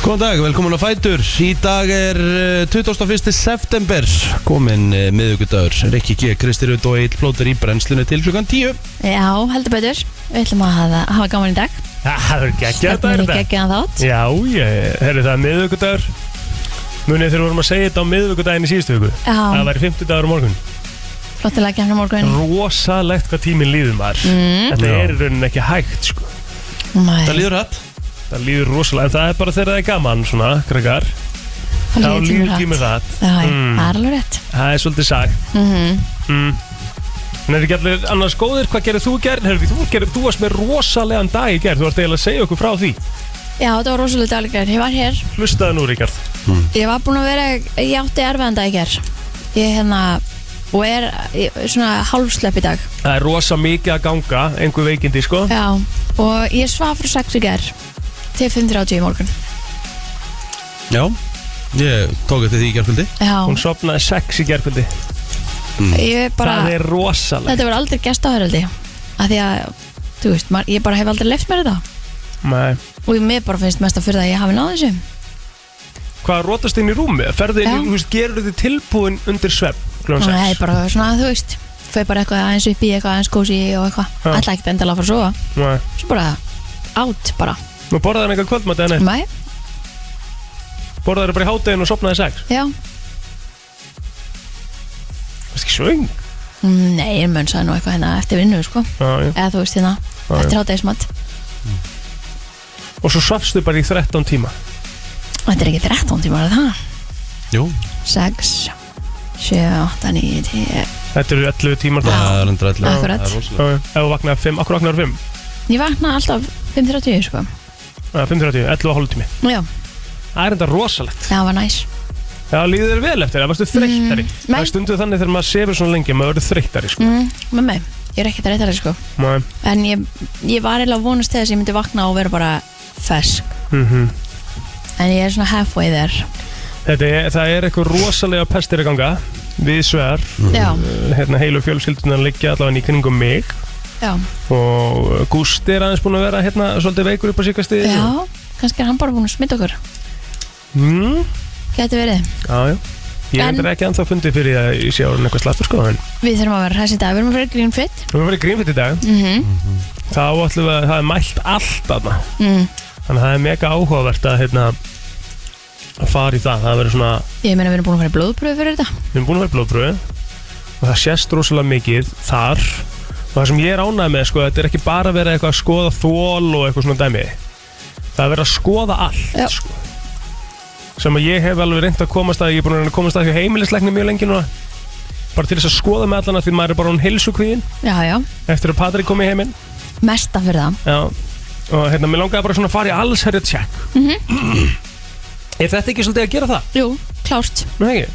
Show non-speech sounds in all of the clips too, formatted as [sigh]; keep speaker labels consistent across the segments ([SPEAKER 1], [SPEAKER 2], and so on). [SPEAKER 1] Góðan dag, velkomin á Fætur Í dag er eh, 21. september Komin eh, miðvikudagur Rikki G, Kristi Rutt og Egil Plóter í brennslunni til klukkan 10
[SPEAKER 2] Já, heldur betur Við ætlum að hafa, hafa gaman í dag
[SPEAKER 3] Ja, Það verður geggjað
[SPEAKER 2] Stefnir
[SPEAKER 3] dagur
[SPEAKER 2] í
[SPEAKER 3] þetta
[SPEAKER 2] geggjaðan þátt
[SPEAKER 3] Já, ég, herru það er miðvikudagur Munið þegar við vorum að segja þetta á miðvikudaginn í síðustu viku Það
[SPEAKER 2] Já,
[SPEAKER 3] væri fimmtudagur á morgun
[SPEAKER 2] flottilega kemna morgun
[SPEAKER 3] Rosalegt hvað tíminn líður maður
[SPEAKER 2] Mm.
[SPEAKER 3] Þetta
[SPEAKER 1] Já.
[SPEAKER 3] er í rauninni ekki hægt sko
[SPEAKER 1] Það
[SPEAKER 2] Mæ,
[SPEAKER 1] líður hætt
[SPEAKER 3] Það líður rosalega, en það er bara þegar það er gaman svona, krakkar
[SPEAKER 2] Það
[SPEAKER 3] Þá
[SPEAKER 2] líður tíminn
[SPEAKER 3] líður
[SPEAKER 2] hratt.
[SPEAKER 3] tíminn það
[SPEAKER 2] Já, já,
[SPEAKER 3] Mm.
[SPEAKER 2] það er alveg rétt
[SPEAKER 3] Það er svolítið sagt
[SPEAKER 2] Mhm.
[SPEAKER 3] mm. En er ekki allir annars góðir, hvað gerir þú gerð? Herru, þú, gerir, þú varst með rosalegan dag í gerð, þú varst eiginlega að segja okkur frá því
[SPEAKER 2] Já, þetta var rosalega daglegar Ég var hér
[SPEAKER 3] Hlustaðu nú, Ríkard
[SPEAKER 2] Ég var búin að vera, ég átti erfiðan dag í ger Ég hérna Og er ég, svona hálfslepp í dag
[SPEAKER 3] Það er rosa mikið að ganga, einhver veikindi, sko
[SPEAKER 2] Já, og ég svaf frá 6 í ger Til 5.30 í morgun
[SPEAKER 1] Já, ég tók eftir því í gerfaldi
[SPEAKER 2] Já,
[SPEAKER 3] Hún sopnaði sex í gerkvöldi
[SPEAKER 2] ég bara
[SPEAKER 3] Það er rosalegt
[SPEAKER 2] Þetta var aldrei gest áhöraldi Af því að, þú veist, maður, ég bara hef aldrei left mér þetta
[SPEAKER 3] Nei.
[SPEAKER 2] Og ég mér bara finnst mest að fyrir það að ég hafi náð þessu
[SPEAKER 3] Hvað rótast inn í rúmi? Ferðu inn,
[SPEAKER 2] Já.
[SPEAKER 3] í- þú veist, gerur þið tilbúin undir svepp
[SPEAKER 2] Og
[SPEAKER 3] kljóðan
[SPEAKER 2] það er
[SPEAKER 3] sex
[SPEAKER 2] bara svona, þú veist Fyrir bara eitthvað aðeins upp í eitthvað aðeins kósi og eitthvað
[SPEAKER 3] Já.
[SPEAKER 2] Alltaf ekkert endala að fara að sofa
[SPEAKER 3] Nei.
[SPEAKER 2] Svo bara, átt bara
[SPEAKER 3] Nú borðaði hann eitthvað kvöldmatt eða neitt
[SPEAKER 2] Mæ,
[SPEAKER 3] Borðaði hann bara í hádeginu og sopnaði sex
[SPEAKER 2] já
[SPEAKER 3] Það er ekki svöng
[SPEAKER 2] Mm, Nei, ég mönsaði nú eitthvað hérna eftir vinnu, sko
[SPEAKER 3] Já, já.
[SPEAKER 2] Eða þú veist hérna,
[SPEAKER 3] Já, já.
[SPEAKER 2] eftir hátægismat
[SPEAKER 3] Og svo svafstu bara í 13 tíma
[SPEAKER 2] Þetta er ekki 13 tímar að það
[SPEAKER 1] Jú,
[SPEAKER 2] 6, 7, 8, 9, 10
[SPEAKER 3] Þetta eru 11 tímar þá
[SPEAKER 1] það er endur allir
[SPEAKER 2] Akkurat.
[SPEAKER 3] Já, já. Ef þú vaknaði 5, akkur vaknaði 5
[SPEAKER 2] Ég vakna alltaf 5.30, sko
[SPEAKER 3] 5.30, 11 og hálf tími
[SPEAKER 2] Já,
[SPEAKER 3] Það er enda rosalegt
[SPEAKER 2] það var næs
[SPEAKER 3] Já, líður þér vel eftir, það varstu þreyttari
[SPEAKER 2] Mm, nei.
[SPEAKER 3] Það er stundu þannig þegar maður sefur svona lengi maður verður þreyttari sko.
[SPEAKER 2] mm, Með mig, ég er ekki það reytari, sko
[SPEAKER 3] mm.
[SPEAKER 2] En ég, ég var eiginlega að vonast til þess að ég myndi vakna og vera bara fesk En ég er svona halfway there
[SPEAKER 3] Mhm. Þetta er, það er eitthvað rosalega pestir að ganga við svegar,
[SPEAKER 2] Já,
[SPEAKER 3] hérna heilu fjölskyldunar liggja allavega í kringum mig
[SPEAKER 2] já,
[SPEAKER 3] og uh, Gústi er aðeins búin að vera hérna svolítið veikur upp á síkast yfir
[SPEAKER 2] já Kannski er hann bara búinn að smita okkur
[SPEAKER 3] mm,
[SPEAKER 2] Gæti verið
[SPEAKER 3] Já, já Ég
[SPEAKER 2] En-
[SPEAKER 3] en... er ekki anþá fundið fyrir því að ég sé orðin eitthvað slappur sko en
[SPEAKER 2] Við þurfum að vera hræs í dag, við erum að vera green fit
[SPEAKER 3] við verðum grínfitt í dag
[SPEAKER 2] mm -hmm.
[SPEAKER 3] þá ætlum við að það er mælt allt aðna
[SPEAKER 2] mm.
[SPEAKER 3] þannig að það er mega áhugavert að hérna að fara í það, það verður svona
[SPEAKER 2] Ég meina við erum búin að fara í blóðpröfu fyrir þetta
[SPEAKER 3] við erum búin að vera blóðpröfu og það sést rosalega mikið þar og það sem ég er ánægð með sko, þetta er ekki bara verið eitthvað að skoða þól og eitthvað svona dæmi það er verið að skoða allt
[SPEAKER 2] Já.
[SPEAKER 3] sko. sem að ég hef alveg reynd að komast að ég er búin að reyna að komast að hjá heimilisleikni mjög lengi núna bara til þess að skoða með allana því maður er bara hún heilsukvíðin
[SPEAKER 2] Já, já,
[SPEAKER 3] eftir að Patrik kom í heiminn
[SPEAKER 2] mesta fyrir það
[SPEAKER 3] Já. og hérna, mér langaði bara svona að fara í allsherja tjekk er þetta ekki svolítið að gera það?
[SPEAKER 2] Jú, klárt
[SPEAKER 3] Nei, ekki?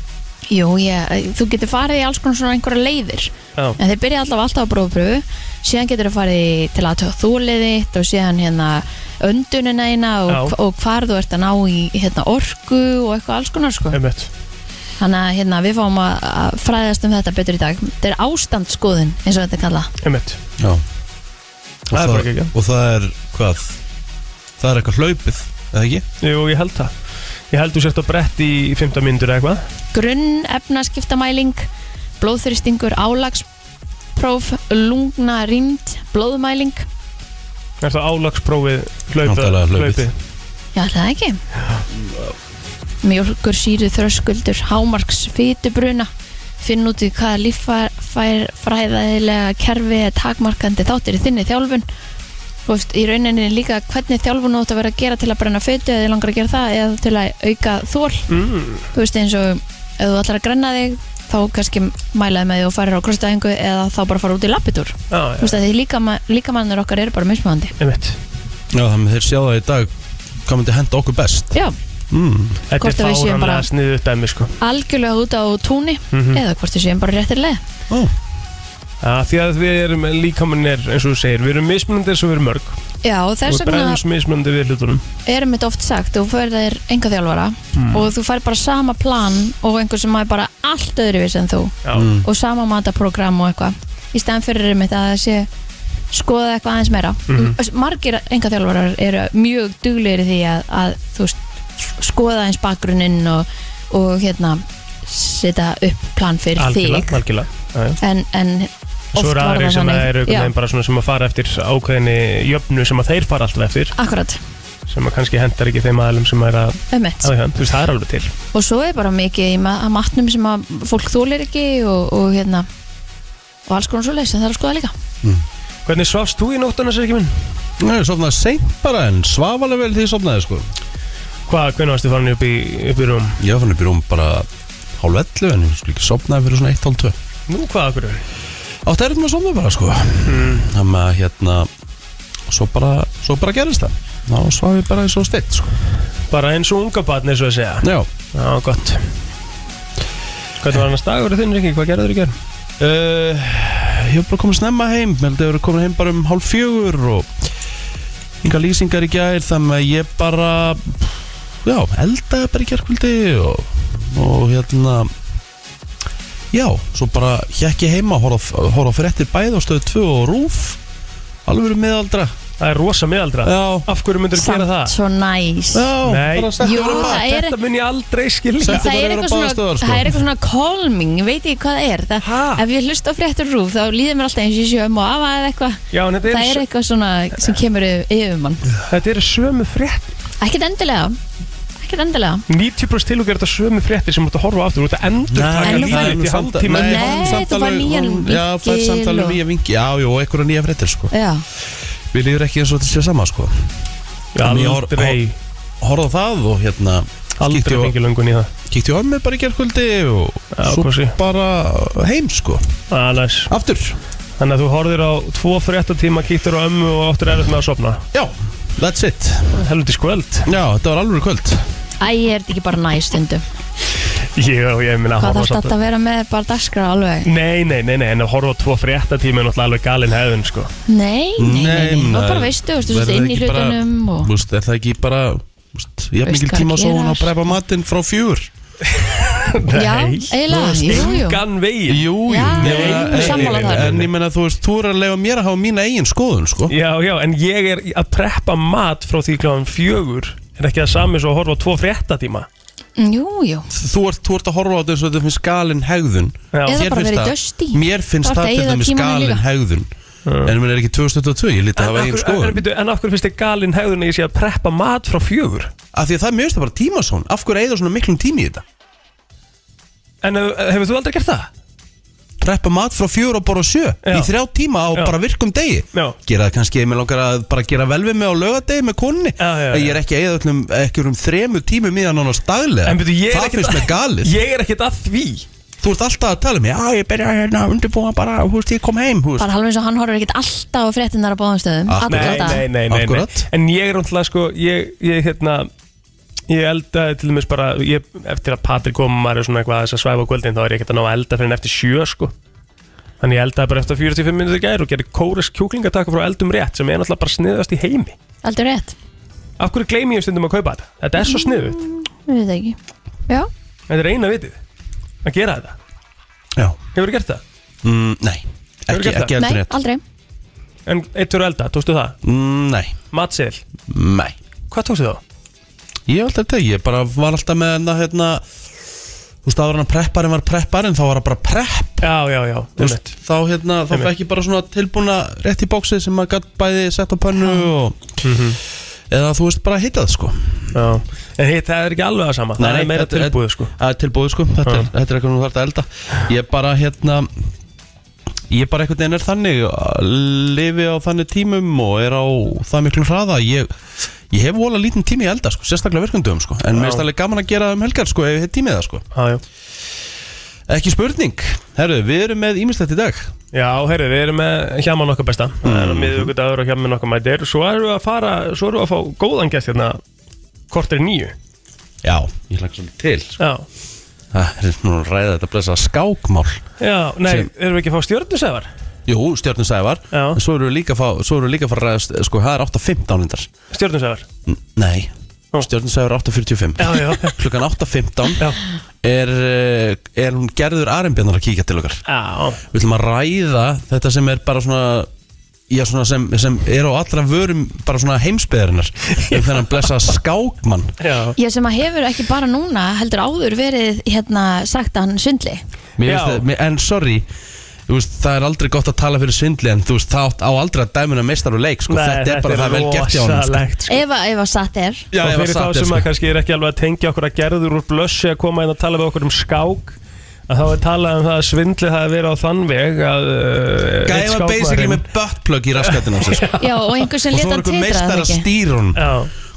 [SPEAKER 2] Jú, ég, þú getur farið í alls konar svona einhverja leiðir
[SPEAKER 3] Já.
[SPEAKER 2] En þeir byrja alltaf alltaf á blóðpröfu Síðan getur þú farið í- til að tóða þúliðitt Og síðan hérna öndunina eina og,
[SPEAKER 3] Já.
[SPEAKER 2] og hvar þú ert að ná í hérna, orku og eitthvað alls konar sko.
[SPEAKER 3] Einmitt.
[SPEAKER 2] Þannig að hérna, við fáum að, að fræðast um þetta betur í dag. Þetta er ástandsskoðun eins og þetta er kallað.
[SPEAKER 3] Einmitt.
[SPEAKER 1] Já Og
[SPEAKER 3] Það er bara ekki ekki.
[SPEAKER 1] Og það er, hvað? Það er eitthvað hlaupið, eða ekki?
[SPEAKER 3] Jú, ég held það Ég held þú sért á brett í 15 mínútur eða eitthvað
[SPEAKER 2] Grunn efnaskiptamæling, blóðþristingur, álagspróf, lungna rýnd, blóðmæling.
[SPEAKER 3] Er það álagsprófið
[SPEAKER 1] Náttúrulega hlaupið.
[SPEAKER 3] hlaupið
[SPEAKER 2] Já, ætli það ekki. Mjölkur síru þröskuldur, hámarks fytubruna, finn út í hvaða líffræðilega kerfi er takmarkandi þáttir í þinni þjálfun. Þú veist, í rauninni líka hvernig þjálfun þú átt að vera að gera til að brenna fytu eða þið langar að gera það eða til að auka þól.
[SPEAKER 3] mm.
[SPEAKER 2] Þú veist eins og ef þú ætlar að grenna þig þá kannski mælaði með því og farir á krossdæðingu eða þá bara fara út í lappitúr.
[SPEAKER 3] ah,
[SPEAKER 2] Þú veist að því líka, líkamannir okkar eru bara mismöðandi.
[SPEAKER 3] Einmitt
[SPEAKER 1] Já, þannig að þeir sjá það í dag Hvað myndi henda okkur best?
[SPEAKER 2] Já,
[SPEAKER 1] Mm.
[SPEAKER 3] Þetta
[SPEAKER 2] Hvort að
[SPEAKER 3] er
[SPEAKER 2] við séum bara-
[SPEAKER 3] fáranlega sniðu dæmi sko
[SPEAKER 2] algjörlega út á túnni
[SPEAKER 3] Mhm.
[SPEAKER 2] eða hvort þið séum bara réttir leið.
[SPEAKER 1] Ó,
[SPEAKER 3] ja, Því að við erum líkaminn er eins og þú segir Við erum mismunandi eins og við erum mörg
[SPEAKER 2] Já, og þess
[SPEAKER 3] Við
[SPEAKER 2] vegna
[SPEAKER 3] bregðumst mismunandi við hlutunum
[SPEAKER 2] erum þetta oft sagt, þú fyrir þér enga þjálfara og þú fær bara sama plan og einhver sem er bara allt öðruvís en þú
[SPEAKER 3] Já,
[SPEAKER 1] Mm.
[SPEAKER 2] og sama mataprogram og eitthvað í stæðan fyrir erum þetta að það sé skoða eitthvað aðeins meira Mm,
[SPEAKER 3] Mhm.
[SPEAKER 2] margir enga þjálfarar eru mjög duglegir í því að, að þú veist skoða eins bakgrunnin og, og hérna setja upp plan fyrir
[SPEAKER 3] algjörlega,
[SPEAKER 2] þig
[SPEAKER 3] algjörlega já, já.
[SPEAKER 2] en, en
[SPEAKER 3] Svo
[SPEAKER 2] oft
[SPEAKER 3] eru
[SPEAKER 2] var
[SPEAKER 3] aðrir
[SPEAKER 2] það
[SPEAKER 3] sem
[SPEAKER 2] þannig
[SPEAKER 3] er
[SPEAKER 2] Já,
[SPEAKER 3] bara svona sem að fara eftir ákveðinni jöfnu sem að þeir fara alltaf eftir
[SPEAKER 2] akkurat,
[SPEAKER 3] sem að kannski hendar ekki þeim aðlum sem er að
[SPEAKER 2] ömmett
[SPEAKER 3] aðeins, þú veist, það er alveg til
[SPEAKER 2] og svo er bara mikið í ma að matnum sem að fólk þólir ekki og, og hérna og alls konar svo leys en það er að skoða líka
[SPEAKER 3] Hvernig svafst þú í nóttana, Sergi minn?
[SPEAKER 1] Nei, sofnaði seint bara en svaf alveg vel því ég sofnaði sko
[SPEAKER 3] Hvað, hvernig varstu farin upp í, upp í rúm?
[SPEAKER 1] Ég var fann upp í rúm bara hálf 11 en ég skulle ekki sofnaði fyrir svona 1-12
[SPEAKER 3] Nú, hvað, okkur?
[SPEAKER 1] Átt er þetta að sofna bara sko Þannig að hérna svo bara, svo bara gerist það Ná svaf ég bara eins og steitt sko
[SPEAKER 3] Bara eins og unga batni, svo að segja
[SPEAKER 1] Já
[SPEAKER 3] Já, gott Hvernig var annars dagur þinn, Rikki? Hvað gerður þú í gerð?
[SPEAKER 1] Uh, ég hef bara komið snemma heim Mér held að ég hef komið heim bara um hálf fjögur og yngar lýsingar í gær þannig að ég bara já, eldaði bara í gærkvöldi og, og hérna já, svo bara hjekk ég heima, horfa horf á fréttir bæð á stöðu 2 og rúf alveg verið miðaldra
[SPEAKER 3] Það er rosa miðaldra
[SPEAKER 1] Já,
[SPEAKER 3] Af hverju myndur þú gera það?
[SPEAKER 2] svo næs
[SPEAKER 1] já
[SPEAKER 3] Nei.
[SPEAKER 1] bara setti
[SPEAKER 2] Jú,
[SPEAKER 1] bara mat.
[SPEAKER 2] Það er-
[SPEAKER 3] Þetta mun ég aldrei skilja
[SPEAKER 1] Sæ-
[SPEAKER 2] Það
[SPEAKER 1] bara
[SPEAKER 2] er,
[SPEAKER 1] vera
[SPEAKER 2] eitthvað
[SPEAKER 1] á
[SPEAKER 2] svona,
[SPEAKER 1] baðstofur, sko.
[SPEAKER 2] það er eitthvað svona calming, ég veit ekki hvað það er það,
[SPEAKER 3] Ha?
[SPEAKER 2] Ef ég hlust á fréttur rúf þá líður mér alltaf eins og ég sé um og afa eða eitthvað
[SPEAKER 3] Já, en þetta
[SPEAKER 2] Það er
[SPEAKER 3] eru
[SPEAKER 2] eitthvað svona sem kemur yfir- yfir mann
[SPEAKER 3] þetta eru sömu frétt
[SPEAKER 2] Ekkert endilega Ekkert endilega
[SPEAKER 3] 90% tilhug er þetta sömu fréttir sem þú ert að horfa aftur Þú ert að endur
[SPEAKER 2] en
[SPEAKER 1] það
[SPEAKER 2] þú færð-
[SPEAKER 3] taka því í halvtíma
[SPEAKER 2] Nei, þú færð nýjan
[SPEAKER 1] um- Já, fær
[SPEAKER 2] vinkil
[SPEAKER 1] samtalið
[SPEAKER 2] og-
[SPEAKER 1] nýja vingi Já, jú, og einhverja nýja fréttir sko
[SPEAKER 2] Já,
[SPEAKER 1] Við líður ekki eins og þetta sé sama sko En ég hor-
[SPEAKER 3] Aldrei,
[SPEAKER 1] horfði á það og hérna
[SPEAKER 3] aldrei
[SPEAKER 1] kíkti á-
[SPEAKER 3] fengi löngun í það
[SPEAKER 1] kíkti á ömmu bara í gerkvöldi og
[SPEAKER 3] Já,
[SPEAKER 1] svo
[SPEAKER 3] kosi.
[SPEAKER 1] bara heim sko
[SPEAKER 3] Ah, nice.
[SPEAKER 1] aftur,
[SPEAKER 3] Þannig að þú horfir á tvo fréttatíma, kýttir á ömmu og áttur erfitt með að sopna
[SPEAKER 1] já, that's it
[SPEAKER 3] Helviti skvöld
[SPEAKER 1] já, þetta var alveg kvöld
[SPEAKER 2] æ, er þetta ekki bara næs stundum
[SPEAKER 3] Ég, ég minna að
[SPEAKER 2] Hvað
[SPEAKER 3] horfa
[SPEAKER 2] þarf þetta
[SPEAKER 3] samt
[SPEAKER 2] að vera með bara dagskrá alveg
[SPEAKER 3] Nei, nei, nei, nei, en að horfa á tvo fréttatíma er náttúrulega alveg galin hefðun sko.
[SPEAKER 2] Nei, nei, nei, nei.
[SPEAKER 1] Nei,
[SPEAKER 2] Og bara
[SPEAKER 1] nei.
[SPEAKER 2] veistu, veistu,
[SPEAKER 1] Verður
[SPEAKER 2] veistu inn í
[SPEAKER 1] ekki bara-
[SPEAKER 2] hlutunum og...
[SPEAKER 1] Vist, er það ekki bara vist, jafn
[SPEAKER 2] Veist
[SPEAKER 1] mikil
[SPEAKER 2] hvað
[SPEAKER 1] tíma
[SPEAKER 2] að
[SPEAKER 1] svo hún
[SPEAKER 2] gera.
[SPEAKER 1] að brefa matinn frá fjúr
[SPEAKER 2] [laughs] Já,
[SPEAKER 3] Nei.
[SPEAKER 2] eiginlega, jú,
[SPEAKER 3] Þú veist,
[SPEAKER 2] jú.
[SPEAKER 3] engan veginn
[SPEAKER 1] jú, jú
[SPEAKER 2] Já,
[SPEAKER 1] Ég
[SPEAKER 2] ég
[SPEAKER 1] meina,
[SPEAKER 2] er alveg sammála
[SPEAKER 1] en-
[SPEAKER 2] þar.
[SPEAKER 1] en ég menna þú veist, þú er að lefa mér að hafa mína eigin skoðun sko
[SPEAKER 3] Já, já, en ég er að preppa mat frá því kláðan fjögur er ekki það sami svo að horfa á tvo fréttatíma
[SPEAKER 2] Jú, jú
[SPEAKER 1] þú ert, þú ert að horfa á þetta eins og þetta finnst galin hegðun
[SPEAKER 3] Já,
[SPEAKER 2] Eða
[SPEAKER 1] Þér
[SPEAKER 2] bara
[SPEAKER 1] finnst
[SPEAKER 2] verið
[SPEAKER 1] það-
[SPEAKER 2] dusty
[SPEAKER 1] mér finnst
[SPEAKER 2] Þú ert
[SPEAKER 1] það
[SPEAKER 2] að
[SPEAKER 1] til
[SPEAKER 2] eyða
[SPEAKER 1] dæmis
[SPEAKER 2] tímanum
[SPEAKER 1] galin
[SPEAKER 2] líka.
[SPEAKER 1] hegðun en ég menna er ekki 2022, ég lítið að
[SPEAKER 3] En
[SPEAKER 1] hafa
[SPEAKER 3] af
[SPEAKER 1] eigin
[SPEAKER 3] hverju- en
[SPEAKER 1] skoðun
[SPEAKER 3] býttu, en af hverju finnst þið galin hegðun að ég sé að preppa mat frá fjögur?
[SPEAKER 1] af því að það er mjög stað bara tímasón af hverju eigður svona miklum tími í þetta
[SPEAKER 3] En hef- hefur þú aldrei gert það?
[SPEAKER 1] preppa mat frá fjör og borða sjö
[SPEAKER 3] Já.
[SPEAKER 1] í þrjá tíma á
[SPEAKER 3] Já.
[SPEAKER 1] bara virkum degi
[SPEAKER 3] Já.
[SPEAKER 1] gera það kannski ef mér langar að bara gera vel við mig á lögadegi með konni
[SPEAKER 3] Já, já, já.
[SPEAKER 1] ég er ekki að eða öllum ekki um þremu tímum í það nánast daglega
[SPEAKER 3] En byrju, ég er
[SPEAKER 1] það Eh,
[SPEAKER 3] ekkert
[SPEAKER 1] finnst mér galið
[SPEAKER 3] Ég er ekkert að því
[SPEAKER 1] þú ert alltaf að tala um mig já ég byrja hérna að undirbúa bara hú veist ég kom heim hú veist
[SPEAKER 2] Bara halveg eins og hann horfur ekkert alltaf á fréttinnar á báðumstöðum
[SPEAKER 1] Akkurat.
[SPEAKER 2] Alltaf það
[SPEAKER 3] nei, nei, nei, nei.
[SPEAKER 1] Akkúrat.
[SPEAKER 3] En ég er náttúrulega sko Ég, ég hérna Ég eldaði til dæmis bara ég, Eftir að Patrik kom og maður er svona eitthvað aðeins að svæfa á kvöldin Þá er ég ekkert að ná að elda fyrir en eftir sjö sko Þannig ég eldaði bara eftir 45 minnir í gær Og gerði kóres kjúklingatakka frá eldum rétt Sem er náttúrulega bara sniðast í heimi
[SPEAKER 2] Aldrei rétt,
[SPEAKER 3] Af hverju gleymi ég stundum að kaupa þetta? Þetta er svo sniðut
[SPEAKER 2] við veit það ekki Já,
[SPEAKER 3] Þetta er eina vitið Að gera þetta
[SPEAKER 1] já
[SPEAKER 3] Hefur gert það?
[SPEAKER 1] mm, nei
[SPEAKER 3] Hefurðu
[SPEAKER 1] ekki,
[SPEAKER 3] gert
[SPEAKER 1] ekki
[SPEAKER 2] nei,
[SPEAKER 1] heldur rétt
[SPEAKER 2] aldrei
[SPEAKER 3] En eitt fyrir að elda, tókstu það?
[SPEAKER 1] Mm, nei
[SPEAKER 3] Matseðil
[SPEAKER 1] nei
[SPEAKER 3] Hvað tókstu þá?
[SPEAKER 1] ég hef alltaf tekið ég bara var alltaf með hérna hérna þú veist það var hann prepparinn var prepparinn þá var hann bara prepp
[SPEAKER 3] Já, já, já
[SPEAKER 1] Þú veist, þá hérna, þá
[SPEAKER 3] Einmitt.
[SPEAKER 1] fekk ég bara svona tilbúna rétt í bóksi sem maður gætt bæði sett á pönnu og
[SPEAKER 3] Mhm.
[SPEAKER 1] eða þú veist bara hittað sko
[SPEAKER 3] Já, en hitt það er ekki alveg að sama Það er meira
[SPEAKER 1] þetta-
[SPEAKER 3] tilbúið sko
[SPEAKER 1] Það er tilbúið sko, þetta er, þetta er eitthvað nú þarf að elda Ég bara hérna Ég bara einhvern veginn er þannig Lifi á þannig tímum og er á það miklu hraða Ég, ég hef vola lítinn tími í að elda sko, sérstaklega virkundum sko En mér
[SPEAKER 3] Já.
[SPEAKER 1] finnst alveg gaman að gera það um helgar sko ef ég hef tímið það sko
[SPEAKER 3] Já, já
[SPEAKER 1] Ekki spurning, herru, við erum með ímislegt í dag
[SPEAKER 3] Já, heyrðu, við erum með hjaman okkar besta Það
[SPEAKER 1] Mhm.
[SPEAKER 3] er miðugudagur og hjaman okkar mætir Svo erum við að fara, svo erum við að fá góðan gæst hérna Kortir nýju
[SPEAKER 1] Já, ég hlaka svolítið til
[SPEAKER 3] Já,
[SPEAKER 1] Það er nú að ræða þetta blessa skákmál
[SPEAKER 3] já, nei,
[SPEAKER 1] Sem-
[SPEAKER 3] erum við ekki að fá stjórnusefar?
[SPEAKER 1] Jú, stjórnum sævar
[SPEAKER 3] Já.
[SPEAKER 1] En svo eru við líka að fá, svo eru við líka að fara að ræða Sko, það er 8.15 lindar
[SPEAKER 3] Stjórnusefar
[SPEAKER 1] N- Nei,
[SPEAKER 3] Ó.
[SPEAKER 1] stjórnum sævar 8.45
[SPEAKER 3] Já, já,
[SPEAKER 1] Klukkan 8.15
[SPEAKER 3] já,
[SPEAKER 1] er, eh, er hún gerður Arimbjörnar að kíkja til okkar
[SPEAKER 3] já,
[SPEAKER 1] Við ætlum að ræða þetta sem er bara svona Já, svona sem, sem er á allra vörum bara svona heimsbyðarinnar um þennan blessa skákmann
[SPEAKER 3] Já,
[SPEAKER 1] Sko,
[SPEAKER 2] Ég sem að hefur ekki bara núna heldur áður verið hérna sagt að hann svindli
[SPEAKER 1] Mér
[SPEAKER 3] Já.
[SPEAKER 1] finnst það- mér- En sorry þú veist, það er aldrei gott að tala fyrir svindli en þú veist, það átt á aldrei að dæmuna meistar og leik sko, þetta er bara það vel gert hjá hann sko.
[SPEAKER 3] rosalegt, sko.
[SPEAKER 2] ef að, ef að satt er
[SPEAKER 1] Já,
[SPEAKER 3] og
[SPEAKER 1] ef
[SPEAKER 3] fyrir
[SPEAKER 1] satt
[SPEAKER 3] þá
[SPEAKER 1] er,
[SPEAKER 3] sem
[SPEAKER 1] sko.
[SPEAKER 3] að kannski er ekki alveg að tengja okkur að gerður úr blössi að koma inn að tala við okkur um skák að þá er talað um það að svindli það að vera á þann veg að uh,
[SPEAKER 1] Gæði
[SPEAKER 3] einn
[SPEAKER 1] var basically
[SPEAKER 3] skákmaðurinn-
[SPEAKER 1] með buttplug í raskatinn á sig sko.
[SPEAKER 2] Já, og einhver sem
[SPEAKER 1] og svo
[SPEAKER 2] leta
[SPEAKER 1] var einhver
[SPEAKER 2] hann titra
[SPEAKER 1] meistar að
[SPEAKER 2] það ekki
[SPEAKER 1] stýra hún
[SPEAKER 3] Já,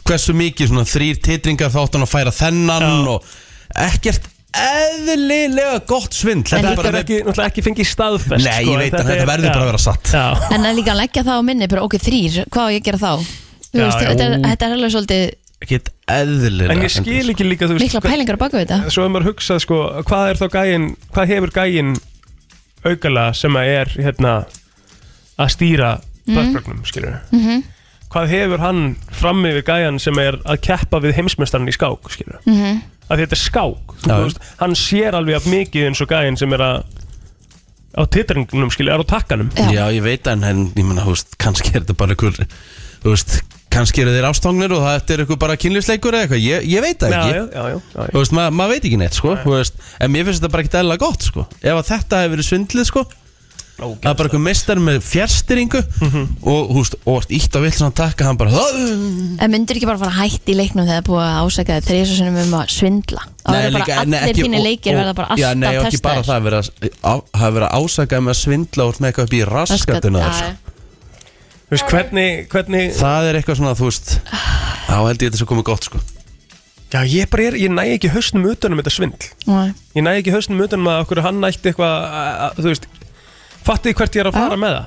[SPEAKER 1] hversu mikið svona þrýr titringar þá átt hann að færa þennan
[SPEAKER 3] Já.
[SPEAKER 1] og ekkert eðlilega gott svindl
[SPEAKER 3] þetta
[SPEAKER 1] Þetta er
[SPEAKER 3] er
[SPEAKER 1] bara
[SPEAKER 3] ekki,
[SPEAKER 1] með-
[SPEAKER 3] náttúrulega ekki fengið staðfest
[SPEAKER 1] Nei,
[SPEAKER 3] sko,
[SPEAKER 1] ég
[SPEAKER 3] en
[SPEAKER 1] veit að þetta
[SPEAKER 3] er-
[SPEAKER 1] verður
[SPEAKER 3] já.
[SPEAKER 1] bara að vera satt
[SPEAKER 3] Já,
[SPEAKER 2] En að líka að leggja það á minni, bara okkur þrýr Hvað á ég að gera þá? Þú
[SPEAKER 3] Já,
[SPEAKER 2] veist,
[SPEAKER 3] já.
[SPEAKER 2] þetta, er, þetta er alveg svolítið
[SPEAKER 1] ekkert eðlilega
[SPEAKER 3] en ég skil ekki líka þú veist,
[SPEAKER 2] mikla
[SPEAKER 3] hvað-
[SPEAKER 2] pælingar á baku þetta
[SPEAKER 3] svo hefur maður hugsað sko, hvað er þá gæin hvað hefur gæin aukala sem að er hérna að stýra bötbögnum, skilur
[SPEAKER 2] Mhm.
[SPEAKER 3] hvað hefur hann fram yfir gæjan sem er að keppa við heimsmeistarann í skák, skilur
[SPEAKER 2] Mhm.
[SPEAKER 3] að þetta er skák, þú
[SPEAKER 1] Já.
[SPEAKER 3] veist hann sér alveg af mikið eins og gæjan sem er að á titringnum, skilur, er á takkanum
[SPEAKER 2] Já.
[SPEAKER 1] Já, ég veit en, en ég menna, þú veist, kannski er þetta bara einhver, þú veist, kannski eru þeir ástóknir og þetta er einhver bara kynlýsleikur eða eitthvað, ég, ég veit það
[SPEAKER 3] já,
[SPEAKER 1] ekki.
[SPEAKER 3] já, já, já, já.
[SPEAKER 1] Þú veist, ma- maður veit ekki neitt, sko, þú veist, en mér finnst þetta bara ekkert eðla gott, sko. Ef að þetta hefur verið svindlið, sko, það er bara einhver mestar með fjärstyringu og, þú veist, og ítt á vill sem hann takka, hann bara, "Hö!"
[SPEAKER 2] En myndir ekki bara fara hætt í leiknum þegar búið að ásaka þér þrýs og sinnum um að svindla Þá verður bara allir
[SPEAKER 1] ekki-
[SPEAKER 2] þínir
[SPEAKER 1] og-
[SPEAKER 2] leikir
[SPEAKER 1] og-
[SPEAKER 2] verða bara alltaf
[SPEAKER 1] Já, nei, og ekki bara
[SPEAKER 2] testaðir.
[SPEAKER 1] það, verið að- á- það verið að ásaka með að svindla og með eitthvað upp í raskatuna, þér, sko.
[SPEAKER 2] Já, já.
[SPEAKER 3] þú veist, hvernig, hvernig
[SPEAKER 1] Það er eitthvað svona, þú veist, þá held ég þetta sé komið gott, sko.
[SPEAKER 3] já, ég bara er, ég næ ekki hausnum utanum þetta svindl
[SPEAKER 2] Nei.
[SPEAKER 3] ég næ ekki hausnum utanum að okkur hann ætti eitthvað að- að- þú veist, fattið hvert ég er að fara með það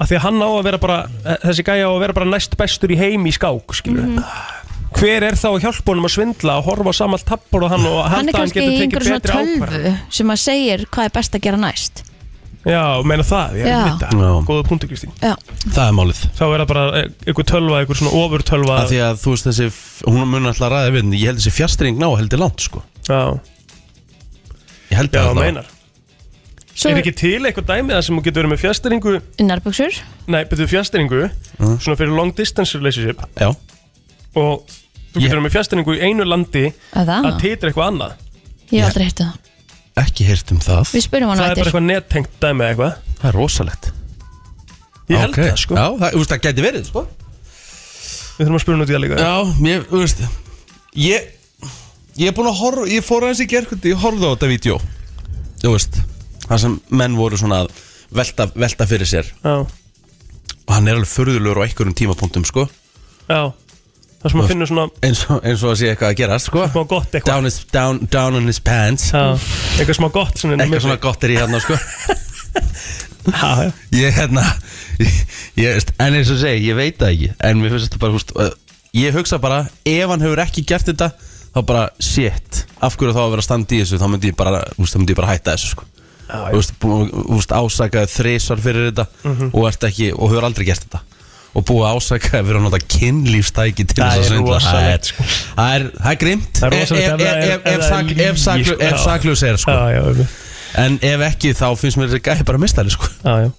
[SPEAKER 3] af því að hann á að vera bara þessi gæja á að vera bara næst bestur í heim í skák skilur
[SPEAKER 2] Mhm.
[SPEAKER 3] hver er þá að hjálpa honum að svindla að horfa á samall tappur og hann og halda
[SPEAKER 2] Hann er
[SPEAKER 3] að
[SPEAKER 2] kannski í
[SPEAKER 3] geti tekið
[SPEAKER 2] einhverju svona
[SPEAKER 3] betri ákvarðanir.
[SPEAKER 2] tölvu sem að segir hvað er best að gera næst
[SPEAKER 3] já, meina það, ég
[SPEAKER 2] Já.
[SPEAKER 3] veit
[SPEAKER 1] Já.
[SPEAKER 3] það góða punktu Kristín
[SPEAKER 2] Já,
[SPEAKER 1] Það er málið.
[SPEAKER 3] þá er það bara e- einhver tölva, einhver svona ofur tölva
[SPEAKER 1] að því að þú veist þessi hún mun alltaf að ræða við en ég held þessi fjastring ná heldur langt sko
[SPEAKER 3] já,
[SPEAKER 1] ég held
[SPEAKER 3] já,
[SPEAKER 1] það allavega.
[SPEAKER 3] meinar
[SPEAKER 2] svo
[SPEAKER 3] er ekki til eitthvað dæmi það sem þú getur verið með fjasteringu
[SPEAKER 2] nærböksur
[SPEAKER 3] nei, betur fjasteringu
[SPEAKER 1] Mm.
[SPEAKER 3] svona fyrir long distance relationship
[SPEAKER 1] já,
[SPEAKER 3] og þú
[SPEAKER 1] Ég-
[SPEAKER 3] getur yeah. með fjastningu í einu landi
[SPEAKER 2] að það,
[SPEAKER 3] að titra eitthvað annað
[SPEAKER 2] ég hef aldrei hirtu það
[SPEAKER 1] ekki heyrt um það
[SPEAKER 2] Við spyrjum hann á
[SPEAKER 3] það er bara
[SPEAKER 2] eftir
[SPEAKER 3] eitthvað nettengt dæmi eða eitthvað
[SPEAKER 1] það er rosalegt
[SPEAKER 3] ég held
[SPEAKER 1] Ok.
[SPEAKER 3] það sko,
[SPEAKER 1] já, það, þú veist, það geti verið sko
[SPEAKER 3] við þurfum að spyrja út í það líka
[SPEAKER 1] já, mér, þú veist ég ég er búin að horfa ég fór aðeins í gerkundi ég horfði á þetta vídeo þú veist það sem menn voru svona að velta, velta fyrir sér
[SPEAKER 3] já,
[SPEAKER 1] og hann er alveg förðulegur á einhverjum tímapunktum sko
[SPEAKER 3] já. það sem að finna svona
[SPEAKER 1] eins og, eins og að sé eitthvað að gerast sko
[SPEAKER 3] smá gott eitthvað
[SPEAKER 1] down, his, down, down on his pants
[SPEAKER 3] já, eitthvað smá gott svona inn á
[SPEAKER 1] eitthvað
[SPEAKER 3] milli.
[SPEAKER 1] svona gott er í hérna sko
[SPEAKER 3] [laughs] já, já.
[SPEAKER 1] Ég hérna [laughs] ég, ég, veist, En eins og segi, ég veit það ekki En mér finnst þetta bara, húst Ég hugsa bara, ef hann hefur ekki gert þetta Þá bara, shit Af hverju þá að vera að standa í þessu Þá myndi ég bara, húst, þá myndi ég bara hætta þessu sko
[SPEAKER 3] Já, já.
[SPEAKER 1] Þú veist, bú- þú veist, ásakaði þrisvar fyrir þetta
[SPEAKER 3] Mhm.
[SPEAKER 1] Og ert ekki, og hefur aldrei gert þetta Og búið að ásakaði fyrir að nota kynlífstæki til þess
[SPEAKER 3] Það
[SPEAKER 1] að
[SPEAKER 3] er
[SPEAKER 1] svindla. Það er
[SPEAKER 3] rosalegt, sko.
[SPEAKER 1] Það er, það er grimt
[SPEAKER 3] Það er rosalegt ef það er- ef það er lygi, sko.
[SPEAKER 1] Ef
[SPEAKER 3] Já.
[SPEAKER 1] sakljus er, sko
[SPEAKER 3] já, já, já,
[SPEAKER 1] En ef ekki, þá finnst mér þessi gæði bara mistæli, sko
[SPEAKER 3] já, já.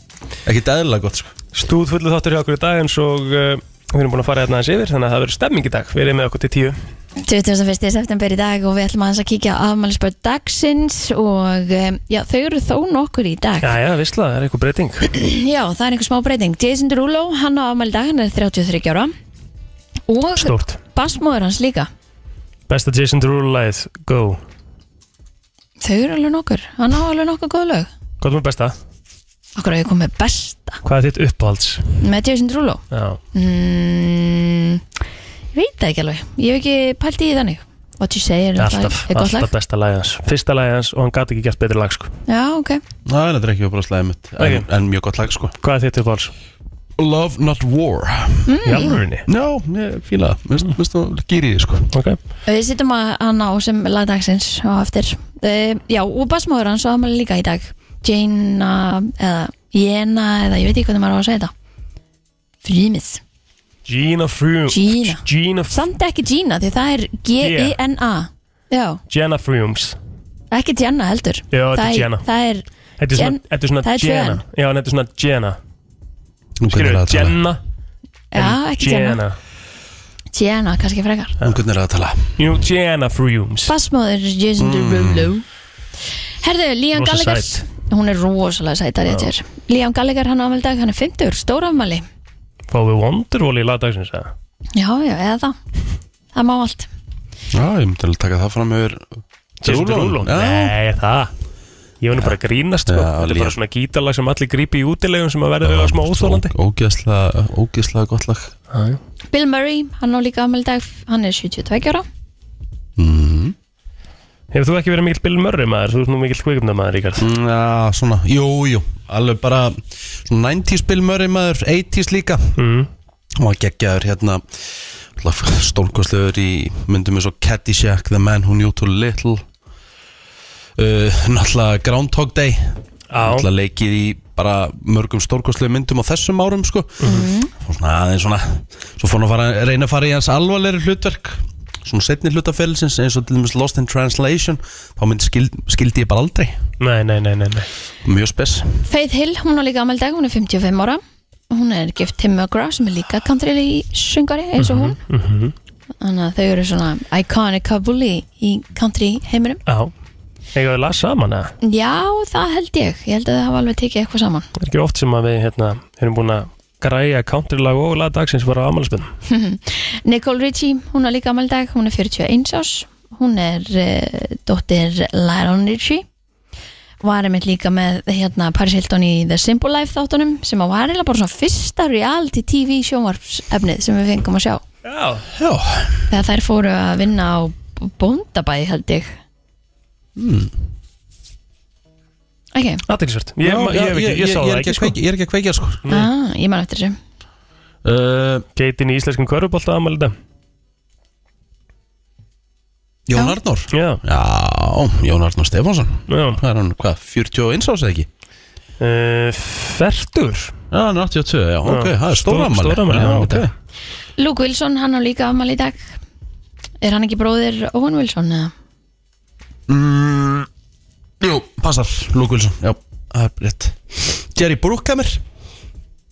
[SPEAKER 1] Ekki dæðilega gott, sko
[SPEAKER 3] stúð fullu þáttur hjá okkur í dag eins og uh, við erum búin að fara hérna aðeins yfir þannig að það verður stemming í dag, við erum með okkur til tíu
[SPEAKER 2] 21. september í dag og við ætlum aðeins að kíkja á afmælisbörn dagsins og um, já, þau eru þó nokkur í dag
[SPEAKER 3] já, já, vissla, það er eitthvað breyting
[SPEAKER 2] Já, það er einhver smá breyting Jason Derulo, hann á afmæli í dag, hann er 33 ára og
[SPEAKER 3] stórt,
[SPEAKER 2] basmóður hans líka
[SPEAKER 3] besta Jason Derulo-læð, go
[SPEAKER 2] Þau eru alveg nokkur, hann á alveg nokkur góð lög
[SPEAKER 3] hvað er með besta,
[SPEAKER 2] Akkur að ég kom með besta
[SPEAKER 3] hvað er þitt uppáhalds
[SPEAKER 2] með Jason Derulo
[SPEAKER 3] já,
[SPEAKER 2] mm, Ég veit það ekki alveg Ég hef ekki pælt í því þannig What you say er
[SPEAKER 3] Alltaf,
[SPEAKER 2] er gott
[SPEAKER 3] alltaf
[SPEAKER 2] lag
[SPEAKER 3] besta lagið hans Fyrsta lagið hans og hann gæti ekki gert betri lag sko.
[SPEAKER 2] Já, ok
[SPEAKER 1] Nei, þetta er ekki bara slæðið mitt en,
[SPEAKER 3] Ok.
[SPEAKER 1] en mjög gott lag sko
[SPEAKER 3] Hvað er þitt uppáhalds?
[SPEAKER 1] Love Not War
[SPEAKER 3] Mm. Í alvörinni
[SPEAKER 1] Já, ég fíla það Mér finnst það gýri því sko
[SPEAKER 3] Ok
[SPEAKER 2] Við sittum að hann á sem lagdagsins á eftir uh, Já, og basmóður hans á afmæli líka í dag Jaina eða Jena eða ég veit ekki hvernig maður á að segja þetta Frímið
[SPEAKER 3] Gina Froome
[SPEAKER 2] Gina.
[SPEAKER 3] Gina F-
[SPEAKER 2] Samt ekki Gina því það er G-I-N-A Já,
[SPEAKER 3] Jenna Frooms
[SPEAKER 2] ekki Jenna heldur
[SPEAKER 3] Já, þetta
[SPEAKER 2] það
[SPEAKER 3] er Jenna
[SPEAKER 2] það er
[SPEAKER 3] Þetta er svona,
[SPEAKER 2] Jen-
[SPEAKER 3] þetta er svona
[SPEAKER 2] það er tvö
[SPEAKER 3] Jenna
[SPEAKER 2] N.
[SPEAKER 3] Já, en þetta er svona Jenna
[SPEAKER 1] Nú hvernig er
[SPEAKER 3] Skilur,
[SPEAKER 1] það að tala?
[SPEAKER 3] Jenna
[SPEAKER 2] Já, ekki Jenna Jenna, kannski frekar
[SPEAKER 1] Nú hvernig er það að tala?
[SPEAKER 3] Jú, Jenna Frooms
[SPEAKER 2] Basmóður Jason Derulo Herðu, Liam
[SPEAKER 3] Mm. Rosa
[SPEAKER 2] Gallagher
[SPEAKER 3] sæt.
[SPEAKER 2] Hún er rosalega sæt að réttir Liam Gallagher, hann á afmæli í dag, hann er 50, stórafmæli
[SPEAKER 3] Fáum við Wonderwall í lagdagsins eða?
[SPEAKER 2] Já, já, eða það Það má allt
[SPEAKER 1] Já, ég myndi alveg taka það fram yfir
[SPEAKER 3] Jason Derulo?
[SPEAKER 1] Já,
[SPEAKER 3] Nei, það Ég var nú bara að grínast sko.
[SPEAKER 1] Já,
[SPEAKER 3] Þetta er
[SPEAKER 1] Liam.
[SPEAKER 3] bara svona gítalag sem allir grípi í útilegum sem að verða við að smá óþólandi
[SPEAKER 1] Ógeðslega, ógeðslega gott lag
[SPEAKER 2] Bill Murray, hann á líka afmæli í dag Hann er 72 ára
[SPEAKER 1] mm.
[SPEAKER 3] Hefur þú ekki verið mikill Bill Murray maður? Þú ert nú mikill kvikumna maður, Ríkard
[SPEAKER 1] Já, svona, jú, jú Alveg bara svona 90s Bill Murray maður 80s líka
[SPEAKER 3] mm.
[SPEAKER 1] Hún var geggjaður hérna Stórkostlegur í myndum eins og Caddyshack, The Man Who Knew Too Little uh, Náttúrulega Groundhog Day
[SPEAKER 3] Á,
[SPEAKER 1] Náttúrulega leikið í bara mörgum stórkostlegu myndum á þessum árum sko Svo svona aðeins svona Svo fór hann að fara, reyna að fara í hans alvarlegri hlutverk Svona setni hlutafélisins eins og til dæmis Lost in Translation Þá mynd skild, skildi ég bara aldrei
[SPEAKER 3] nei, nei, nei, nei, nei.
[SPEAKER 1] Mjög spes
[SPEAKER 2] Faith Hill, hún á líka afmæli í dag, hún er 55 ára Hún er gift Tim McGraw sem er líka country syngari eins og hún
[SPEAKER 3] Mhm.
[SPEAKER 2] Þannig að þau eru svona iconic couple í- í country heiminum
[SPEAKER 3] Á, eiga við las saman eða?
[SPEAKER 2] Já, það held ég, ég held að það hafa alveg tekið eitthvað saman
[SPEAKER 3] Það er ekki oft sem að við hérna, erum búin að græja countrylag og lagdagsins var á amalspinn
[SPEAKER 2] Nicole Richie, hún er líka afmæli í dag, hún er 41 árs Hún er uh, dóttir Lyron Richie Var einmitt líka með hérna Paris Hilton í The Simple Life þáttunum sem að var eiginlega bara svona fyrsta reality TV sjónvarpsefnið sem við fengum að sjá
[SPEAKER 3] Já,
[SPEAKER 1] Já,
[SPEAKER 2] Þegar þær fóru að vinna á bóndabæði held ég mm. Ok,
[SPEAKER 3] aðeinsvert Ég, ma- ég, hef ekki- ég
[SPEAKER 1] ég,
[SPEAKER 3] sá það
[SPEAKER 1] er
[SPEAKER 3] ekki
[SPEAKER 1] að
[SPEAKER 3] sko
[SPEAKER 1] kveikja- ég er ekki að kveikja sko
[SPEAKER 2] ah, ég man eftir þessu
[SPEAKER 1] uh,
[SPEAKER 3] Geitin í íslenskum körfubólta amalita
[SPEAKER 1] Jón
[SPEAKER 2] Já.
[SPEAKER 1] Arnór
[SPEAKER 3] Já,
[SPEAKER 1] Já, Jón Arnór Stefánsson
[SPEAKER 3] já
[SPEAKER 1] Hvað er hann, hvað, 41 ás eða ekki?
[SPEAKER 3] uh, Fertur
[SPEAKER 1] Já, hann er 82, já, ok, það er
[SPEAKER 3] Stór-
[SPEAKER 1] stóramæli
[SPEAKER 3] stóramæli, já, ok.
[SPEAKER 2] Luke Wilson, hann á líka afmæli í dag Er hann ekki bróðir Owen Wilson eða?
[SPEAKER 1] mm, Jú, passar, Luke Wilson Já, það er rétt Jerry Bruckheimer,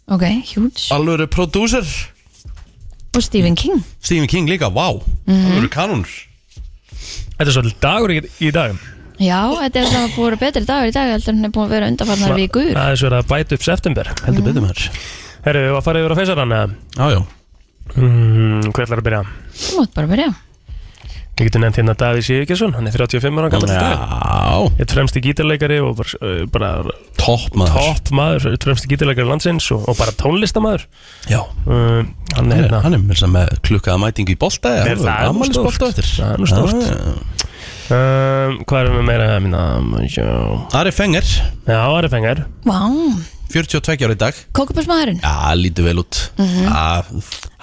[SPEAKER 2] Ok, huge
[SPEAKER 1] alvöru prodúser
[SPEAKER 2] Og Stephen King
[SPEAKER 1] Stephen King líka, vá wow. Alvöru kanunur
[SPEAKER 3] Þetta er svolítið dagur í, í dag
[SPEAKER 2] Já, þetta er það að búið betri dagur í dag heldur en hann er búin að vera undanfarnar vikur
[SPEAKER 3] Það er svolítið að bæta upp september
[SPEAKER 1] Heldur betur með þér
[SPEAKER 3] Herru, við varum að fara yfir á feysarann eða?
[SPEAKER 1] Já, já,
[SPEAKER 3] mm, Hvað ætlar að byrja?
[SPEAKER 2] Þú mátt bara byrja
[SPEAKER 3] Ég getur nefnt hérna Davíð Sigurgesson Hann er 35 ára gammal í dag
[SPEAKER 1] já
[SPEAKER 3] Eitt fremsti gítarleikari og bara, eh, bara
[SPEAKER 1] Topp maður
[SPEAKER 3] topp maður Eitt fremsti gítarleikari landsins og, og bara tónlistamaður
[SPEAKER 1] Já,
[SPEAKER 3] uh, Hann er
[SPEAKER 1] hann er,
[SPEAKER 3] hérna
[SPEAKER 1] hann er með, með klukkaða mætingu í bolta
[SPEAKER 3] Nei, það er nú stórt. Það er nú stórt. Um, hvað erum við meira að minna? Já,
[SPEAKER 1] Ari Fenger,
[SPEAKER 3] já Ari Fengar
[SPEAKER 2] Vá,
[SPEAKER 1] 42 ára í dag
[SPEAKER 2] kókupusmaðurinn
[SPEAKER 1] Já, lítur vel út mm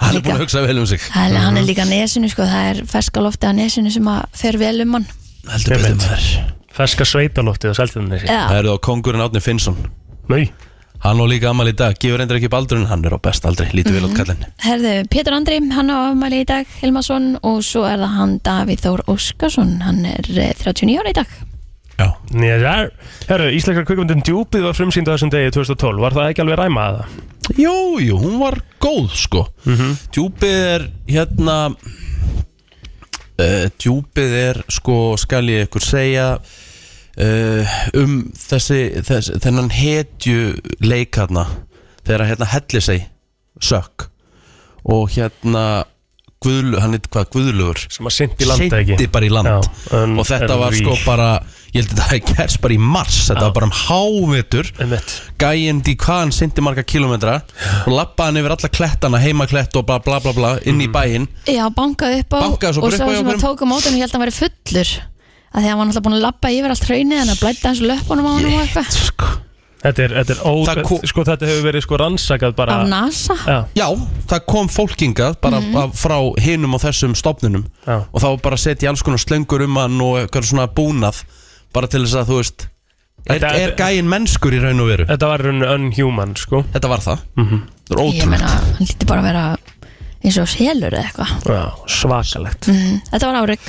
[SPEAKER 1] Hann er búin að hugsa vel um sig
[SPEAKER 2] Hann hann er líka á nesinu sko, það er ferskalofti að nesinu sem að fer vel um hann
[SPEAKER 1] Heldur betur með þér
[SPEAKER 3] Ferska sveitalóttið og seltjarnanesi
[SPEAKER 2] Já,
[SPEAKER 1] Það eru þá kongurinn Átni Finnsson
[SPEAKER 3] Nei,
[SPEAKER 1] Hann á líka amal í dag, gefur endur ekki upp aldurinn Hann er á best aldri, lítur vel út kallinn
[SPEAKER 2] Herðu, Pétur Andri, hann á afmæli í dag, Hilmarsson og svo er það hann Davíð Þór Óskarsson, hann er eh, 39 ára í dag.
[SPEAKER 1] Já,
[SPEAKER 3] nýja þær Herru, íslenskar kvikmyndin djúpið var frumsýnd á þessum degi 2012 Var það ekki alveg ræma að það?
[SPEAKER 1] jú, jú, hún var góð sko
[SPEAKER 3] Mhm.
[SPEAKER 1] Djúpið er hérna uh, Djúpið er sko skal ég ykkur segja uh, um þessi þess, þennan hetju leikarna þegar hérna helli seg sökk og hérna Guðlu, hann er hvað Guðlugur
[SPEAKER 3] Sem að syndi landa ekki
[SPEAKER 1] Synti bara í land
[SPEAKER 3] Já, en-
[SPEAKER 1] og þetta
[SPEAKER 3] en
[SPEAKER 1] var
[SPEAKER 3] rí-
[SPEAKER 1] sko bara ég held að þetta hefði gerst bara í mars þetta var bara um hávetur
[SPEAKER 3] Einmitt.
[SPEAKER 1] gæjend í hvað hann syndi marga kilometra og lappaði hann yfir alla klettana heimaklett og bla bla bla bla inn í bæinn
[SPEAKER 2] Já, bankaði upp á
[SPEAKER 1] Bankaði svo bara upp á
[SPEAKER 2] og svo
[SPEAKER 1] hjá
[SPEAKER 2] sem að
[SPEAKER 1] okkurum.
[SPEAKER 2] tóka mótum og held að hann væri fullur. Af því að hann var náttúrulega búin að labba yfir allt hraunið en að blæta hans löpunum á hann og eitthvað.
[SPEAKER 1] sko.
[SPEAKER 3] Þetta er, þetta er ó,
[SPEAKER 1] Það ko-
[SPEAKER 3] sko, þetta hefur verið sko rannsakað bara
[SPEAKER 2] Af NASA.
[SPEAKER 3] Já,
[SPEAKER 1] já, það kom fólkingað bara mm frá hinum og þessum stofnunum
[SPEAKER 3] já,
[SPEAKER 1] og þá var bara að setja í alls konar slöngur um hann og eitthvað svona búnað bara til þess að þú veist er,
[SPEAKER 3] Þetta-
[SPEAKER 1] er gæjinn mennskur í raun og veru
[SPEAKER 3] þetta var raun unhuman sko
[SPEAKER 1] Mhm. þetta var það það er
[SPEAKER 2] Ég meina,
[SPEAKER 1] ótrúlegt
[SPEAKER 2] hann líti bara að vera eins og selur eða eitthvað.
[SPEAKER 3] Já, svakalegt
[SPEAKER 2] Mm, þetta var árygg.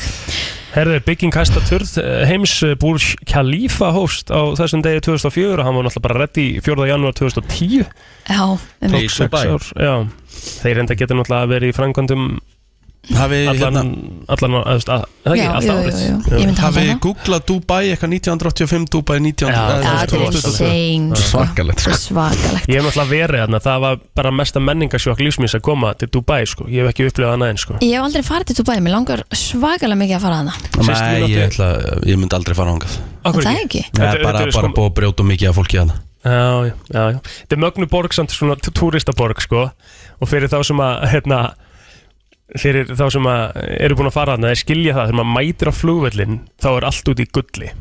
[SPEAKER 3] Herðu, bygging hæsta turð eh, heims eh, Burj Khalifa hófst á þessum degi 2004 og hann var náttúrulega bara reddi 4. janúar 2010
[SPEAKER 2] Já, um,
[SPEAKER 1] Í
[SPEAKER 3] Tók sex
[SPEAKER 1] Dubai.
[SPEAKER 3] ár, Já, þeir enda getur náttúrulega verið í framkvæmdum
[SPEAKER 1] Hafið
[SPEAKER 3] allan,
[SPEAKER 1] hérna,
[SPEAKER 3] allan, að, að, að,
[SPEAKER 2] Já,
[SPEAKER 3] ekki, allt
[SPEAKER 2] jú,
[SPEAKER 3] árið
[SPEAKER 2] jú, jú. Ég myndi hafa
[SPEAKER 1] hafi
[SPEAKER 2] það
[SPEAKER 1] googlað Dubai eitthvað 1985 Dubai 19...
[SPEAKER 3] Já,
[SPEAKER 1] eh,
[SPEAKER 2] Já, þetta er
[SPEAKER 1] 2022.
[SPEAKER 2] insane sko.
[SPEAKER 1] Svakalegt
[SPEAKER 2] Þetta er Svakalegt
[SPEAKER 3] Ég hef náttúrulega verið þarna, það var bara mesta menningasjokk lífsmins að koma til Dubai sko. Ég hef ekki upplifað hana einn sko.
[SPEAKER 2] Ég hef aldrei farið til Dubai, mér langar svakalega mikið að fara hana
[SPEAKER 1] Nei,
[SPEAKER 3] Systir mín
[SPEAKER 1] ég,
[SPEAKER 3] átti-
[SPEAKER 1] ætla, ég myndi aldrei fara ángað
[SPEAKER 2] En
[SPEAKER 3] Akkur
[SPEAKER 2] það ekki
[SPEAKER 1] Það
[SPEAKER 3] Þetta-
[SPEAKER 1] er bara,
[SPEAKER 3] þetta er
[SPEAKER 1] bara
[SPEAKER 3] sko-
[SPEAKER 1] búið að brjóta mikið af fólki hana
[SPEAKER 3] Já, já, já, já. Þetta er mögnu borg samt svona tú- túristaborg sko og fyrir þá sem að hérna, fyrir þá sem að eru búin að fara þarna, þeir skilja það þegar maður mætir á flugvöllin þá er allt út í gulli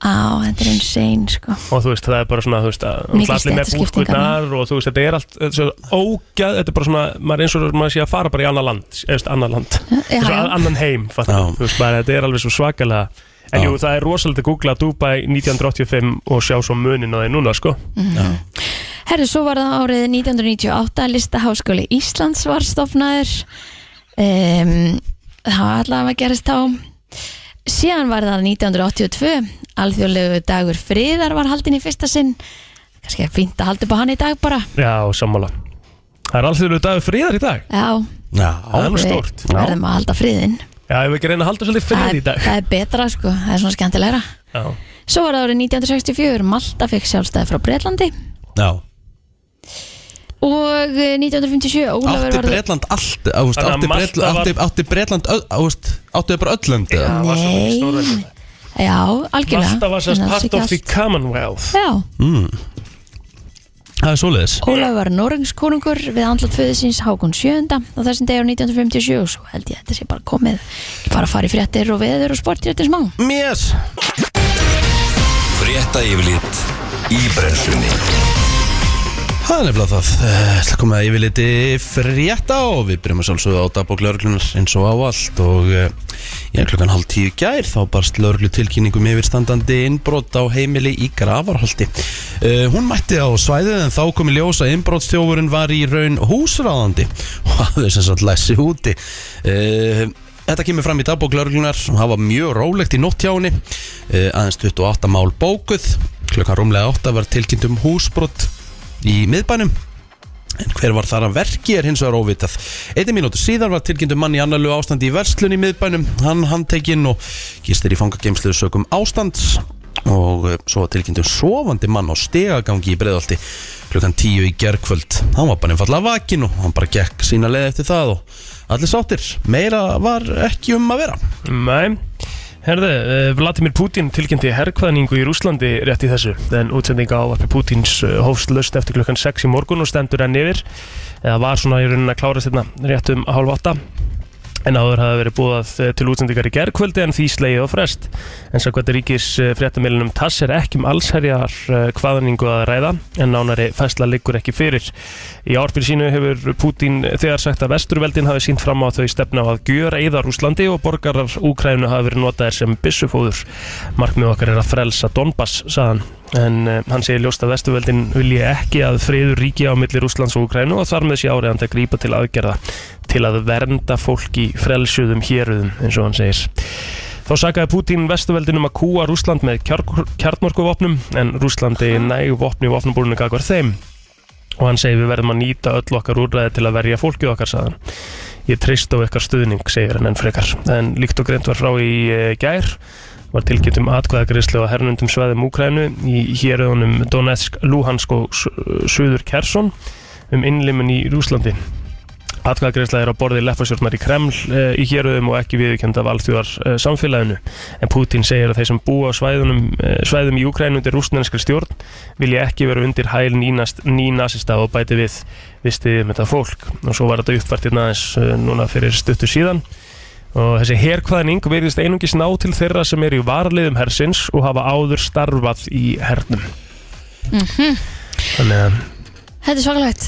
[SPEAKER 2] Á, þetta er insane sko
[SPEAKER 3] og þú veist það er bara svona þú veist að
[SPEAKER 2] Mikil
[SPEAKER 3] náttúrulega allir með
[SPEAKER 2] stéttaskipting
[SPEAKER 3] búrkurnar og þú veist þetta er allt þetta er svo ógæð, þetta er bara svona maður er eins og maður sé að fara bara í annað land eða þú veist, annað land,
[SPEAKER 2] Já,
[SPEAKER 3] eins og
[SPEAKER 2] já,
[SPEAKER 3] að- annan heim fattar
[SPEAKER 1] Já.
[SPEAKER 3] þú, þú veist bara þetta er alveg svo svakalega en
[SPEAKER 1] Já.
[SPEAKER 3] jú það er rosalega að googla Dubai 1985 og sjá svo munin á þeim núna sko
[SPEAKER 2] Herru, svo var það árið 1998 að Listaháskóli Íslands var stofnaður um, Það var allavega að gerast þá Síðan var það 1982 Alþjóðlegu dagur friðar var haldin í fyrsta sinn Kannski er fínt að halda upp á hann í dag bara
[SPEAKER 3] Já, sammála Það er alls þegar dagur friðar í dag
[SPEAKER 2] Já,
[SPEAKER 3] Það er
[SPEAKER 1] Já,
[SPEAKER 3] nú
[SPEAKER 2] við
[SPEAKER 3] stórt
[SPEAKER 2] verðum að halda friðin
[SPEAKER 3] Já, ég vil ekki reyna að halda svolítið
[SPEAKER 2] það,
[SPEAKER 3] frið í
[SPEAKER 2] er-
[SPEAKER 3] dag
[SPEAKER 2] það er betra sko, það er svona skemmtilegra
[SPEAKER 3] Já,
[SPEAKER 2] Svo var það árið 1964, Malta fekk sjálfstæði frá Breitlandi
[SPEAKER 1] já
[SPEAKER 2] og eh, 1957 Ólafur
[SPEAKER 1] Átti
[SPEAKER 2] var
[SPEAKER 1] Breitland allt á, veist,
[SPEAKER 3] Þannig að
[SPEAKER 1] átti,
[SPEAKER 3] Malta
[SPEAKER 1] Breitland,
[SPEAKER 3] var-
[SPEAKER 1] átti, átti Breitland öll- á, veist, Áttu þau bara öll lönd eða?
[SPEAKER 3] það var svolítið
[SPEAKER 2] Nei.
[SPEAKER 3] stóra
[SPEAKER 2] Já, algjörlega
[SPEAKER 3] Malta var sérst
[SPEAKER 2] en alls
[SPEAKER 3] part
[SPEAKER 2] ekki
[SPEAKER 3] of the
[SPEAKER 2] allt.
[SPEAKER 3] Commonwealth
[SPEAKER 2] Já,
[SPEAKER 1] Það er svoleiðis
[SPEAKER 2] Ólafur var Norengskónungur við andlat föðu síns Hákon 7. á þessum degi á 1957 og svo held ég að þetta sé bara komið ekki bara að fara í fréttir og veður og sport í þetta smá
[SPEAKER 1] Mér
[SPEAKER 4] Frétta yfirlit í brennslunni
[SPEAKER 1] Það er nefnilega það Það er komið að yfirliti frétta og við byrjum að sjálfsögðu á dagbók lauruglunar eins og á allt og eh, ég klukkan hálf tíu í gær þá barst lauruglu tilkynningum yfirstandandi innbrot á heimili í Gravarholti uh, Hún mætti á svæðið en þá komið ljós að innbrotstjófurinn var í raun húsráðandi og hafði sem sagt læsi úti uh, Þetta kemur fram í dagbók lauruglunar sem hafa mjög rólegt í nóttjáni uh, aðeins 28 mál bókuð klukkan rúmlega 8 var tilkynnt um húsbrot í miðbænum En hver var þar að verki er hins vegar óvitað. Einni mínútu síðar var tilkynntu mann í annarlu ástandi í verslun í miðbænum. Hann handtekinn og gistir í fangageimsluðu sökum ástands og eh, svo var tilkynntu sofandi mann á stegagangi í breðalti klukkan tíu í gerkvöld. Hann var bara einfallega vakin og hann bara gekk sína leið eftir það og allir sáttir. Meira var ekki um að vera.
[SPEAKER 3] Nei Herðu, eh, Vladimir Putin tilkynnti herkvæðningu í Rúslandi rétt í þessu en útsendinga ávarpi Putins eh, hófst löst eftir klukkan 6 í morgun og stendur enn yfir eða var svona í rauninni að klára sérna rétt um hálf 8 en áður hafa verið búið til útsendingar í gerkvöldi en því slegið og frest en sakvæmt ríkis fréttamélinum TASS er ekki um allsherjar eh, hvaðningu að ræða en nánari fæsla liggur ekki fyrir í árbyrð sínu hefur Putin þegar sagt að vesturveldin hafi sínt fram á þau stefna á að gjöra eða Rúslandi og borgarar Úkrænu hafi verið notaðir sem byssufóður markmið okkar er að frelsa Donbass sagðan en uh, hann segir ljóst að vesturveldin vilji ekki að friður ríki á milli Rúslands og Úkrænu og þar með sé áriðandi að grípa til aðgerða til að vernda fólk í frelsuðum héruðum eins og hann segir Þá sakaði Pútín vestuveldinum að kúa Rúsland með kjarnorkuvopnum en Rúslandi næg vopni í vopnabúrinu gagvar þeim og hann segir við verðum að nýta öll okkar úrræði til að verja fólkið okkar saðan. Ég treyst á ykkar stuðning, segir hann enn frekar. En líkt og greint var frá í eh, gær var tilkynnt um atkvæðagreyslu á hernundum sveðum Úkrænu í héröðunum Donetsk, Luhansk og Su- Suður Kersson um innlimun í Rúslandi. Atkvæðagreysla er á borði leffasjórnar í Kreml eh, í héröðum og ekki viðurkend af alþjóðar eh, samfélaginu. En Putin segir að þeir sem búa á svæðunum, eh, svæðum í Úkrænu undir rúsnenskri stjórn vilja ekki vera undir hæl nínast, nínasista og bæti við vistiði með það fólk og svo var þetta uppfært hérna aðeins eh, núna fyrir stuttu síðan og þessi herkvæðning verðist einungis ná til þeirra sem eru í varliðum hersins og hafa áður starfað í hernum
[SPEAKER 2] Mhm.
[SPEAKER 3] þannig að
[SPEAKER 2] Þetta er svakalegt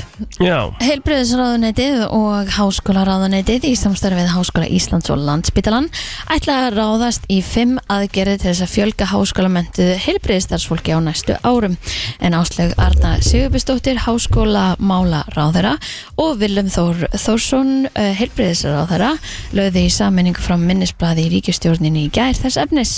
[SPEAKER 3] Já,
[SPEAKER 2] Heilbröðisráðuneytið og Háskólaráðuneytið í samstarfið Háskóla Íslands og Landspítalan ætla að ráðast í fimm aðgerði til þess að fjölga háskólamöntuðu heilbröðistarsfólki á næstu árum en áslög Arna Sigurbistóttir Háskóla Mála Ráðara og Willum Þór Þórsson heilbröðisráðara lögði í sammenningu frá minnisbladi í ríkistjórninni í gær þess efnis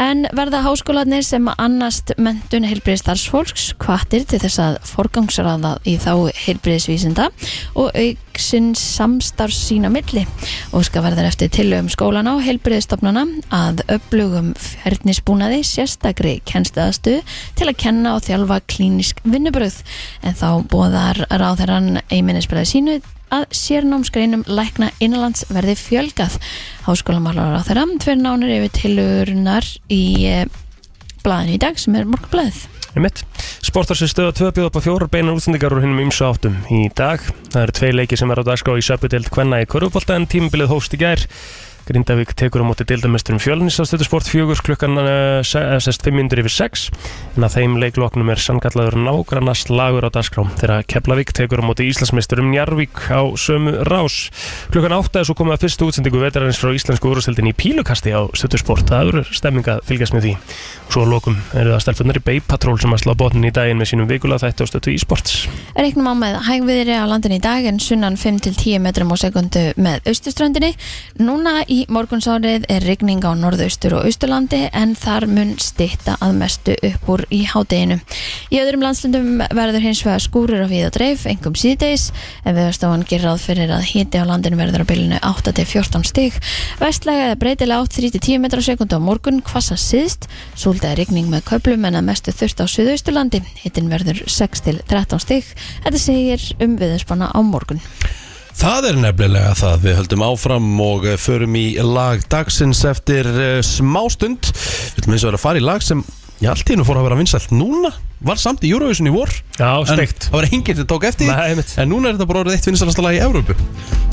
[SPEAKER 2] en verða háskólanir sem annast mentun heilbröðistarsfólks kvartir til þess að forgangsraða í þá heilbreyðisvísinda og auksinn samstarf sína milli og skal verða eftir tillögum skólana og heilbreyðistofnana að upplugum ferðnisbúnaði sérstakri kennstuðastu til að kenna og þjálfa klínisk vinnubröð en þá bóðar ráðherran einminnisbreið sínu að sérnámsgreinum lækna innanlands verði fjölgað háskólamálar á þeirra tveir nánur yfir tilurunar í eh, blaðinu í dag sem er morgunblaðið
[SPEAKER 3] einmitt Sportarsi stöða 2 bjóða upp á fjórar beinar útsendingar úr hinnum ymsu áttum í dag Það eru tvei leiki sem er á dagskrá í söpudeld Kvenna í Körfubolta en tímabilið hófst í gær Grindavík tekur á móti dildamesturum fjölnis á stöðusport fjögur klukkan uh, se- eh, sest 5 mindur yfir 6 en að þeim leikloknum er sannkallaður nágrannast lagur á dagskrá þegar Keflavík tekur á móti Íslandsmeisturum Njarvík á sömu rás klukkan 8 er svo komið að fyrstu útsendingu vetarins frá íslensku úrústildin í pílukasti á stöðusport það eru stemming að fylgjast með því og svo að lokum eru það stelpunar í Bay Patrol sem að slá botnin í daginn með sínum vikulega þætti á stöðu e-sports
[SPEAKER 2] Reknum á með hægviðri á landinu í dag en sunnan 5-10 metrum á sekundu með austuströndinni. Núna í morgunsárið er rigning á norðaustur og austurlandi en þar mun stitta að mestu upp úr í hádeginu. Í öðrum landslundum verður hins vegar skúrir á við og dreif, engum síðdeis, en viðastofan gerir ráð fyrir að hiti á landinu verður á bylunu 8-14 stig. Vestlega eða breytilega 8-10 metrum á sekundu á morgun, hvassa síðst, súldaði rigning með köplum en að mestu þurft á suðausturlandi. Hittin verður 6-13 stig. Þetta segir um viðinspanna á morgun.
[SPEAKER 1] Það er nefnilega það, við höldum áfram og eh, förum í lag dagsins eftir uh, smástund Við höldum eins og vera að fara í lag sem í allt í hennu fór að vera vinsælt núna Var samt í Eurovision í vor
[SPEAKER 3] Já,
[SPEAKER 1] En
[SPEAKER 3] steikt
[SPEAKER 1] það var enginn sem tók eftir
[SPEAKER 3] Nei,
[SPEAKER 1] því.
[SPEAKER 3] einmitt.
[SPEAKER 1] En núna er þetta bara orðið eitt vinsælasta lag í Evrópu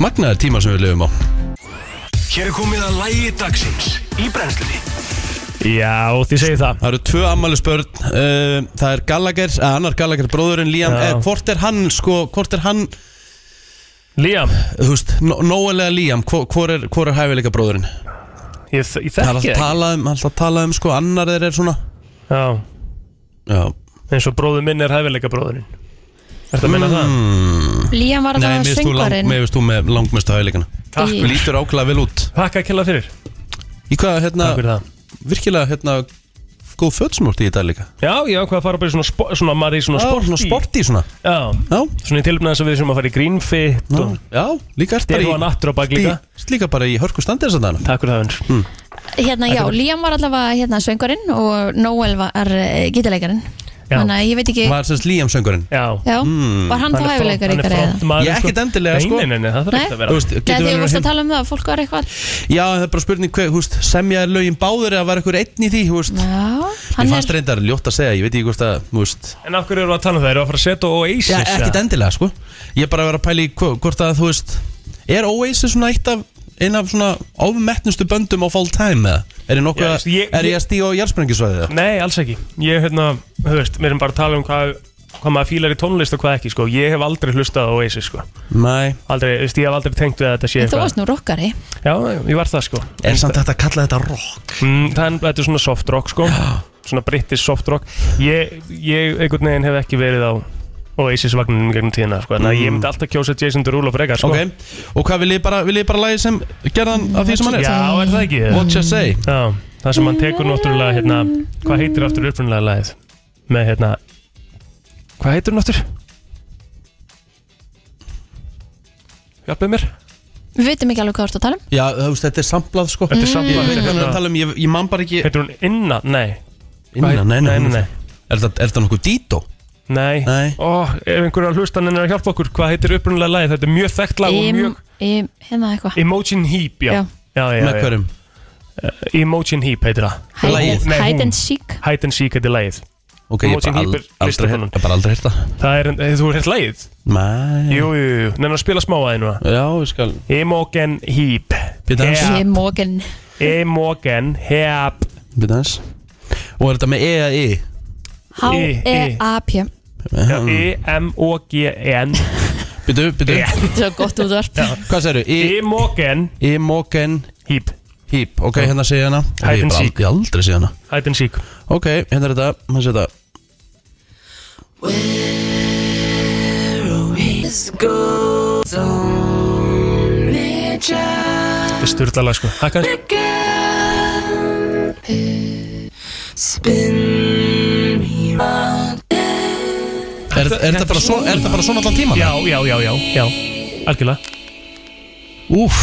[SPEAKER 1] Magnaður tíma sem við lifum á
[SPEAKER 4] Hér er komið að lægi dagsins í brennslunni
[SPEAKER 3] Já, þið segir það
[SPEAKER 1] Það eru tvö ammælisbörn uh, Það er Gallagher, að annar Gallagher bróðurinn Liam,
[SPEAKER 3] Já.
[SPEAKER 1] eh, hvort er hann sko, hvort er hann
[SPEAKER 3] Liam,
[SPEAKER 1] þú veist, no, nógulega Liam hvor, hvor, er, hvor er hæfileika bróðurinn?
[SPEAKER 3] ég, ég
[SPEAKER 1] Það er
[SPEAKER 3] þekki
[SPEAKER 1] alltaf
[SPEAKER 3] það
[SPEAKER 1] talað um, alltaf talað um sko, annar þeir er svona
[SPEAKER 3] Já,
[SPEAKER 1] Já,
[SPEAKER 3] eins og bróður minn er hæfileika bróðurinn Ertu að minna það?
[SPEAKER 1] Mm.
[SPEAKER 2] Líam var
[SPEAKER 1] nei,
[SPEAKER 2] allavega
[SPEAKER 1] mér finnst þú lang-
[SPEAKER 2] söngvarinn
[SPEAKER 1] mér finnst þú með langmestu hæfileikana
[SPEAKER 3] Takk
[SPEAKER 2] Í-
[SPEAKER 1] Þú lítur ákveðlega vel út
[SPEAKER 3] Takk að kella fyrir
[SPEAKER 1] Í hvað, hérna,
[SPEAKER 3] Takk fyrir það
[SPEAKER 1] virkilega, hérna góð föt sem þú ert í þetta líka
[SPEAKER 3] Já, ég ákvað að fara bara í svona, spo, svona, maður í svona
[SPEAKER 1] Já,
[SPEAKER 3] sporti
[SPEAKER 1] svona sporti svona
[SPEAKER 3] Já,
[SPEAKER 1] Já,
[SPEAKER 3] svona í tilbúin þess að við sem að fara í greenfit
[SPEAKER 1] já,
[SPEAKER 3] og
[SPEAKER 1] já líka ert
[SPEAKER 3] Stefán
[SPEAKER 1] bara
[SPEAKER 3] Attur á bak
[SPEAKER 1] í
[SPEAKER 3] líka
[SPEAKER 1] Ert líka bara í hörku standið þess að dana
[SPEAKER 3] Takk fyrir það
[SPEAKER 1] Mm.
[SPEAKER 3] hans
[SPEAKER 2] Hérna, já, Líam var allavega hérna, söngvarinn og Noel var uh, gítarleikarinn
[SPEAKER 3] Já.
[SPEAKER 2] Þannig að ég veit ekki
[SPEAKER 1] Var semst Liam söngurinn
[SPEAKER 3] Já
[SPEAKER 2] Já, var hann þá hæfileikar
[SPEAKER 3] Hann er
[SPEAKER 2] ykkar eða?
[SPEAKER 3] frontmaður
[SPEAKER 1] Ég ekkert endilega, sko.
[SPEAKER 3] Nei, nei, nei, það þarf
[SPEAKER 2] Nei.
[SPEAKER 3] ekki að
[SPEAKER 1] Þú
[SPEAKER 3] vera
[SPEAKER 1] veist,
[SPEAKER 2] Nei,
[SPEAKER 1] getur
[SPEAKER 2] því
[SPEAKER 1] vel
[SPEAKER 2] þú
[SPEAKER 1] verið
[SPEAKER 2] varst
[SPEAKER 1] hinn
[SPEAKER 2] að tala um það að fólk var eitthvað
[SPEAKER 1] Já, það er bara spurning, hver, húst, semja er lögin báður eða var eitthvað einn í því, húst Mér
[SPEAKER 2] Já, hann
[SPEAKER 1] fannst
[SPEAKER 2] er
[SPEAKER 1] reyndar ljótt að segja, ég veit ekki hvort að, húst
[SPEAKER 3] En af hverju eru að tala um það? Eru að fara að setja Oasis?
[SPEAKER 1] Já, ekkert
[SPEAKER 3] eða?
[SPEAKER 1] endilega, sko Ég er bara að vera að pæla í hvo- hvort að, þú veist Er Oasis svona eitt af, einn af svona ofmettnustu böndum á full time, eða? Er ég nokkuð
[SPEAKER 3] Já,
[SPEAKER 1] að,
[SPEAKER 3] veistu, ég-
[SPEAKER 1] er ég að stíga á jarðsprengisvæðið, eða?
[SPEAKER 3] Nei, alls ekki Ég, hérna, þú veist, við erum bara að tala um hvað hvað maður fílar í tónlist og hvað ekki, sko Ég hef aldrei hlustað á Oasis, sko
[SPEAKER 1] Nei,
[SPEAKER 3] Aldrei, þú veist, ég hef aldrei tengt við að þetta sé
[SPEAKER 2] Þú varst nú rockari
[SPEAKER 3] Já, ég var það, sko
[SPEAKER 1] er samt þetta að kalla þetta rock? sko.
[SPEAKER 3] Mm, Það er, þetta er svona soft rock, sko Svona brittis soft rock Ég, ég einhvern veginn hef ekki verið á Oasis vagninum gegnum tíðina, sko Þannig að ég myndi alltaf kjósa Jason Derulo frekar, sko
[SPEAKER 1] Mm. Ok, og hvað vil ég bara, vil ég bara lagi sem gerðan af því sem hann er?
[SPEAKER 3] Já, er það ekki?
[SPEAKER 1] What you say?
[SPEAKER 3] Já, það sem hann tekur náttúrulega hérna, hvað heitir aftur upprunalega lagið með hérna hvað heitir hann aftur? Hjálpið mér
[SPEAKER 2] Við veitum ekki alveg hvað þú ert að tala um
[SPEAKER 1] Já, þú veist, þetta er samplað, sko
[SPEAKER 3] Þetta er hérna-
[SPEAKER 1] Ég veit hvað hann er að
[SPEAKER 3] samfélag
[SPEAKER 1] tala um, ég, ég man bara ekki
[SPEAKER 3] Heitir hún Inna? Nei
[SPEAKER 1] Inna, nei, nei,
[SPEAKER 3] nei, nei.
[SPEAKER 1] Er það, er það nokkuð dító?
[SPEAKER 3] Nei,
[SPEAKER 1] Nei.
[SPEAKER 3] Ó, ef einhverjar hlustaninn er að hjálpa okkur hvað heitir upprunalega lagið? Þetta er mjög þekkt lag og
[SPEAKER 2] Im-
[SPEAKER 3] mjög
[SPEAKER 2] im- Hérna eitthvað
[SPEAKER 3] Emotion Heap, já
[SPEAKER 2] Já.
[SPEAKER 3] Já, já,
[SPEAKER 1] Með hverjum?
[SPEAKER 3] já. Emotion Heap heitir það
[SPEAKER 2] Hide-
[SPEAKER 1] Lagið.
[SPEAKER 3] Nei, hún.
[SPEAKER 2] Hide and Seek
[SPEAKER 3] Hide and Seek heitir lagið
[SPEAKER 1] Ok, ég
[SPEAKER 3] Motion
[SPEAKER 1] bara al-
[SPEAKER 3] Heap
[SPEAKER 1] aldrei
[SPEAKER 3] er listakonan.
[SPEAKER 1] heyrt- ég bara aldrei hérta
[SPEAKER 3] Það er, þú hefur heilt lagið?
[SPEAKER 1] Mæ
[SPEAKER 3] Jú, jú, jú, nefnir að spila smá aðeins núna
[SPEAKER 1] Já, ég skal
[SPEAKER 3] Emogen Heap
[SPEAKER 1] Bíddu aðeins.
[SPEAKER 3] Heap.
[SPEAKER 2] Ég mókin
[SPEAKER 3] Emogen Heap
[SPEAKER 1] Býta eins Og er þetta með E að I?
[SPEAKER 2] H-E-A-P
[SPEAKER 1] Mm.
[SPEAKER 3] E E-M-O-G-E-N
[SPEAKER 1] Byttu, byttu
[SPEAKER 2] Þetta er svo gott útvarp
[SPEAKER 1] Hvað segirðu?
[SPEAKER 3] E-M-O-G-E-N
[SPEAKER 1] Imogen
[SPEAKER 3] Hýp
[SPEAKER 1] Heap Ok, hérna sé ég hana
[SPEAKER 3] Hide
[SPEAKER 1] Ég
[SPEAKER 3] and
[SPEAKER 1] bara
[SPEAKER 3] seek.
[SPEAKER 1] aldrei- aldrei sé hana
[SPEAKER 3] Hide and Seek
[SPEAKER 1] Ok, hérna er þetta Hérna sé þetta
[SPEAKER 3] Þetta er styrlalag sko Hakka
[SPEAKER 1] Er, er þetta bara, svo, er þetta bara svona allan tíman?
[SPEAKER 3] Já, já, já, já, já Algjörlega
[SPEAKER 1] Úf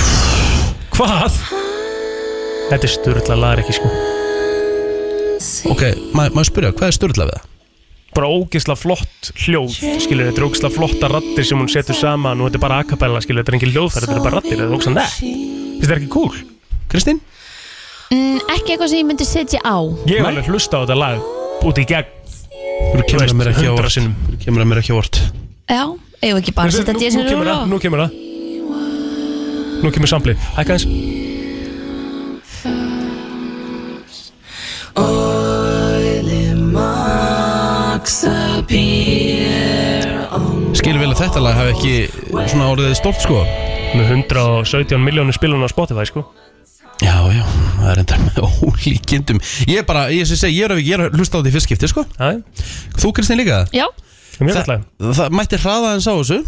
[SPEAKER 3] Hvað? Þetta er styrlalag ekki sko
[SPEAKER 1] Ok, ma- maður spyrja, hvað er styrla við það?
[SPEAKER 3] Bara ógeðslega flott hljóð Skilur þetta er ógeðslega flotta rattir sem hún setur saman Og þetta er bara acapella skilur Þetta er engin hljóðfæri Þetta er bara rattir Þetta er ógeðslega nett Þetta er ekki cool
[SPEAKER 1] Kristín?
[SPEAKER 2] Mm, Ekki eitthvað sem ég myndi setja á
[SPEAKER 3] Ég hef alveg hlusta á þetta lag Út í gegn Þú
[SPEAKER 1] kemur það mér ekki á
[SPEAKER 3] hundra
[SPEAKER 1] óvart.
[SPEAKER 3] sinnum
[SPEAKER 1] Kemur það mér ekki á vort
[SPEAKER 2] Já, eigum við ekki bara að setja
[SPEAKER 3] Nú-
[SPEAKER 2] Jason
[SPEAKER 3] Nú kemur
[SPEAKER 2] Derulo
[SPEAKER 3] það, nú kemur það Nú kemur samplið, hækka eins
[SPEAKER 1] Skilur vel að þetta lag hafi ekki svona orðið stórt sko
[SPEAKER 3] Með 117 miljónu spilun á Spotify sko
[SPEAKER 1] Já, já, það er enda [laughs] með ólíkindum Ég er bara, ég sé segi, ég er, ég er að hlusta á því fyrst skipti sko
[SPEAKER 3] Það er
[SPEAKER 1] Þú Kristín líka?
[SPEAKER 2] Já,
[SPEAKER 3] mjög
[SPEAKER 1] Það,
[SPEAKER 3] alltaf
[SPEAKER 1] það mætti hraða hans á þessu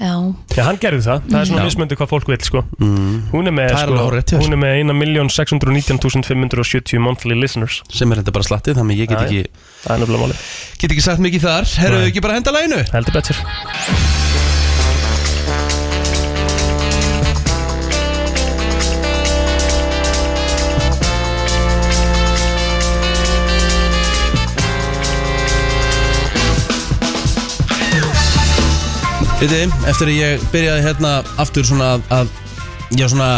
[SPEAKER 2] já,
[SPEAKER 3] Já, hann gerði það, það er svona
[SPEAKER 1] Já.
[SPEAKER 3] mismöndi hvað fólk vil sko Hún er með,
[SPEAKER 1] Það er
[SPEAKER 3] sko,
[SPEAKER 1] alveg hárrétt hjá þér.
[SPEAKER 3] hún er með 1.619.570 monthly listeners
[SPEAKER 1] sem er þetta bara slattið, þannig að ég get
[SPEAKER 3] Já, já.
[SPEAKER 1] ekki
[SPEAKER 3] Það er nefnilega máli,
[SPEAKER 1] get ekki sagt mikið þar, herru
[SPEAKER 3] Nei.
[SPEAKER 1] ekki bara að henda læginu
[SPEAKER 3] heldur betur
[SPEAKER 1] Viti, eftir að ég byrjaði hérna aftur svona að, að já svona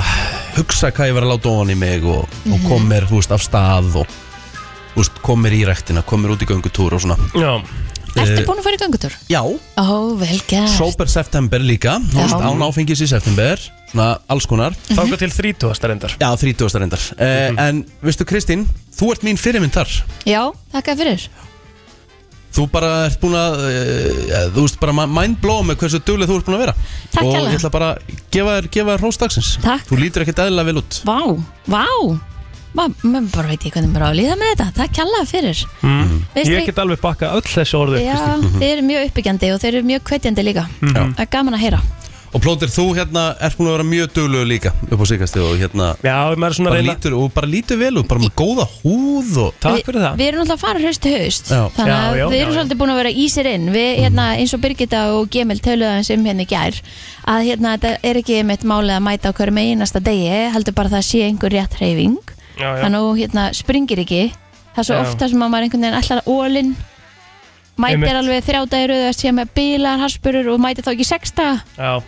[SPEAKER 1] hugsa hvað ég var að láta ofan í mig og,
[SPEAKER 3] Mhm.
[SPEAKER 1] og kom mér, þú veist, af stað og þú veist, kom mér í rektina, kom mér út í göngutúr og svona
[SPEAKER 3] Já,
[SPEAKER 2] ertu búin að fara í gangutur?
[SPEAKER 1] Já,
[SPEAKER 2] Ó, vel gert
[SPEAKER 1] sober september líka, þú veist,
[SPEAKER 2] Já.
[SPEAKER 1] án áfengis í september, svona alls konar
[SPEAKER 3] þáka til 30. reyndar
[SPEAKER 1] Já, 30. reyndar eh,
[SPEAKER 3] Mhm.
[SPEAKER 1] En, veistu Kristín, þú ert mín fyrirmynd þar
[SPEAKER 2] Já, þakka fyrir
[SPEAKER 1] Þú bara ert búin að, eh, þú veist, bara mindblow með hversu duglega þú ert búin að vera
[SPEAKER 2] Takk
[SPEAKER 1] Og
[SPEAKER 2] hérlega.
[SPEAKER 1] ég ætla bara að gefa þér, gefa þér róstaksins
[SPEAKER 2] Takk.
[SPEAKER 1] Þú lítur ekkert eðlilega vel út
[SPEAKER 2] Vá, vá Má, maður bara veit ég hvernig maður á að líða með þetta Takk kjallaði fyrir Mhm.
[SPEAKER 3] mm.
[SPEAKER 2] Veist
[SPEAKER 3] Ég
[SPEAKER 2] þið-
[SPEAKER 3] get alveg bakkað öll þessi orðu
[SPEAKER 2] Já,
[SPEAKER 3] Kristín. Mhm.
[SPEAKER 2] þeir eru mjög uppbyggjandi og þeir eru mjög kvetjandi líka Það er gaman að heyra
[SPEAKER 1] Og plótir, þú hérna ert búin að vera mjög duglegu líka upp á síkast og hérna
[SPEAKER 3] Já, maður er svona
[SPEAKER 1] bara
[SPEAKER 3] reyna
[SPEAKER 1] lítur, og bara lítur vel og bara með góða húð og
[SPEAKER 3] Takk fyrir það
[SPEAKER 2] Við erum alltaf að fara haust til haust
[SPEAKER 1] Já.
[SPEAKER 2] Þannig
[SPEAKER 3] Já,
[SPEAKER 2] að
[SPEAKER 3] já,
[SPEAKER 2] við
[SPEAKER 3] já,
[SPEAKER 2] erum
[SPEAKER 3] já. Mhm.
[SPEAKER 2] svolítið búin að vera í sér inn Við, hérna, eins og Birgitta og Gemil töluðan sem hérna í gær Að hérna, þetta er ekki mitt málið að mæta á hverjum einasta degi Heldur bara að það sé einhver rétt hreyfing
[SPEAKER 3] Já, já.
[SPEAKER 2] Þannig að þú, hérna, springir ekki Það er svo
[SPEAKER 3] Já.
[SPEAKER 2] ofta sem að maður einhvern veginn allar ólinn Mætir
[SPEAKER 3] Einmitt.
[SPEAKER 2] alveg þrjá dagir auðvitað sé með bílar, harspurur og mætir þá ekki sexta
[SPEAKER 3] Já,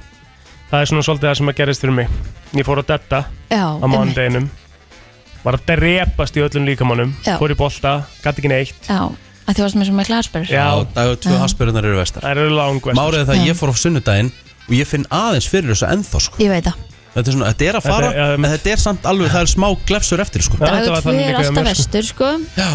[SPEAKER 3] það er svona svolítið það sem að gerist fyrir mig Ég fór að detta á
[SPEAKER 2] Já, einmitt.
[SPEAKER 3] mánudeginum Var að drepast í öllum líkamannum
[SPEAKER 2] Já.
[SPEAKER 3] Fór í bolta, gatt ekki neitt
[SPEAKER 2] Já, að þú varst með svo mikla harspurur
[SPEAKER 3] Já,
[SPEAKER 1] og dagur tvö
[SPEAKER 2] Já.
[SPEAKER 1] haspurðunar eru vestar
[SPEAKER 3] það eru langvest
[SPEAKER 1] Máriði það að
[SPEAKER 2] Já.
[SPEAKER 1] ég fór á sunnudaginn og ég finn aðeins fyrir þessu ennþá sko
[SPEAKER 2] Ég veit það
[SPEAKER 1] Þetta er svona, þetta er að fara,
[SPEAKER 3] Þetta er-
[SPEAKER 1] en þetta er samt alveg, það er smá glefsur eftir sko
[SPEAKER 3] Já, þetta
[SPEAKER 2] Dagur
[SPEAKER 3] var
[SPEAKER 2] 2
[SPEAKER 3] þannig
[SPEAKER 2] er
[SPEAKER 3] líka hjá
[SPEAKER 2] alltaf
[SPEAKER 3] mér, sko.
[SPEAKER 2] vestur sko.
[SPEAKER 1] Já.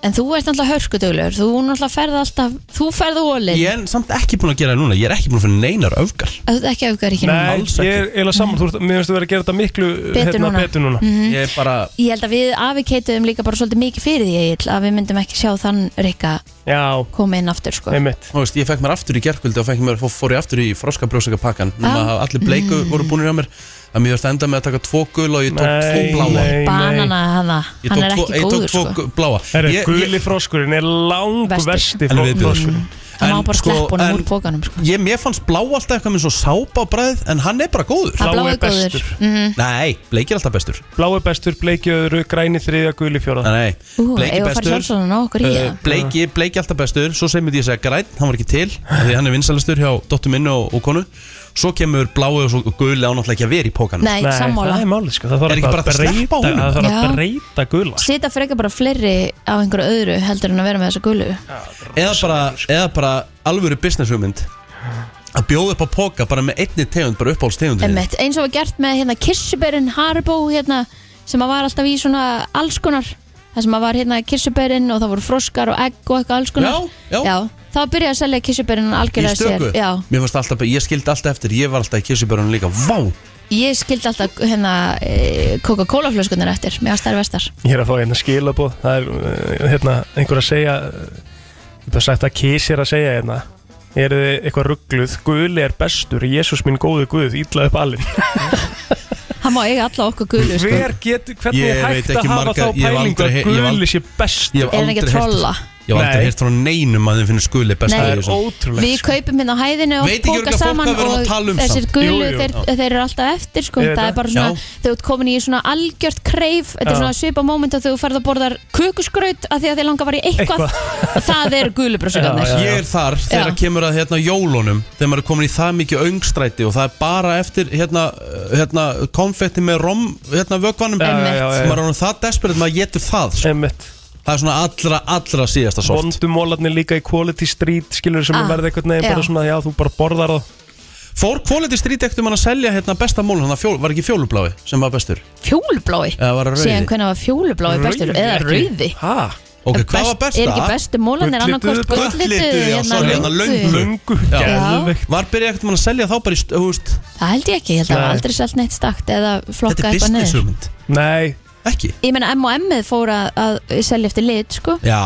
[SPEAKER 2] En þú ert alltaf hörskuduglegur Þú náttúrulega ferð alltaf Þú ferð ólinn
[SPEAKER 1] Ég er samt ekki búin að gera það núna, ég er ekki búin að finna neinar öfgar
[SPEAKER 2] Þú ert ekki auðgar ekki núna
[SPEAKER 3] Nei,
[SPEAKER 1] alls
[SPEAKER 3] ég er eiginlega saman, þú veist, mér finnst þú verið að gera þetta miklu hérna,
[SPEAKER 2] Betur núna. Mm.
[SPEAKER 3] betur núna.
[SPEAKER 2] Mhm.
[SPEAKER 1] Ég er bara,
[SPEAKER 2] Ég held að við afikeituðum líka bara svolítið mikið fyrir því Egill, að við myndum ekki sjá þann Rikka
[SPEAKER 3] Já,
[SPEAKER 2] koma inn aftur sko.
[SPEAKER 3] einmitt
[SPEAKER 1] þú veist, ég fekk mér aftur í gerkvöldi og fekk mér, fór- fór ég aftur í froska brjósakapakkan Nefna
[SPEAKER 2] Já.
[SPEAKER 1] að allir bleiku
[SPEAKER 2] Mm.
[SPEAKER 1] voru búinir hjá mér að mér þurfti að enda með að taka tvo gul og ég tók tvo bláa
[SPEAKER 2] Banana hana,
[SPEAKER 1] Ég
[SPEAKER 2] hann
[SPEAKER 1] tók
[SPEAKER 2] er
[SPEAKER 1] tvo-
[SPEAKER 2] ekki
[SPEAKER 1] ég tók
[SPEAKER 2] góður
[SPEAKER 1] tvo
[SPEAKER 2] sko.
[SPEAKER 1] gu- bláa
[SPEAKER 3] Herri,
[SPEAKER 1] Ég- ég-
[SPEAKER 3] guli froskurinn er langvesti
[SPEAKER 2] Versti.
[SPEAKER 1] Hann er viðbjóður.
[SPEAKER 3] froskurinn
[SPEAKER 2] Það má
[SPEAKER 1] en,
[SPEAKER 2] bara
[SPEAKER 1] sko,
[SPEAKER 2] sleppa honum
[SPEAKER 1] en-
[SPEAKER 2] úr bókanum sko.
[SPEAKER 1] Ég, mér fannst blá alltaf eitthvað með svo sápa á bræð En hann er bara góður
[SPEAKER 2] Það
[SPEAKER 3] blái
[SPEAKER 2] blái
[SPEAKER 3] er
[SPEAKER 2] er góður
[SPEAKER 3] bestur.
[SPEAKER 2] Mhm.
[SPEAKER 1] Nei, bleikir alltaf bestur
[SPEAKER 3] Blá er bestur, bleiki öðru, græni þriðja, guli fjóra
[SPEAKER 1] Nei,
[SPEAKER 2] Ú,
[SPEAKER 1] bleiki
[SPEAKER 2] eigum við að fara
[SPEAKER 1] bestur
[SPEAKER 2] sjálfsögðan á okkur í
[SPEAKER 1] Uh,
[SPEAKER 2] það
[SPEAKER 1] bleiki, bleiki alltaf bestur Svo segir mér því að segja græn, hann var ekki til af Því hann er vinsælistur hjá dóttu minni og, og konu Svo kemur blái og svo guli á náttúrulega ekki að vera í pókanum
[SPEAKER 2] Nei, sammála
[SPEAKER 3] það er málið sko, það
[SPEAKER 1] Er
[SPEAKER 3] þarf
[SPEAKER 1] ekki bara
[SPEAKER 3] alltaf
[SPEAKER 1] að
[SPEAKER 3] að
[SPEAKER 1] sleppa
[SPEAKER 3] breyta
[SPEAKER 1] honum?
[SPEAKER 3] Það þarf að
[SPEAKER 2] Já.
[SPEAKER 3] breyta gula
[SPEAKER 2] Sita frekar bara fleiri á einhverju öðru heldur en að vera með þessa gulu
[SPEAKER 1] eða, bara, eða bara alvöru business hugmynd Að bjóða upp á póka bara með einni tegund Bara uppáhalds tegundinni
[SPEAKER 2] Einmitt, eins og var gert með hérna kirsuberinn Haribo hérna, sem að var alltaf í svona alls konar það sem að var hérna kirsuberinn og það voru froskar og egg og eitthvað alls konar
[SPEAKER 1] Já, já.
[SPEAKER 2] þá byrjaði að selja kissubörun algjörlega sér já,
[SPEAKER 1] Mér fannst alltaf, ég skildi alltaf eftir, ég var alltaf í kissibörunum líka Vá,
[SPEAKER 2] ég skildi alltaf hérna eh, Coca-Cola flöskunar eftir með að stærra vestar
[SPEAKER 3] Ég er að fá hérna skilaboð Það er uh, hérna einhver að segja uh, Ég bara sagt að kís er að segja hérna Eru þið eitthvað ruggluð Guðli er bestur, Jésús minn góðu Guð Ítla upp alinn
[SPEAKER 2] hann má eiga alla okkur gulu sko.
[SPEAKER 3] [laughs] Hver getur, hvernig
[SPEAKER 1] Ég
[SPEAKER 3] er
[SPEAKER 1] veit
[SPEAKER 3] hægt að
[SPEAKER 1] ekki
[SPEAKER 3] hafa
[SPEAKER 1] margar-
[SPEAKER 3] þá
[SPEAKER 1] ég hef
[SPEAKER 3] pælingu
[SPEAKER 1] aldrei
[SPEAKER 3] að
[SPEAKER 1] he- ég hef
[SPEAKER 3] Guðli sé
[SPEAKER 1] ég
[SPEAKER 3] bestur
[SPEAKER 1] hef
[SPEAKER 2] er hann ekki
[SPEAKER 1] aldrei heyrt
[SPEAKER 2] að
[SPEAKER 1] Ég
[SPEAKER 2] trolla
[SPEAKER 1] hef aldrei
[SPEAKER 3] Nei.
[SPEAKER 1] heyrt frá neinum að þeim finnir skuli besta
[SPEAKER 2] Nei.
[SPEAKER 1] í
[SPEAKER 3] Það er
[SPEAKER 1] þessu.
[SPEAKER 3] ótrúlegt
[SPEAKER 2] Við kaupum hérna á hæðinu og
[SPEAKER 1] Veit ekki
[SPEAKER 2] póka
[SPEAKER 1] örugglega fólk
[SPEAKER 2] saman
[SPEAKER 1] hvað við erum að
[SPEAKER 2] og
[SPEAKER 1] tala um
[SPEAKER 2] þessir
[SPEAKER 1] samt.
[SPEAKER 2] gulu,
[SPEAKER 3] Jú, jú.
[SPEAKER 2] þeir, þeir eru alltaf eftir sko,
[SPEAKER 3] Ég veit
[SPEAKER 2] það er
[SPEAKER 3] það.
[SPEAKER 2] bara svona,
[SPEAKER 1] Já.
[SPEAKER 2] þegar þú ert komin í svona algjört kreif, þetta er
[SPEAKER 3] Já.
[SPEAKER 2] svona svipa moment að þú ferð að borðar kökusgraut af því að þið langar að fara í eitthvað, [laughs] það eru
[SPEAKER 3] Já,
[SPEAKER 2] gulubrössugarnir
[SPEAKER 1] Ég er þar þegar
[SPEAKER 2] Já.
[SPEAKER 1] kemur að hérna jólunum Þegar maður er komin í það mikið öngstræti Og það er bara eftir hérna, hérna konfetti með rom hérna vökvanum
[SPEAKER 3] Já, já, já, já.
[SPEAKER 1] Maður er orðinn það desperate maður getur það sko.
[SPEAKER 3] Emmett
[SPEAKER 1] Það er svona allra, allra síðasta sort
[SPEAKER 3] Vondumólarnir líka í Quality Street Skilur sem
[SPEAKER 2] Ah,
[SPEAKER 3] ah, verða eitthvað neginn bara
[SPEAKER 2] já.
[SPEAKER 3] svona Já, þú bara borðar það
[SPEAKER 1] Fór Quality Street ektum hann að selja hérna besta mólun Þannig að fjól, var ekki fjólublái sem var bestur
[SPEAKER 2] Fjólublái,
[SPEAKER 1] Eða var það
[SPEAKER 2] síðan
[SPEAKER 1] rauði
[SPEAKER 2] hvernig var fjólublái bestur eða rauði
[SPEAKER 3] Hæ?
[SPEAKER 1] Ok,
[SPEAKER 2] En
[SPEAKER 1] hvað var
[SPEAKER 2] best- Er ekki
[SPEAKER 1] besta?
[SPEAKER 2] bestu mólan er annarkvort
[SPEAKER 3] Gulllituðu,
[SPEAKER 1] gulllituðu,
[SPEAKER 2] gullitu
[SPEAKER 1] já, sorry, hérna löngu.
[SPEAKER 3] Lungu
[SPEAKER 1] Já.
[SPEAKER 3] Geðveikt
[SPEAKER 1] Var byrjað ektum hann að selja þá bara í st- þú veist,
[SPEAKER 2] Það held ég ekki, ég held að það var
[SPEAKER 3] Nei.
[SPEAKER 2] aldrei selt neitt stakt eða
[SPEAKER 1] Þetta
[SPEAKER 2] flokka
[SPEAKER 1] er
[SPEAKER 2] eitthvað
[SPEAKER 1] business
[SPEAKER 2] neður
[SPEAKER 1] hugmynd
[SPEAKER 3] Nei,
[SPEAKER 1] Ekki?
[SPEAKER 2] Ég meina M&M fór að, að selja eftir lit sko
[SPEAKER 1] Já,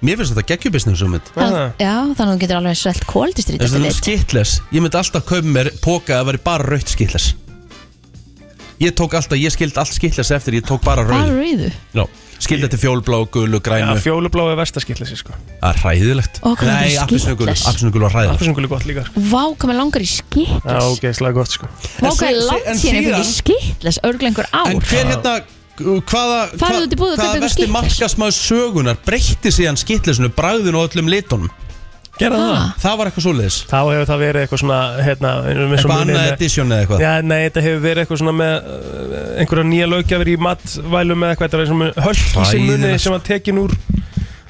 [SPEAKER 1] mér finnst þetta geggju business hugmynd
[SPEAKER 3] Aha.
[SPEAKER 2] Þannig- Já, þannig að þú getur alveg svelgt kóldistrít
[SPEAKER 1] En
[SPEAKER 2] eftir
[SPEAKER 1] það er
[SPEAKER 2] lit
[SPEAKER 1] skitles Ég myndi alltaf kaupa mér póka að veri bara raukt skitles Ég tók alltaf, ég skildi allt skitles eftir Ég tók bara
[SPEAKER 2] Hvað
[SPEAKER 1] rauð
[SPEAKER 2] rauðu?
[SPEAKER 1] no. Skildi þetta fjólublá, gulu,
[SPEAKER 3] Já,
[SPEAKER 1] grænu
[SPEAKER 3] fjólubláu er vestaskillis sko.
[SPEAKER 1] Það er hræðilegt
[SPEAKER 2] Ó, hvað
[SPEAKER 1] Nei,
[SPEAKER 2] er
[SPEAKER 1] appisnugul,
[SPEAKER 2] skitles?
[SPEAKER 1] appisnugul var hræðilegt
[SPEAKER 3] Appelsingul er gott líka sko.
[SPEAKER 2] Vá, hvað mér langar í skitlis
[SPEAKER 3] Já, ok, slag gott sko.
[SPEAKER 1] En
[SPEAKER 2] Vá, hvað er
[SPEAKER 1] sí-
[SPEAKER 2] langt
[SPEAKER 1] en
[SPEAKER 2] síðan ég fikk
[SPEAKER 1] síðan-
[SPEAKER 2] í skitlis Örglega einhver
[SPEAKER 1] En hver
[SPEAKER 2] ár
[SPEAKER 1] hérna Hvaða,
[SPEAKER 2] Farðu út í búð og kaupa
[SPEAKER 1] hvaða
[SPEAKER 2] ykkur
[SPEAKER 1] vesti
[SPEAKER 2] Skittles.
[SPEAKER 1] markasmaður sögunar breytti síðan skitlesinu, bragðinu og öllum litunum
[SPEAKER 3] Gerða það?
[SPEAKER 2] Ah,
[SPEAKER 1] Það var eitthvað svoleiðis
[SPEAKER 3] Þá hefur það verið eitthvað svona, hérna, eins og með
[SPEAKER 1] Eitthvað annað sko?
[SPEAKER 3] með-
[SPEAKER 1] edition eða eitthvað
[SPEAKER 3] Já, nei, þetta hefur verið eitthvað svona með uh, einhverja nýja lögjafir í matvælum eða eitthvað, þetta var eins og með hölkís í munni
[SPEAKER 1] Hræðilegt.
[SPEAKER 3] sem var tekin úr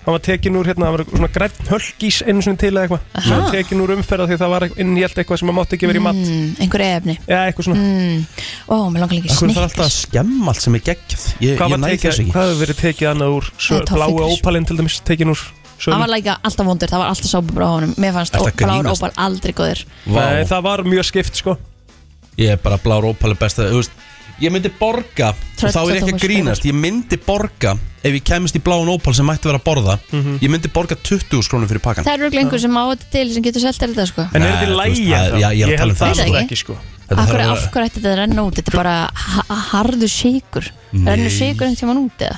[SPEAKER 3] hann var tekin úr, hérna, það var svona grænt hölkís einu sinni til eða eitthvað,
[SPEAKER 2] Aha.
[SPEAKER 3] sem var tekin úr umferða því það var innhjælt eitthvað sem maður mátti ekki verið í mat
[SPEAKER 2] mm, Einhver efni
[SPEAKER 3] Já, eitthvað svona,
[SPEAKER 2] mm. Ó, mér langar líka í
[SPEAKER 1] Akkur það er alltaf að
[SPEAKER 2] snickers
[SPEAKER 1] skemma allt sem er geggjað Ég,
[SPEAKER 3] hvað
[SPEAKER 1] ég
[SPEAKER 3] var
[SPEAKER 1] næði
[SPEAKER 3] tekið,
[SPEAKER 1] þess ekki
[SPEAKER 3] hvað hefur verið tekið annað úr svo,
[SPEAKER 2] Eða
[SPEAKER 3] bláu
[SPEAKER 2] toffíkris.
[SPEAKER 3] ópalinn til dæmis, tekin úr sölu?
[SPEAKER 2] Það var líka alltaf vondur, það var alltaf sábubra á honum Mér fannst
[SPEAKER 1] Ertu
[SPEAKER 2] ó-
[SPEAKER 1] að
[SPEAKER 2] blár
[SPEAKER 1] grínast?
[SPEAKER 2] óbal aldrei góður
[SPEAKER 1] Vá.
[SPEAKER 3] Nei, það var mjög skipt sko
[SPEAKER 1] Ég er bara blár ópali besta þú veist, Ég myndi borga og þá er ég ekki að grínast Ég myndi borga ef ég kemist í bláun ópal sem mætti vera að borða
[SPEAKER 3] Mhm.
[SPEAKER 1] Ég myndi borga 20 skrónum fyrir pakkan
[SPEAKER 2] Það er örglega einhver sem á þetta til sem getur selt þér þetta sko
[SPEAKER 3] En
[SPEAKER 1] Nei,
[SPEAKER 3] er þetta
[SPEAKER 1] þú
[SPEAKER 3] í
[SPEAKER 1] veist,
[SPEAKER 3] lægi?
[SPEAKER 1] það-
[SPEAKER 3] þá?
[SPEAKER 1] já, ég er að tala um það,
[SPEAKER 3] held
[SPEAKER 2] sko.
[SPEAKER 3] nefnilega
[SPEAKER 2] Ekki.
[SPEAKER 3] ekki sko
[SPEAKER 1] Þetta
[SPEAKER 2] Af
[SPEAKER 1] þarf
[SPEAKER 2] hverju
[SPEAKER 1] að
[SPEAKER 2] af
[SPEAKER 1] vera-
[SPEAKER 2] hverju ætti þetta að renna út? Þetta er bara ha harðu síkur
[SPEAKER 1] Nei.
[SPEAKER 2] Rennu síkur einhvern tímann út eða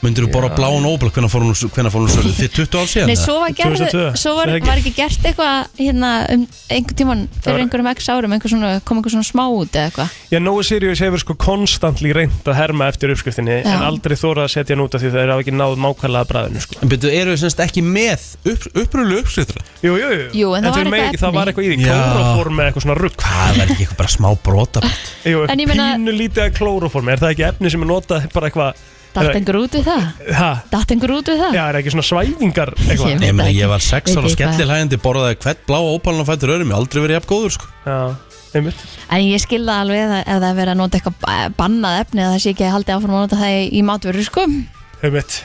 [SPEAKER 1] Myndirðu borga bláun ópal hvenær fór hún hvenær fór hún svolítið Þið 20 ár
[SPEAKER 3] hérna?
[SPEAKER 1] síðan
[SPEAKER 2] Nei,
[SPEAKER 1] eða?
[SPEAKER 2] svo var, gerðu,
[SPEAKER 3] 2002,
[SPEAKER 2] svo var,
[SPEAKER 3] er það ekki?
[SPEAKER 2] var ekki gert eitthvað hérna, um einhvern tíman
[SPEAKER 3] Það var-
[SPEAKER 2] fyrir einhverjum x árum einhver svona, kom einhver svona smá út eða eitthvað
[SPEAKER 3] Já, Nói Sirius hefur sko konstantli reynd að herma eftir uppskriftinni
[SPEAKER 2] Já.
[SPEAKER 3] En aldrei þóra að setja hann út af því það er ekki náð mákvæðlega bræðinu sko
[SPEAKER 1] En byrju, eru þið semst ekki með upp, upprölu uppskriftur
[SPEAKER 3] Jú, jú, jú,
[SPEAKER 2] Jú, en það var
[SPEAKER 3] þau
[SPEAKER 2] eitthvað
[SPEAKER 3] mega ekki, Það
[SPEAKER 2] efni.
[SPEAKER 3] var eitthvað í því,
[SPEAKER 1] Já.
[SPEAKER 3] klóróform eða eitthvað svona rugg
[SPEAKER 1] Hvað verður ekki eitthvað bara smá brota
[SPEAKER 3] Jú,
[SPEAKER 2] En ég meina-
[SPEAKER 3] pínu lítið að klóróform Er það ekki efni sem er notað bara eitthvað
[SPEAKER 2] Datt
[SPEAKER 3] Nei.
[SPEAKER 2] einhver út við það?
[SPEAKER 3] Ha,
[SPEAKER 2] Datt einhver út við það?
[SPEAKER 3] já, er ekki svona svæfingar eitthvað
[SPEAKER 2] Ég-
[SPEAKER 1] Nei,
[SPEAKER 2] veit
[SPEAKER 1] meni,
[SPEAKER 2] ekki.
[SPEAKER 1] ég var 6
[SPEAKER 2] Veit
[SPEAKER 1] ára og
[SPEAKER 2] ekki hvað.
[SPEAKER 1] skellilhægandi borðaði hvert blá ópalinn og fættur örum Ég hef aldrei verið jafn góður sko.
[SPEAKER 3] Já, einmitt
[SPEAKER 2] En ég skilða alveg að, að það er verið að nota eitthvað ba- bannað efni að það sé ekki að haldi áfram að nota það í, í matveru sko
[SPEAKER 3] Einmitt,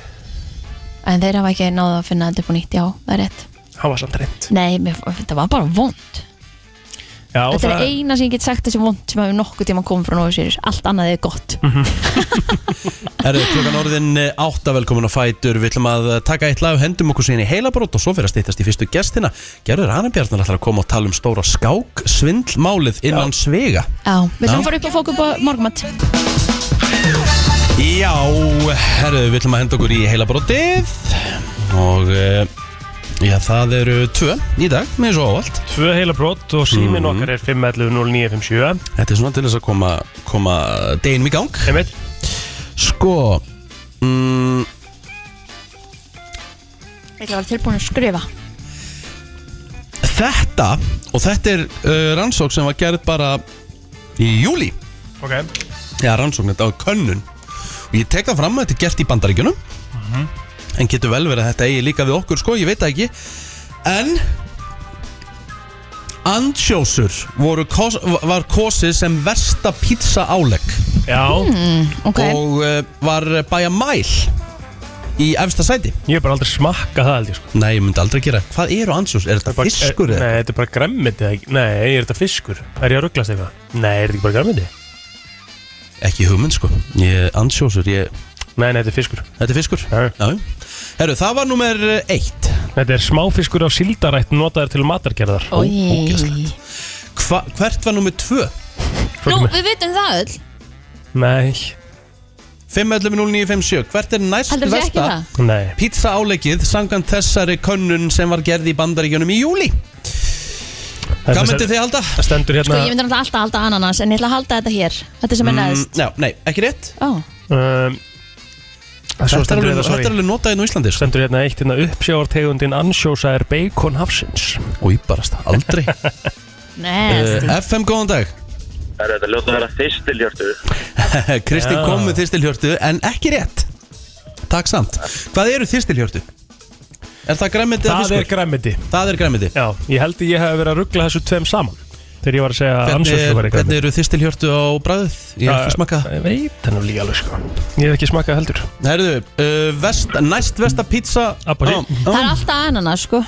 [SPEAKER 2] En þeir hafa ekki náða að finna þetta upp og nýtt, já, það er rétt
[SPEAKER 3] hann var samt reynd
[SPEAKER 2] Nei, mér, þetta var bara vond
[SPEAKER 3] Já,
[SPEAKER 2] Þetta er eina sem ég get sagt þessi vond sem hefur nokkuð tíma komið frá Nói Sirius Allt annað er gott
[SPEAKER 3] Hm.
[SPEAKER 1] Herru, klokkan orðin eh, átta velkomin á Fætur Við ætlum að eh, taka eitt lag, hendum okkur síðan í heilabrót og svo fyrir að stýttast í fyrstu gestina Gerður Anabjarnar ætlar að koma og tala um stóra skák svindlmálið innan svega
[SPEAKER 2] Já, við
[SPEAKER 1] Já.
[SPEAKER 2] sem fara upp og fóku upp á morgumat
[SPEAKER 1] Já, herru, við ætlum að henda okkur í heilabrótið Og eh, já, það eru tvö í dag, með svo ávalt
[SPEAKER 3] Tvö heila brot og símin okkar er 511 0957
[SPEAKER 1] Þetta er svona til þess að koma, koma deginum í gang
[SPEAKER 3] Einmitt
[SPEAKER 1] Sko, mm,
[SPEAKER 2] Ég var tilbúin að skrifa
[SPEAKER 1] þetta, og þetta er uh, rannsók sem var gerð bara í júli
[SPEAKER 3] Ok
[SPEAKER 1] Já, rannsókn, þetta var könnun Og ég tek það fram að þetta er gert í bandaríkjunum Mhm. En getur vel verið að þetta eigi líka við okkur Sko, ég veit það ekki En Andjósur kos, var kosið sem versta pizza álegg
[SPEAKER 2] Hmm.
[SPEAKER 3] Já
[SPEAKER 2] Ok,
[SPEAKER 1] Og uh, var bæja mæl í efsta sæti
[SPEAKER 3] Ég hef bara aldrei smakka það held ég sko
[SPEAKER 1] Nei, ég myndi aldrei gera Hvað eru ansjós? Er
[SPEAKER 3] Bara- eh,
[SPEAKER 1] þetta fiskur? eða?
[SPEAKER 3] er, Nei, þetta er bara gremmiti Nei, er þetta fiskur? Er ég að rugglast eitthvað? Nei, er þetta ekki bara gremmiti?
[SPEAKER 1] Ekki hugmynd sko Ég ansjósur, ég
[SPEAKER 3] Nei, nei, þetta er fiskur
[SPEAKER 1] Þetta er fiskur
[SPEAKER 3] Já.
[SPEAKER 1] Já Herru, það var nummer eitt
[SPEAKER 3] Þetta er smáfiskur á sildarætt notaður til matargerðar
[SPEAKER 2] Oj.
[SPEAKER 1] ógeðslegt. Hva, Hvert var nummer tvö?
[SPEAKER 3] Svo
[SPEAKER 2] Nú,
[SPEAKER 3] kemur-
[SPEAKER 2] við vitum það öll
[SPEAKER 3] Nei,
[SPEAKER 1] 5.11.0957 Hvert er næst
[SPEAKER 2] Heldur þú sé ekki
[SPEAKER 1] versta
[SPEAKER 2] það?
[SPEAKER 3] nei
[SPEAKER 1] pizza áleikið samkvæmt þessari könnun sem var gerð í bandaríkjunum í júli Hvað myndið þið halda?
[SPEAKER 3] Það
[SPEAKER 2] Sko,
[SPEAKER 3] stendur hérna
[SPEAKER 2] ég myndi náttúrulega alltaf halda ananas En ég ætla að halda þetta hér Þetta
[SPEAKER 1] Mm.
[SPEAKER 2] sem er neðst
[SPEAKER 1] já, nei, ekki rétt
[SPEAKER 2] Ó,
[SPEAKER 3] um, Svo
[SPEAKER 1] Þetta er
[SPEAKER 3] stendur
[SPEAKER 1] alveg,
[SPEAKER 3] hérna,
[SPEAKER 1] þetta er
[SPEAKER 3] sorry
[SPEAKER 1] alveg notaðið á Íslandi sko.
[SPEAKER 3] Stendur hérna eitt hérna uppsjáartegundin ansjósa er bacon hafsins
[SPEAKER 1] Új, barast,
[SPEAKER 2] [laughs]
[SPEAKER 1] aldrei
[SPEAKER 2] neðst
[SPEAKER 1] uh, FM, góðan dag
[SPEAKER 5] Það er þetta ljóta að vera þystiljörtu.
[SPEAKER 1] Kristi
[SPEAKER 3] Já.
[SPEAKER 1] Eh, kom með þyrstilhjörtu en ekki rétt Takk samt Hvað eru þyrstilhjörtu? Er það græmiti eða
[SPEAKER 3] Það er
[SPEAKER 1] fiskur?
[SPEAKER 3] gremmiti
[SPEAKER 1] Það er græmiti
[SPEAKER 3] Já, ég held að ég hef verið að ruggla þessu tveim saman Þegar ég var að segja að
[SPEAKER 1] Hvernig,
[SPEAKER 3] ansjósa
[SPEAKER 1] er,
[SPEAKER 3] var
[SPEAKER 1] hvernig eru þistilhjörtu á bræðið? Ég hef ekki smakað
[SPEAKER 3] Ég veit hann líka alveg sko Ég hef ekki smakað heldur
[SPEAKER 1] það Herðu, uh, vest, næst versta pizza
[SPEAKER 3] Apple.
[SPEAKER 1] Á, á.
[SPEAKER 2] Það er alltaf ananas, sko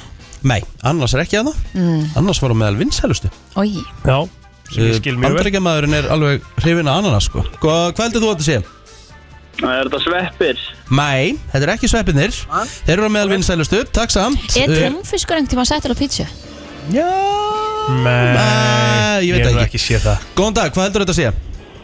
[SPEAKER 1] Nei, annars er ekki að það Annars var hún meðal vinsælustu Eh,
[SPEAKER 2] Ói,
[SPEAKER 3] Já, sem ég skil mjög vel
[SPEAKER 1] Bandaríkjamaðurinn er alveg hrifin að ananas sko Hva, Hvað heldur þú að þetta sé?
[SPEAKER 5] Það er þetta sveppir.
[SPEAKER 1] Nei, þetta eru ekki sveppinir Þeir eru á meðal vinsælustu, takk samt
[SPEAKER 2] er
[SPEAKER 1] Uh,
[SPEAKER 2] túnfiskur einhvern tímann settur á pítsu?
[SPEAKER 1] Já Nei,
[SPEAKER 3] Nei,
[SPEAKER 1] ég veit
[SPEAKER 3] hef
[SPEAKER 1] það
[SPEAKER 3] ekki séð það
[SPEAKER 1] Góðan dag, hvað heldur þetta að sé?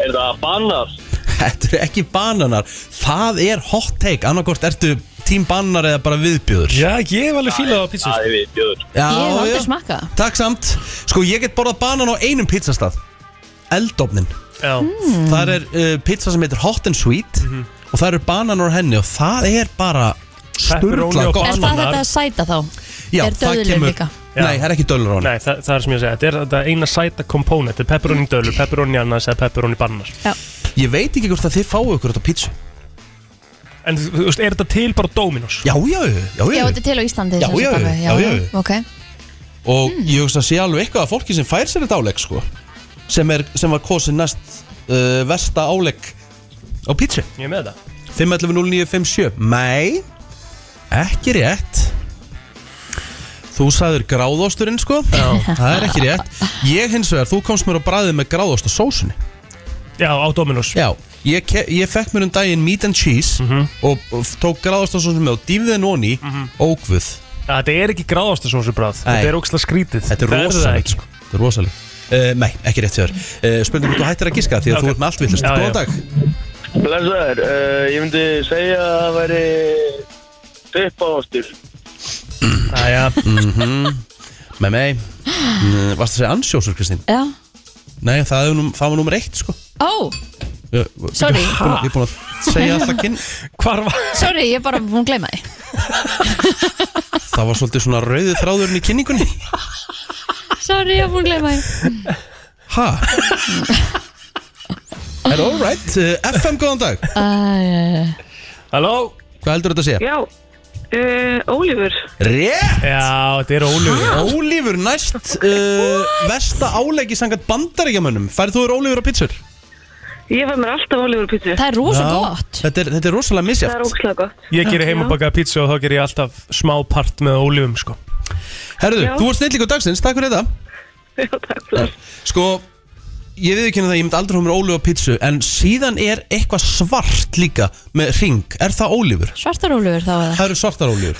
[SPEAKER 5] Er þetta banar?
[SPEAKER 1] [laughs] Þetta eru ekki bananar Það er hot take, annarkort ertu tím bananar eða bara viðbjöður
[SPEAKER 3] Já, ég hef alveg fílað á sko. pítsu
[SPEAKER 5] Það er við bjóður.
[SPEAKER 1] Já,
[SPEAKER 2] Ég hef aldrei
[SPEAKER 1] já.
[SPEAKER 2] smakkað það.
[SPEAKER 1] Takk samt Sko ég get borðað banan á einum pizzastað Eldofnin
[SPEAKER 3] Já,
[SPEAKER 2] Mm.
[SPEAKER 1] Það er uh, pizza sem heitir hot and sweet
[SPEAKER 2] Mhm.
[SPEAKER 1] Og það eru bananar á henni Og það er bara
[SPEAKER 3] Pepperoni
[SPEAKER 1] Sturla
[SPEAKER 3] og
[SPEAKER 2] Er
[SPEAKER 1] gott
[SPEAKER 2] það
[SPEAKER 3] Ananas.
[SPEAKER 2] þetta að sæta þá?
[SPEAKER 1] Já,
[SPEAKER 2] er
[SPEAKER 1] það
[SPEAKER 2] döðlur
[SPEAKER 1] kemur-
[SPEAKER 2] líka?
[SPEAKER 3] Já.
[SPEAKER 1] Nei, það er ekki döllur á henni
[SPEAKER 3] nei, það, það er sem ég að segja Þetta er þetta eina sæta kompónent Þetta er pepperoni dölur, pepperoni annars eða pepperoni bannar
[SPEAKER 1] Ég veit ekki hvort að þið fáu ykkur þetta á pizza
[SPEAKER 3] En þú veist, er þetta til bara Dominos?
[SPEAKER 1] Já, já, já,
[SPEAKER 2] Já,
[SPEAKER 1] já,
[SPEAKER 2] þetta er til á Íslandi
[SPEAKER 1] Já,
[SPEAKER 2] sem sagt
[SPEAKER 1] já,
[SPEAKER 2] alveg.
[SPEAKER 1] já, já.
[SPEAKER 2] Ok,
[SPEAKER 1] Og ég hugsa að sé alveg eitthvað að fólki sem fær sér þetta álegg sko Sem, er, sem var kosin næst uh, Vesta álegg á pizza
[SPEAKER 3] Ég er með það
[SPEAKER 1] 5.11.09.57 Nei, ekki rétt Þú sagður gráðosturinn sko Já. Það er ekki rétt Ég hins vegar, þú komst mér á bræðið með gráðost og sósunni
[SPEAKER 3] Já, á Dominos
[SPEAKER 1] Já, ég, ke- ég fekk mér um daginn meat and cheese og, og tók gráðost og sósunni með og dýfði henn onni mm -hmm. ógvöð
[SPEAKER 3] Já, Þetta er ekki gráðasta svona sem bráð
[SPEAKER 1] Nei.
[SPEAKER 3] Þetta er óksla skrítið
[SPEAKER 1] Þetta er
[SPEAKER 3] Það það
[SPEAKER 1] rosalegt
[SPEAKER 3] ekki.
[SPEAKER 1] sko Þetta er rosalegt Uh, nei, ekki rétt þér uh, Spurning hvort þú hættir að giska því að
[SPEAKER 3] Ok.
[SPEAKER 1] þú ert með allt villast
[SPEAKER 3] Já,
[SPEAKER 1] Góðan
[SPEAKER 3] já.
[SPEAKER 1] dag
[SPEAKER 5] Blessaður, uh, ég myndi segja að það væri pippaostur.
[SPEAKER 3] [laughs] Jæja,
[SPEAKER 1] Með mig mm, Varst að segja ansjósur Kristín?
[SPEAKER 2] já
[SPEAKER 1] Nei, það, er num, það var nummer eitt sko
[SPEAKER 2] Ó,
[SPEAKER 1] Ég-
[SPEAKER 2] Sorry.
[SPEAKER 1] Ég er búin að- ég er búin að segja alltaf kyn
[SPEAKER 3] Hvar var
[SPEAKER 2] sorry, ég er bara búin að gleyma því
[SPEAKER 1] Það var svolítið svona rauðið þráðurinn í kynningunni
[SPEAKER 2] [laughs] Sorry, ég er búin að gleyma því
[SPEAKER 1] Ha? Er all right uh, FM, góðan dag
[SPEAKER 2] Æ,
[SPEAKER 3] Halló?
[SPEAKER 1] Hvað heldur þetta að segja?
[SPEAKER 6] Já, uh, Ólífur,
[SPEAKER 1] Rétt!
[SPEAKER 3] Já, þetta er ólögur
[SPEAKER 1] Ólífur næst uh, Vesta álegi sangat bandaríkjamanum Færið þú er Ólífur á pizzur?
[SPEAKER 6] ég fæ mér alltaf Ólífur pítsu.
[SPEAKER 2] Það er rosa
[SPEAKER 1] Já,
[SPEAKER 2] gott
[SPEAKER 1] Þetta er, þetta er rosalega
[SPEAKER 6] Það er
[SPEAKER 1] misjæft
[SPEAKER 6] ógslag gott.
[SPEAKER 3] Ég gerir heimabakaða pítsu og þá ger ég alltaf smá part með ólífum sko
[SPEAKER 1] Herðu,
[SPEAKER 6] Já.
[SPEAKER 1] þú ert snillíkur dagsins, takk fyrir þetta
[SPEAKER 6] Já, takk fyrir.
[SPEAKER 1] Sko, ég við ekki það, ég myndi aldrei hóma Ólífur á pizzu En síðan er eitthvað svart líka með ring Er það Ólífur?
[SPEAKER 2] Svartarólfur þá eða
[SPEAKER 1] Það eru svartar
[SPEAKER 2] [laughs]
[SPEAKER 1] ólífur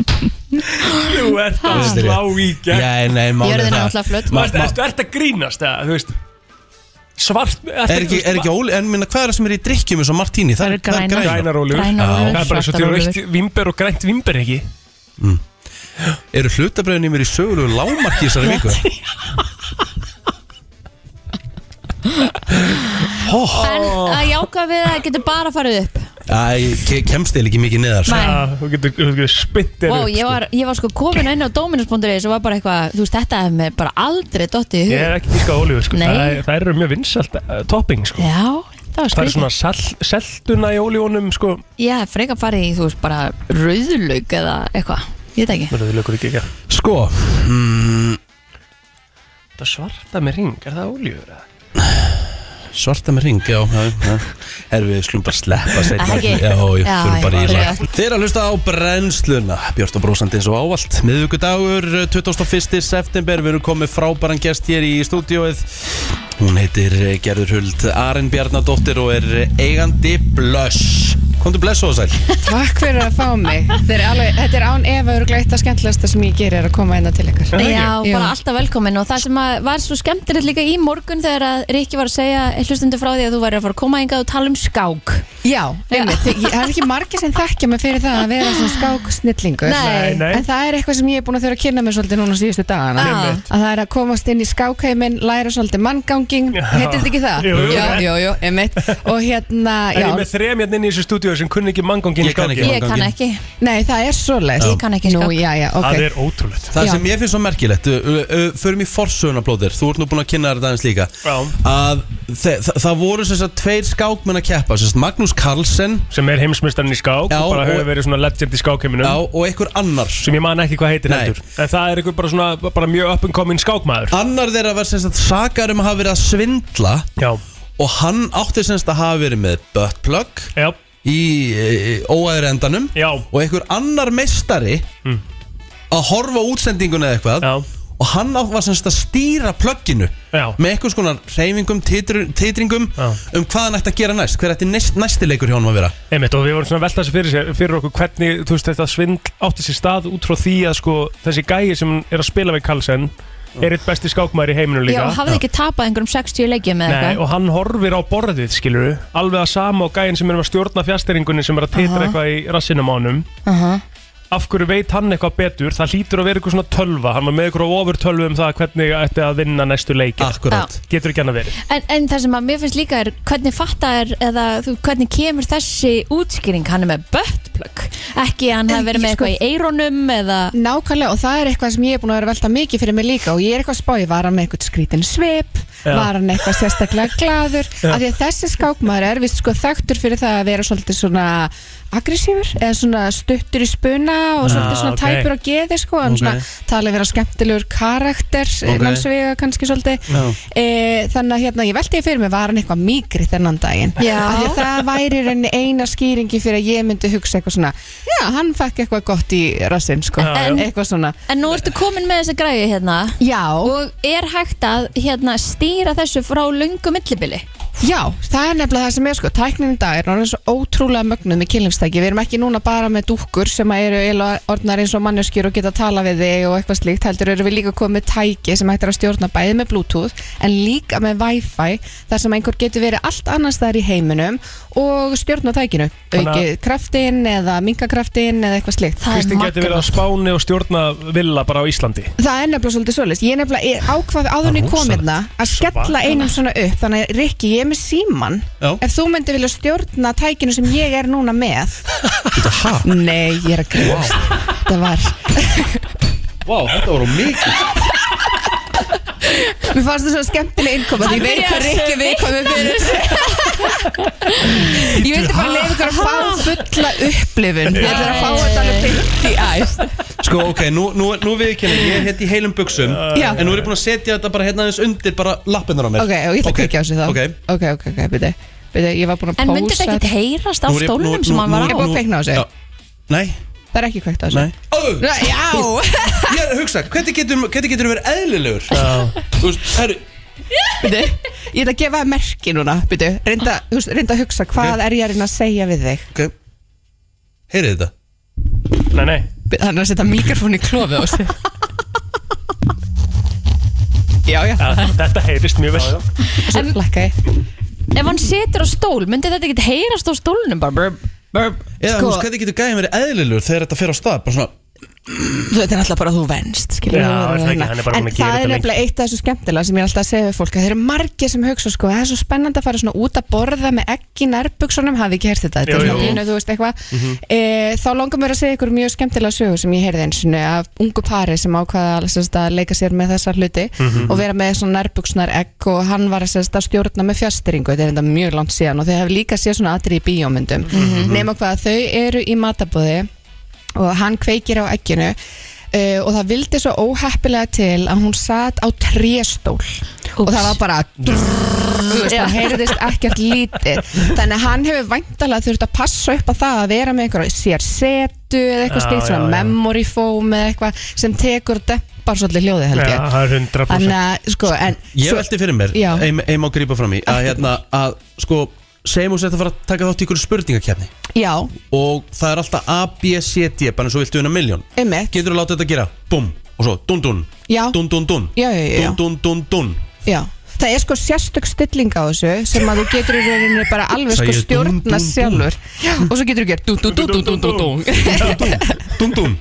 [SPEAKER 3] Þú ert að
[SPEAKER 1] Ha?
[SPEAKER 3] slá í gegn
[SPEAKER 1] Já, nei, málið
[SPEAKER 2] Jörðin er
[SPEAKER 1] það.
[SPEAKER 2] náttúrulega flöt.
[SPEAKER 1] Ma-
[SPEAKER 3] Þú
[SPEAKER 1] ma-
[SPEAKER 3] ert- ert að grínast eða, þú veist Svart
[SPEAKER 1] Er ekki, er ekki óli, en minna, hvað er það sem er í drikkjum eins og martíni?
[SPEAKER 2] Það eru grænar.
[SPEAKER 3] Grænar ólífur
[SPEAKER 2] Grænar ólífur,
[SPEAKER 3] Það er bara svo
[SPEAKER 2] svartar
[SPEAKER 3] til
[SPEAKER 2] ólífur.
[SPEAKER 3] raukt vimber og grænt vimber ekki
[SPEAKER 1] Eru hlutabröðin í mér í sögulegu lámarki þessari viku?
[SPEAKER 2] [laughs] En að jáka við að getur bara farið upp
[SPEAKER 1] Æ, ke- kemst þél ekki mikið neðar sko.
[SPEAKER 2] Nei.
[SPEAKER 3] Já, Ah, Þú getur, þú getur spitt
[SPEAKER 2] Vá, ég var, ég var sko komin inn á Dominus.is og var bara eitthvað, þú veist, þetta hef mér bara aldrei dottið í
[SPEAKER 3] Ég
[SPEAKER 2] hug
[SPEAKER 3] er ekki fískað ólífur sko
[SPEAKER 2] Nei.
[SPEAKER 3] Það, er- það eru mjög vinsalt uh, topping sko
[SPEAKER 2] Já, það var
[SPEAKER 3] Það er
[SPEAKER 2] skrítið
[SPEAKER 3] svona sal, seltuna í ólífunum sko
[SPEAKER 2] Ég hef frekar farið í, þú veist, bara rauðlaug eða eitthvað, ég veit ekki
[SPEAKER 3] Mörðu lögur ekki ekki
[SPEAKER 1] Sko mm,
[SPEAKER 3] Þetta svarta með ring, er það ólífur? eða?
[SPEAKER 1] Svarta með ring, já, já, já. Herfi, við skulum bara sleppa seinna.
[SPEAKER 2] Ekki?
[SPEAKER 1] Já, ég
[SPEAKER 2] Já,
[SPEAKER 1] fyrir bara í
[SPEAKER 2] já, já.
[SPEAKER 1] lag Þeir eru að hlusta á brennsluna Björst og brósandi eins og ávallt eh, Miðvíkudagur, 21. september Við erum komið frábæran gest hér í stúdíóið Hún heitir eh, Gerður Huld Arinn Bjarnadóttir og er eh, eigandi Blöss Komdu Blöss og sæl
[SPEAKER 7] Takk fyrir að fá mig Þetta er, alveg, þetta er án efa öruglega eitt af skemmtilegasta sem ég gerir er að koma einna til ykkar
[SPEAKER 2] Já,
[SPEAKER 7] Já.
[SPEAKER 2] bara alltaf velkomin og það sem að var svo skemmtilegt líka í morgun þegar að Rikki var að segja hlustundu frá því að þú væri að fara að koma hingað og tala um skák
[SPEAKER 7] Já, einmitt, Ég- það er ekki margir sem þekkja mig fyrir það að vera svona skáksnillingur
[SPEAKER 2] Nei.
[SPEAKER 3] Nei.
[SPEAKER 7] En það er eitthvað sem ég er búin að þurfa að kynna mér svolítið núna síðustu dagana
[SPEAKER 2] Já. Einmitt.
[SPEAKER 7] Að það er að komast inn í skákheimin, læra svolítið mannganging
[SPEAKER 3] Já.
[SPEAKER 7] Heitir þetta ekki það?
[SPEAKER 3] Jú, jú.
[SPEAKER 7] já, jú, jú, einmitt Og hérna,
[SPEAKER 3] Er ég
[SPEAKER 7] já,
[SPEAKER 3] með þrem hérna inn í þessu stúdíu sem kunni ekki manngangin
[SPEAKER 1] Ég kann ekki
[SPEAKER 2] Ég kann
[SPEAKER 1] mannganginn.
[SPEAKER 2] ekki,
[SPEAKER 7] nei, það er svoleiðis
[SPEAKER 2] Ég kann ekki
[SPEAKER 7] Nú,
[SPEAKER 2] skák.
[SPEAKER 7] já, já, ok
[SPEAKER 3] Það er ótrúlegt
[SPEAKER 1] Það
[SPEAKER 7] Já.
[SPEAKER 1] sem ég finnst svo merkilegt ö, ö, ö, Förum í forsöguna blóðir, þú ert nú búin að kynna þér þetta aðeins líka
[SPEAKER 3] Já.
[SPEAKER 1] Að þe þa það voru þess að tveir skákmenn að keppa sem sagt Magnús Carlsen
[SPEAKER 3] Sem er heimsmyndstarinn í skák
[SPEAKER 1] Já,
[SPEAKER 3] og bara
[SPEAKER 1] og-
[SPEAKER 3] hefur verið svona legend í skákheiminum
[SPEAKER 1] já, og einhver annar
[SPEAKER 3] sem ég man ekki hvað heitir
[SPEAKER 1] Nei.
[SPEAKER 3] heldur en það er einhver bara svona bara mjög up and coming skákmaður
[SPEAKER 1] Annar þeirra var sem sagt sakar um að hafa verið að svindla
[SPEAKER 3] já,
[SPEAKER 1] og hann átti sem sagt að hafa verið með buttplug
[SPEAKER 3] já,
[SPEAKER 1] í e, óæður endanum
[SPEAKER 3] já, Mm.
[SPEAKER 1] og einhver annar meistari að horfa á útsendinguna eða eitthvað
[SPEAKER 3] já,
[SPEAKER 1] og hann átt var sem sagt að stýra plugginu
[SPEAKER 3] já.
[SPEAKER 1] með einhvers konar reyfingum, titr, titringum
[SPEAKER 3] Já.
[SPEAKER 1] um hvað hann ætti að gera næst, hver ætti næst, næsti leikur hjá hann að vera
[SPEAKER 3] Einmitt, og við vorum svona að velta þessu fyrir, sér, fyrir okkur hvernig þú veist, þetta svindl átti sér stað út frá því að sko, þessi gæi sem er að spila við Carlsen er eitt besti skákmaður í heiminu
[SPEAKER 2] já,
[SPEAKER 3] líka
[SPEAKER 2] hafði ekki tapað einhverjum 60 leikjum eða
[SPEAKER 3] Nei,
[SPEAKER 2] eitthvað
[SPEAKER 3] og hann horfir á borðið skilur alveg að sama og gæin sem er að stjórna fjasteringunni sem er að titra
[SPEAKER 2] Aha.
[SPEAKER 3] eitthvað í rassinum á honum
[SPEAKER 7] Aha.
[SPEAKER 3] af hverju veit hann eitthvað betur það hlýtur að vera eitthvað svona tölva hann var með eitthvað ofur tölvu um það hvernig ætti að vinna næstu leiki
[SPEAKER 1] Akkurat
[SPEAKER 3] getur ekki hann að verið
[SPEAKER 2] En, en það sem að mér finnst líka er hvernig fattar eða þú, hvernig kemur þessi útskýring hann er með buttplug ekki að hann hafi verið með
[SPEAKER 7] Sko-
[SPEAKER 2] eitthvað í eironum eða
[SPEAKER 7] Nákvæmlega og það er eitthvað sem ég er búin að vera að velta mikið fyrir mig líka og ég er eitthvað að spáði, var hann með eitthvað skrítin svip,
[SPEAKER 3] Já.
[SPEAKER 7] var hann eitthvað sérstaklega gladur, af því að þessi skákmaður er vist sko þekktur fyrir það að vera svolítið svona aggressífur eða svona stuttur í spuna og
[SPEAKER 3] Já,
[SPEAKER 7] svolítið svona
[SPEAKER 3] ok.
[SPEAKER 7] tæpur á geði sko, hann
[SPEAKER 1] Ok.
[SPEAKER 7] svona talið vera skemmtilegur karakter,
[SPEAKER 1] Ok.
[SPEAKER 7] okay. mannsvega kannski svolítið,
[SPEAKER 1] Já.
[SPEAKER 7] e, þannig að hérna ég velti fyrir mig, var hann eitthvað mýgri þennan daginn,
[SPEAKER 2] Já.
[SPEAKER 7] af því að það væri í rauninni eina skýringi fyrir að ég myndi hugsa eitthvað svona, já, hann fekk eitthvað gott í rassinn, sko,
[SPEAKER 3] Já,
[SPEAKER 2] já.
[SPEAKER 7] eitthvað svona
[SPEAKER 2] En nú ertu komin með þessa græði hérna
[SPEAKER 7] Já,
[SPEAKER 2] og er hægt að hérna, stýra þessu frá lungu millibili
[SPEAKER 7] já, það er nefnilega það sem er sko tæknin í dag er orðin svo ótrúlega mögnuð með kynlífstæki, við erum ekki núna bara með dúkkur sem að eru eiginlega orðnar eins og manneskjur og geta tala við þig og eitthvað slíkt heldur eru við líka komið með tæki sem hægt er að stjórna bæði með bluetooth en líka með wifi þar sem einhver getur verið allt annars þar í heiminum og stjórna tækinu
[SPEAKER 3] Þannig að-
[SPEAKER 7] aukið kraftin eða minkakraftin eða eitthvað slíkt
[SPEAKER 2] Það
[SPEAKER 3] Kristín getur verið á
[SPEAKER 2] magnað.
[SPEAKER 3] spáni og stjórna villa bara á Íslandi
[SPEAKER 7] Það er nefnilega svolítið svolítið Ég er nefnilega ég ákvað áður en ég kom
[SPEAKER 3] Rosalegt.
[SPEAKER 7] hérna að skella
[SPEAKER 3] Svakalegt.
[SPEAKER 7] einum svona upp Þannig að Rikki, ég er með síman
[SPEAKER 1] Já.
[SPEAKER 7] Ef þú myndir vilja stjórna tækinu sem ég er núna með
[SPEAKER 1] Þetta ha?
[SPEAKER 7] Nei, ég er að grjóðast Þetta var
[SPEAKER 1] Vá, þetta voru mikið
[SPEAKER 7] Mér fannst það svo skemmtileg innkoma Því ég veit hvað Rikki viðkomi
[SPEAKER 2] [laughs]
[SPEAKER 7] fyrir Ég vildi bara leiða ykkur að fá fulla upplifun Ég ætla að fá þetta alveg byggt í æst
[SPEAKER 1] [laughs] Sko, ok, nú, nú, nú við ekki henni, ég heiti í heilum buksum
[SPEAKER 7] Já.
[SPEAKER 1] En nú er ég búin að setja þetta bara hérna aðeins undir bara lappinnar á mér
[SPEAKER 7] Ok, og ég ætla að kveikja á þessu þá
[SPEAKER 1] Ok,
[SPEAKER 7] ok, ok, ok, byrja Byrja, ég var búin að
[SPEAKER 2] En myndi þetta
[SPEAKER 7] pósa
[SPEAKER 2] ekki heyrast á
[SPEAKER 1] Nú er ég- nú-
[SPEAKER 2] stólnum sem
[SPEAKER 1] nú-
[SPEAKER 2] hann
[SPEAKER 1] nú-
[SPEAKER 2] var á?
[SPEAKER 7] Ég er búin
[SPEAKER 1] nú-
[SPEAKER 7] að kveikna á þessu
[SPEAKER 1] Já. Nei,
[SPEAKER 7] Það er ekki kveikt á þessu
[SPEAKER 1] nei Ó,
[SPEAKER 7] Nei, Já
[SPEAKER 1] Ég er að hugsa, hvernig getur, hvernig getur verið eðlilegur? Þú veist, herru,
[SPEAKER 7] Bíddu, ég ætla að gefa það merki núna bíddu, reynda, þú veist, reynda að hugsa hvað er ég að reyna að segja við þig
[SPEAKER 1] ok Heyrið þetta?
[SPEAKER 3] Nei, nei,
[SPEAKER 7] Bíddu, hann er að setja mikrofón í klofi á sig já, já,
[SPEAKER 3] ja, þetta heyrist mjög vel
[SPEAKER 7] svo
[SPEAKER 2] En-
[SPEAKER 7] lakka ég
[SPEAKER 2] Ef hann setur á stól, myndi þetta ekki heyrast á stólnum? Bara, brr, brr.
[SPEAKER 1] Eða,
[SPEAKER 7] Sko-
[SPEAKER 1] þú veist, hvernig getur gæðin verið eðlilegur þegar þetta fer á stað? Bara svona,
[SPEAKER 7] þú veit, þetta er alltaf bara að þú venst skilur
[SPEAKER 3] Já,
[SPEAKER 7] við,
[SPEAKER 3] er það ekki,
[SPEAKER 7] hérna.
[SPEAKER 3] hann er bara
[SPEAKER 7] en
[SPEAKER 3] búinn að gera
[SPEAKER 7] það er
[SPEAKER 3] þetta
[SPEAKER 7] nefnilega eitt af þessu skemmtilega sem ég er alltaf að segja við fólk að þeir eru margir sem hugsa sko, það er svo spennandi að fara svona út að borða með ekki nærbuksunum, hafið ekki hert þetta þetta
[SPEAKER 3] Jú,
[SPEAKER 7] er
[SPEAKER 3] Mhm.
[SPEAKER 7] svona
[SPEAKER 3] jú.
[SPEAKER 7] pínu, þú veist eitthvað e, þá langar mér að segja ykkur mjög skemmtilega sögu sem ég heyrði eins af ungu pari sem ákvaða sérst, að leika sér með þessa hluti
[SPEAKER 3] Mhm.
[SPEAKER 7] og vera með svona nærbuksunar egg og hann var sérst, að stjórna með fjastiringu þetta er enda mjög langt síðan og þau hef líka séð svona atri í
[SPEAKER 3] Mhm.
[SPEAKER 7] bíómyndum nema hvað þau eru í matabóði og hann kveikir á egginu uh, og það vildi svo óheppilega til að hún satt á tréstól og það var bara drrrr, þú veist,
[SPEAKER 2] Já.
[SPEAKER 7] það heyrðist ekkert lítið þannig að hann hefur væntalega þurft að passa upp á það að vera með einhverja sér setu eða eitthvað
[SPEAKER 3] Já, já,
[SPEAKER 7] slíkt
[SPEAKER 3] já.
[SPEAKER 7] svona memory foam eða eitthvað sem tekur deppar svolítið hljóði held
[SPEAKER 3] Já,
[SPEAKER 7] ég
[SPEAKER 3] það er 100%
[SPEAKER 7] þannig að sko en
[SPEAKER 1] Ég
[SPEAKER 7] svo-
[SPEAKER 1] veldi fyrir mér,
[SPEAKER 7] Já.
[SPEAKER 1] ein, ein má grípa fram í að, hérna, að sko, segjum hún sér að fara að taka þátt í ykkur spurningakefni
[SPEAKER 7] já,
[SPEAKER 1] og það er alltaf A, B, C, D bara eins og viltu vinna miljón
[SPEAKER 7] einmitt
[SPEAKER 1] Getur þú að láta þetta gera, bum, og svo dun dun,
[SPEAKER 7] Já.
[SPEAKER 1] dun dun dun
[SPEAKER 7] Já, já, já, já.
[SPEAKER 1] dun dun dun dun
[SPEAKER 7] já Það er sko sérstök stilling á þessu sem að þú getur í rauninni bara alveg
[SPEAKER 1] Sagði
[SPEAKER 7] sko
[SPEAKER 1] ég dún, dún,
[SPEAKER 7] stjórna
[SPEAKER 1] dún?
[SPEAKER 7] sjálfur Já, og svo getur þú gert dú, dú, dú, dú, dú, dú, dú.
[SPEAKER 1] dun dun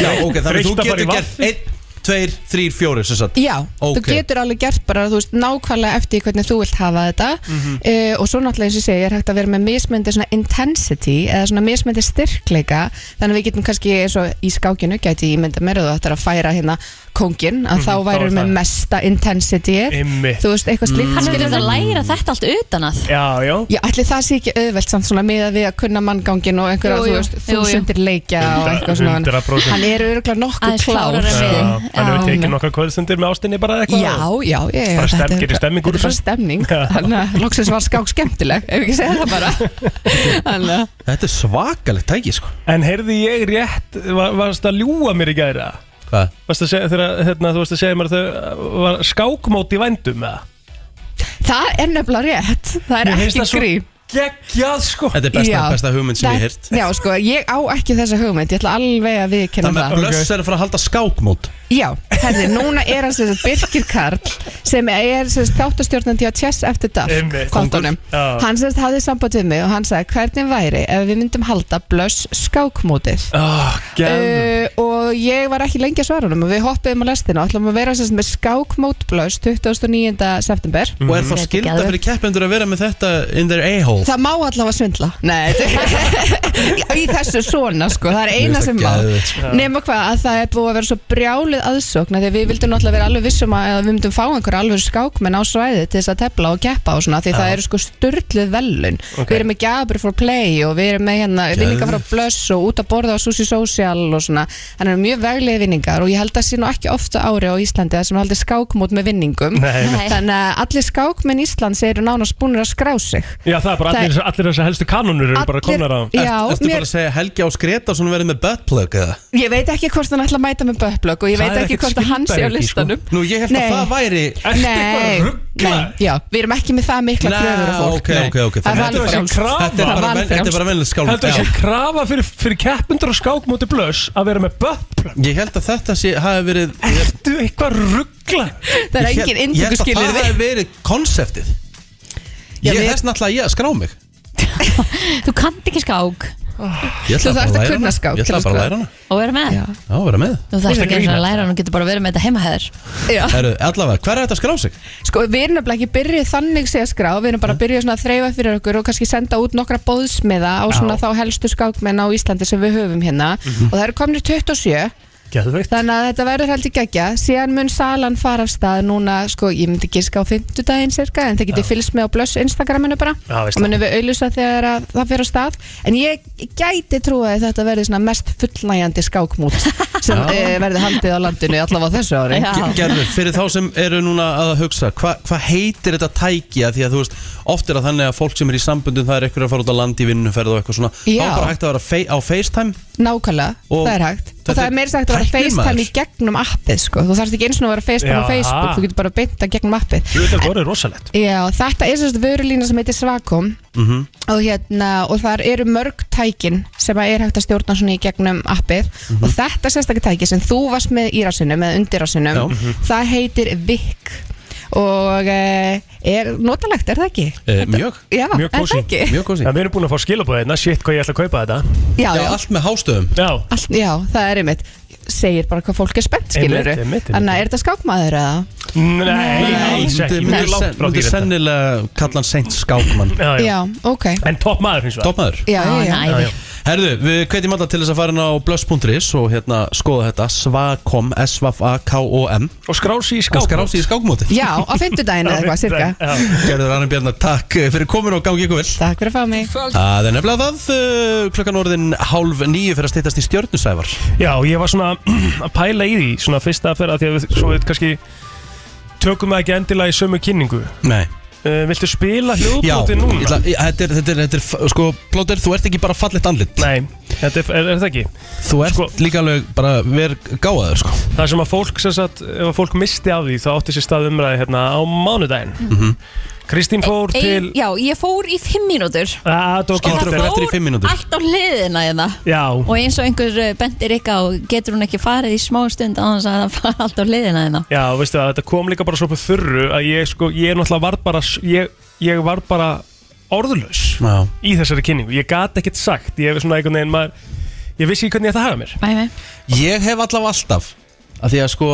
[SPEAKER 1] Já, ok, þannig að þú
[SPEAKER 3] Þreytt að fara í
[SPEAKER 1] getur gert
[SPEAKER 3] vaffið.
[SPEAKER 1] 1, 2, 3, 4 sem sagt
[SPEAKER 7] Já, þú
[SPEAKER 1] Ok.
[SPEAKER 7] getur alveg gert bara þú veist, nákvæmlega eftir því hvernig þú vilt hafa þetta mm
[SPEAKER 3] Mhm.
[SPEAKER 7] og svo náttúrulega eins og ég segi er hægt að vera með mismöndi svona intensity eða svona mismöndi styrkleika þannig að við getum kannski eins og í skákinu gæti ég mynda mér að þú ættir að færa hérna kóngin að þá
[SPEAKER 3] Mhm, þá er
[SPEAKER 7] værum við
[SPEAKER 3] það.
[SPEAKER 7] mesta intensity
[SPEAKER 3] Einmitt. Mhm.
[SPEAKER 7] þú veist eitthvað slíkt
[SPEAKER 2] Hann er
[SPEAKER 7] skilurðu?
[SPEAKER 2] verið að læra þetta allt utan að
[SPEAKER 3] Já, já
[SPEAKER 7] Já, ætli það sé ekki auðvelt samt svona með að við að kunna manngangin og einhverja,
[SPEAKER 2] Jú,
[SPEAKER 7] þú
[SPEAKER 2] jú,
[SPEAKER 7] veist,
[SPEAKER 2] jú, jú.
[SPEAKER 7] þúsundir leikja og eitthvað svona.
[SPEAKER 3] 100%
[SPEAKER 7] Hann er örgulega nokkuð
[SPEAKER 2] Aðeins klárari en
[SPEAKER 7] klár.
[SPEAKER 2] við.
[SPEAKER 3] Já, Hann hefur
[SPEAKER 7] Já.
[SPEAKER 3] tekið nokkað kvöðstundir með ástinni bara eða eitthvað
[SPEAKER 7] Já, já, ég
[SPEAKER 3] Bara
[SPEAKER 7] þetta
[SPEAKER 3] stem-
[SPEAKER 7] er-
[SPEAKER 3] gerir stemming úr
[SPEAKER 7] þetta er bara
[SPEAKER 3] þessu.
[SPEAKER 7] stemning,
[SPEAKER 3] Já.
[SPEAKER 7] þannig að loksins var skák skemmtileg, ef ekki segja það
[SPEAKER 3] [laughs]
[SPEAKER 7] bara Þannig að,
[SPEAKER 1] Þetta er svakalegt tæki, sko
[SPEAKER 3] En heyrði ég rétt, var, varst að ljúa mér í gæra?
[SPEAKER 1] Hvað?
[SPEAKER 3] Varst að segja, þegar, hérna, þú varst að segja mér að þau var skákmót í vændum eða?
[SPEAKER 7] það er nefnilega rétt það er
[SPEAKER 3] Mér finnst
[SPEAKER 7] ekki
[SPEAKER 3] það svo
[SPEAKER 7] grín
[SPEAKER 3] geggjað sko
[SPEAKER 1] Þetta er besta,
[SPEAKER 7] Já.
[SPEAKER 1] besta hugmynd sem ég hef heyrt
[SPEAKER 7] Það- Já, sko, ég á ekki þessa hugmynd, ég ætla alveg að viðkenna
[SPEAKER 1] Þannig
[SPEAKER 7] það
[SPEAKER 1] að Blöss er að fara að halda skákmót
[SPEAKER 7] Já, herði, núna er hann sem sagt Birkir Karl sem er sem sagt þáttastjórnandi á Chess After Dark
[SPEAKER 3] Einmitt.
[SPEAKER 7] þáttunum,
[SPEAKER 3] Já.
[SPEAKER 7] hann sem sagt hafði samband við mig og hann sagði hvernig væri ef við myndum halda blöss skákmótið
[SPEAKER 3] oh,
[SPEAKER 7] Uh, og ég var ekki lengi að svara honum og við hoppuðum á lestina og ætlum að vera sem sagt með skákmótblöss 29. september
[SPEAKER 1] Og er þá
[SPEAKER 2] Þetta er
[SPEAKER 1] skilda
[SPEAKER 2] geðveikt.
[SPEAKER 1] fyrir keppendur að vera með þetta in their a-hole
[SPEAKER 7] Það má allavega svindla Nei, þetta- [laughs] í þessu svona sko Það er eina sem má
[SPEAKER 1] geðveikt,
[SPEAKER 7] Nefna hvað að það er búið að vera svo brjálið aðsókn af Því að við vildum náttúrulega vera alveg vissum að að við myndum fá einhver alveg skákmenn á svæði til þess að tepla og keppa og svona Því það eru sko styrluð velun
[SPEAKER 3] Ok.
[SPEAKER 7] Við erum með Gabri for Play og við erum með hérna vinningar frá Blöss og út að borða á Susi Social og svona Þannig eru mjög veglið vinningar og ég held að sé nú ekki ofta ári á Íslandi þar sem haldið skákmót með vinningum
[SPEAKER 3] Nei,
[SPEAKER 2] Nei.
[SPEAKER 7] Þannig að allir skákmenn Íslands eru nánast búinir að skrá sig
[SPEAKER 3] Já það er bara allir, allir þessar helstu kanonur eru bara komnar á
[SPEAKER 7] Já,
[SPEAKER 1] Ertu
[SPEAKER 7] mér,
[SPEAKER 1] bara að segja Helgi á Gretarsson verið með buttplug eða?
[SPEAKER 7] ég veit ekki hvort hann ætla að mæta með Böblögg og ég
[SPEAKER 3] Það
[SPEAKER 7] veit
[SPEAKER 3] er
[SPEAKER 7] ekki
[SPEAKER 3] ekkert
[SPEAKER 7] hvort að hann sé á
[SPEAKER 3] skyldari ekki, sko.
[SPEAKER 7] listanum
[SPEAKER 1] Nú, ég held
[SPEAKER 7] Nei.
[SPEAKER 1] að það væri
[SPEAKER 3] Ertu eitthvað ruggla?
[SPEAKER 7] nei, já, við erum ekki með það mikla
[SPEAKER 1] Nei,
[SPEAKER 7] kröfur af fólk
[SPEAKER 1] ok,
[SPEAKER 7] nei.
[SPEAKER 1] ok, ok,
[SPEAKER 7] Það
[SPEAKER 1] þannig að
[SPEAKER 7] er
[SPEAKER 3] Heldur þessi
[SPEAKER 7] valfrjálst
[SPEAKER 3] krafa
[SPEAKER 1] Þetta er bara,
[SPEAKER 7] Það
[SPEAKER 1] ven, þetta er bara venlega skáld
[SPEAKER 3] Heldur þessi krafa fyrir, fyrir keppundur á skákmóti blöss að vera með böpp
[SPEAKER 1] Ég held að þetta sé, hafi verið ég-
[SPEAKER 3] Ertu eitthvað ruggla?
[SPEAKER 7] Það er
[SPEAKER 1] ég held- Ég held
[SPEAKER 7] engin
[SPEAKER 1] að
[SPEAKER 7] indökuskilur
[SPEAKER 1] það hafi verið konseptið
[SPEAKER 7] Já,
[SPEAKER 1] Ég
[SPEAKER 7] við-
[SPEAKER 1] þess náttúrulega að ég að skrá mig
[SPEAKER 2] Þú kannt ekki skák
[SPEAKER 1] Ég
[SPEAKER 7] Þú
[SPEAKER 1] ætla bara
[SPEAKER 7] þarft að
[SPEAKER 1] læra
[SPEAKER 7] kunna
[SPEAKER 1] hana.
[SPEAKER 7] skák
[SPEAKER 1] Ég
[SPEAKER 7] til
[SPEAKER 1] ætla
[SPEAKER 7] að
[SPEAKER 1] bara að
[SPEAKER 7] skrá.
[SPEAKER 1] læra hana
[SPEAKER 2] og vera með
[SPEAKER 7] Já.
[SPEAKER 1] Já, vera með
[SPEAKER 2] Þú þarfst ekki eins og
[SPEAKER 3] grínast.
[SPEAKER 2] að læra hann og getur bara verið með þetta heima heimaheður
[SPEAKER 1] Heru, Allavega, hver er þetta að skrá sig?
[SPEAKER 7] Sko, við erum nefnilega ekki byrjuð þannig sé að skrá Við erum bara byrjuð svona að þreifa fyrir okkur og kannski senda út nokkra bóðsmiða á svona þá helstu skákmenn á Íslandi sem við höfum hérna og það eru komnir 27
[SPEAKER 3] Mhm. Geðveikt
[SPEAKER 7] Þannig að þetta verður heldur geggja Síðan mun salan fara af stað núna sko, Ég myndi giska á fimmtudaginn cirka En það geti fylgst með á blöss Instagraminu bara
[SPEAKER 3] Já, veist
[SPEAKER 7] Og munum við auðlusa þegar að það fyrir af stað En ég gæti trúa að þetta verður svona mest fullnægjandi skákmút Sem e, verður haldið á landinu Allavega á þessu ári
[SPEAKER 2] Já.
[SPEAKER 1] Ge- Gerður, fyrir þá sem eru núna að hugsa hva- Hvað heitir þetta tæki? Af Því að þú veist, oft er það þannig að fólk sem er í sambundum Það er ekkur að fara út á landi í vinnuferð og eitthvað svona Þá
[SPEAKER 7] Já.
[SPEAKER 1] er bara hægt að vera fei- á FaceTime
[SPEAKER 7] Nákvæmlega,
[SPEAKER 1] Og
[SPEAKER 7] það er hægt Og
[SPEAKER 1] þetta
[SPEAKER 7] það er meira sagt að vera
[SPEAKER 1] tækni,
[SPEAKER 7] FaceTime í
[SPEAKER 1] maður.
[SPEAKER 7] gegnum appið sko. Þú þarfst ekki eins og að vera FaceTime á
[SPEAKER 3] Já.
[SPEAKER 7] Facebook Þú getur bara að beinta gegnum appið
[SPEAKER 3] Þú veit að það voru rosalegt
[SPEAKER 7] Já, þetta er sérst vörulína sem heitir Svakom
[SPEAKER 1] Mhm.
[SPEAKER 7] og, hérna, og þar eru mörg tækin sem að er hægt að stjórna svona í gegnum appið
[SPEAKER 1] Mhm.
[SPEAKER 7] og þetta sérstaklega tæki sem þú varst með í rassinum eða undir rassinum,
[SPEAKER 1] Já.
[SPEAKER 7] Mhm.
[SPEAKER 1] Mhm.
[SPEAKER 7] það heitir VIK og eh, er notalegt, er það ekki?
[SPEAKER 1] Eh, Mjög,
[SPEAKER 7] Já,
[SPEAKER 3] Mjög
[SPEAKER 7] er
[SPEAKER 3] kósí.
[SPEAKER 7] það ekki?
[SPEAKER 1] mjög góð
[SPEAKER 3] Já, við erum búin að fá skilabóðina, shit hvað ég ætla að kaupa þetta
[SPEAKER 7] Já,
[SPEAKER 1] Já,
[SPEAKER 7] já,
[SPEAKER 1] allt með hástöðum
[SPEAKER 3] Já,
[SPEAKER 7] allt, já, það er einmitt segir bara hvað fólk er spennt, skilur
[SPEAKER 3] Einmitt, einmitt, einmitt.
[SPEAKER 7] Þannig að er þetta skákmaður eða?
[SPEAKER 3] nei, alls
[SPEAKER 1] Myndi
[SPEAKER 3] ekki, mjög langt frá
[SPEAKER 1] myndi
[SPEAKER 3] því þetta.
[SPEAKER 1] sennilega kalla hann Seint Skákmann
[SPEAKER 3] Já, já.
[SPEAKER 7] Já, ok
[SPEAKER 3] En topp maður hins vegar
[SPEAKER 1] Tópmaður
[SPEAKER 7] Já, já, já.
[SPEAKER 2] Næði
[SPEAKER 3] já.
[SPEAKER 1] Herðu, við hvetjum alla til þess að fara inn á blöss.is og hérna skoða þetta svakom, s-v-a-k-o-m
[SPEAKER 3] Og skrási í
[SPEAKER 1] og
[SPEAKER 3] skáp
[SPEAKER 1] skrási í skákmóti
[SPEAKER 7] Já, á fimmtudaginn eða eitthvað, cirka
[SPEAKER 1] Gerður Arnum Bjarnar, takk eh, fyrir komin og gangi ykkur vel
[SPEAKER 7] Takk fyrir að fá mig
[SPEAKER 1] Það er nefnilega það, eh, klukkan orðin hálf nýju fyrir að steytast í stjörnusævar
[SPEAKER 3] Já, ég var svona [clears throat] að pæla í því Svona fyrsta aðferð af Því að við, svo við kannski Tökum það ekki endilega í sömu kynningu
[SPEAKER 1] Nei
[SPEAKER 3] uh, Viltu spila
[SPEAKER 1] Já,
[SPEAKER 3] hljóðbóti núna?
[SPEAKER 1] ég ætla- ég- þetta er, þetta er, þetta er, f- sko, Plóter, þú ert ekki bara fallegt andlit
[SPEAKER 3] Nei, þetta er, er, er það ekki
[SPEAKER 1] Þú ert
[SPEAKER 3] Sko-
[SPEAKER 1] líka alveg bara verð gáðaður, sko
[SPEAKER 3] Það sem að fólk, sem sagt, ef að fólk misti af því þá átti sér stað umræði hérna á mánudaginn Kristín fór til
[SPEAKER 2] Já, ég fór í fimm mínútur
[SPEAKER 3] að það var
[SPEAKER 1] Skildur
[SPEAKER 3] gott
[SPEAKER 1] okkur
[SPEAKER 3] eftir.
[SPEAKER 1] eftir í fimm mínútur.
[SPEAKER 2] allt á hliðina hérna
[SPEAKER 3] Já,
[SPEAKER 2] Og eins og einhver eh, bendir ykkar og getur hún ekki farið í smá stund á þess að það [laughs] fara allt á hliðina hérna
[SPEAKER 3] já, veistu það, þetta kom líka bara svo på þurru að ég sko, ég er náttúrulega var bara ég, ég var bara orðlaus
[SPEAKER 1] Já,
[SPEAKER 3] í þessari kynningu, ég gat ekkert sagt ég er svona einhvern veginn maður ég vissi ekki hvernig ég ætti að hafa mér
[SPEAKER 2] Æ, nei.
[SPEAKER 1] Ég hef allavega alltaf að Því að sko,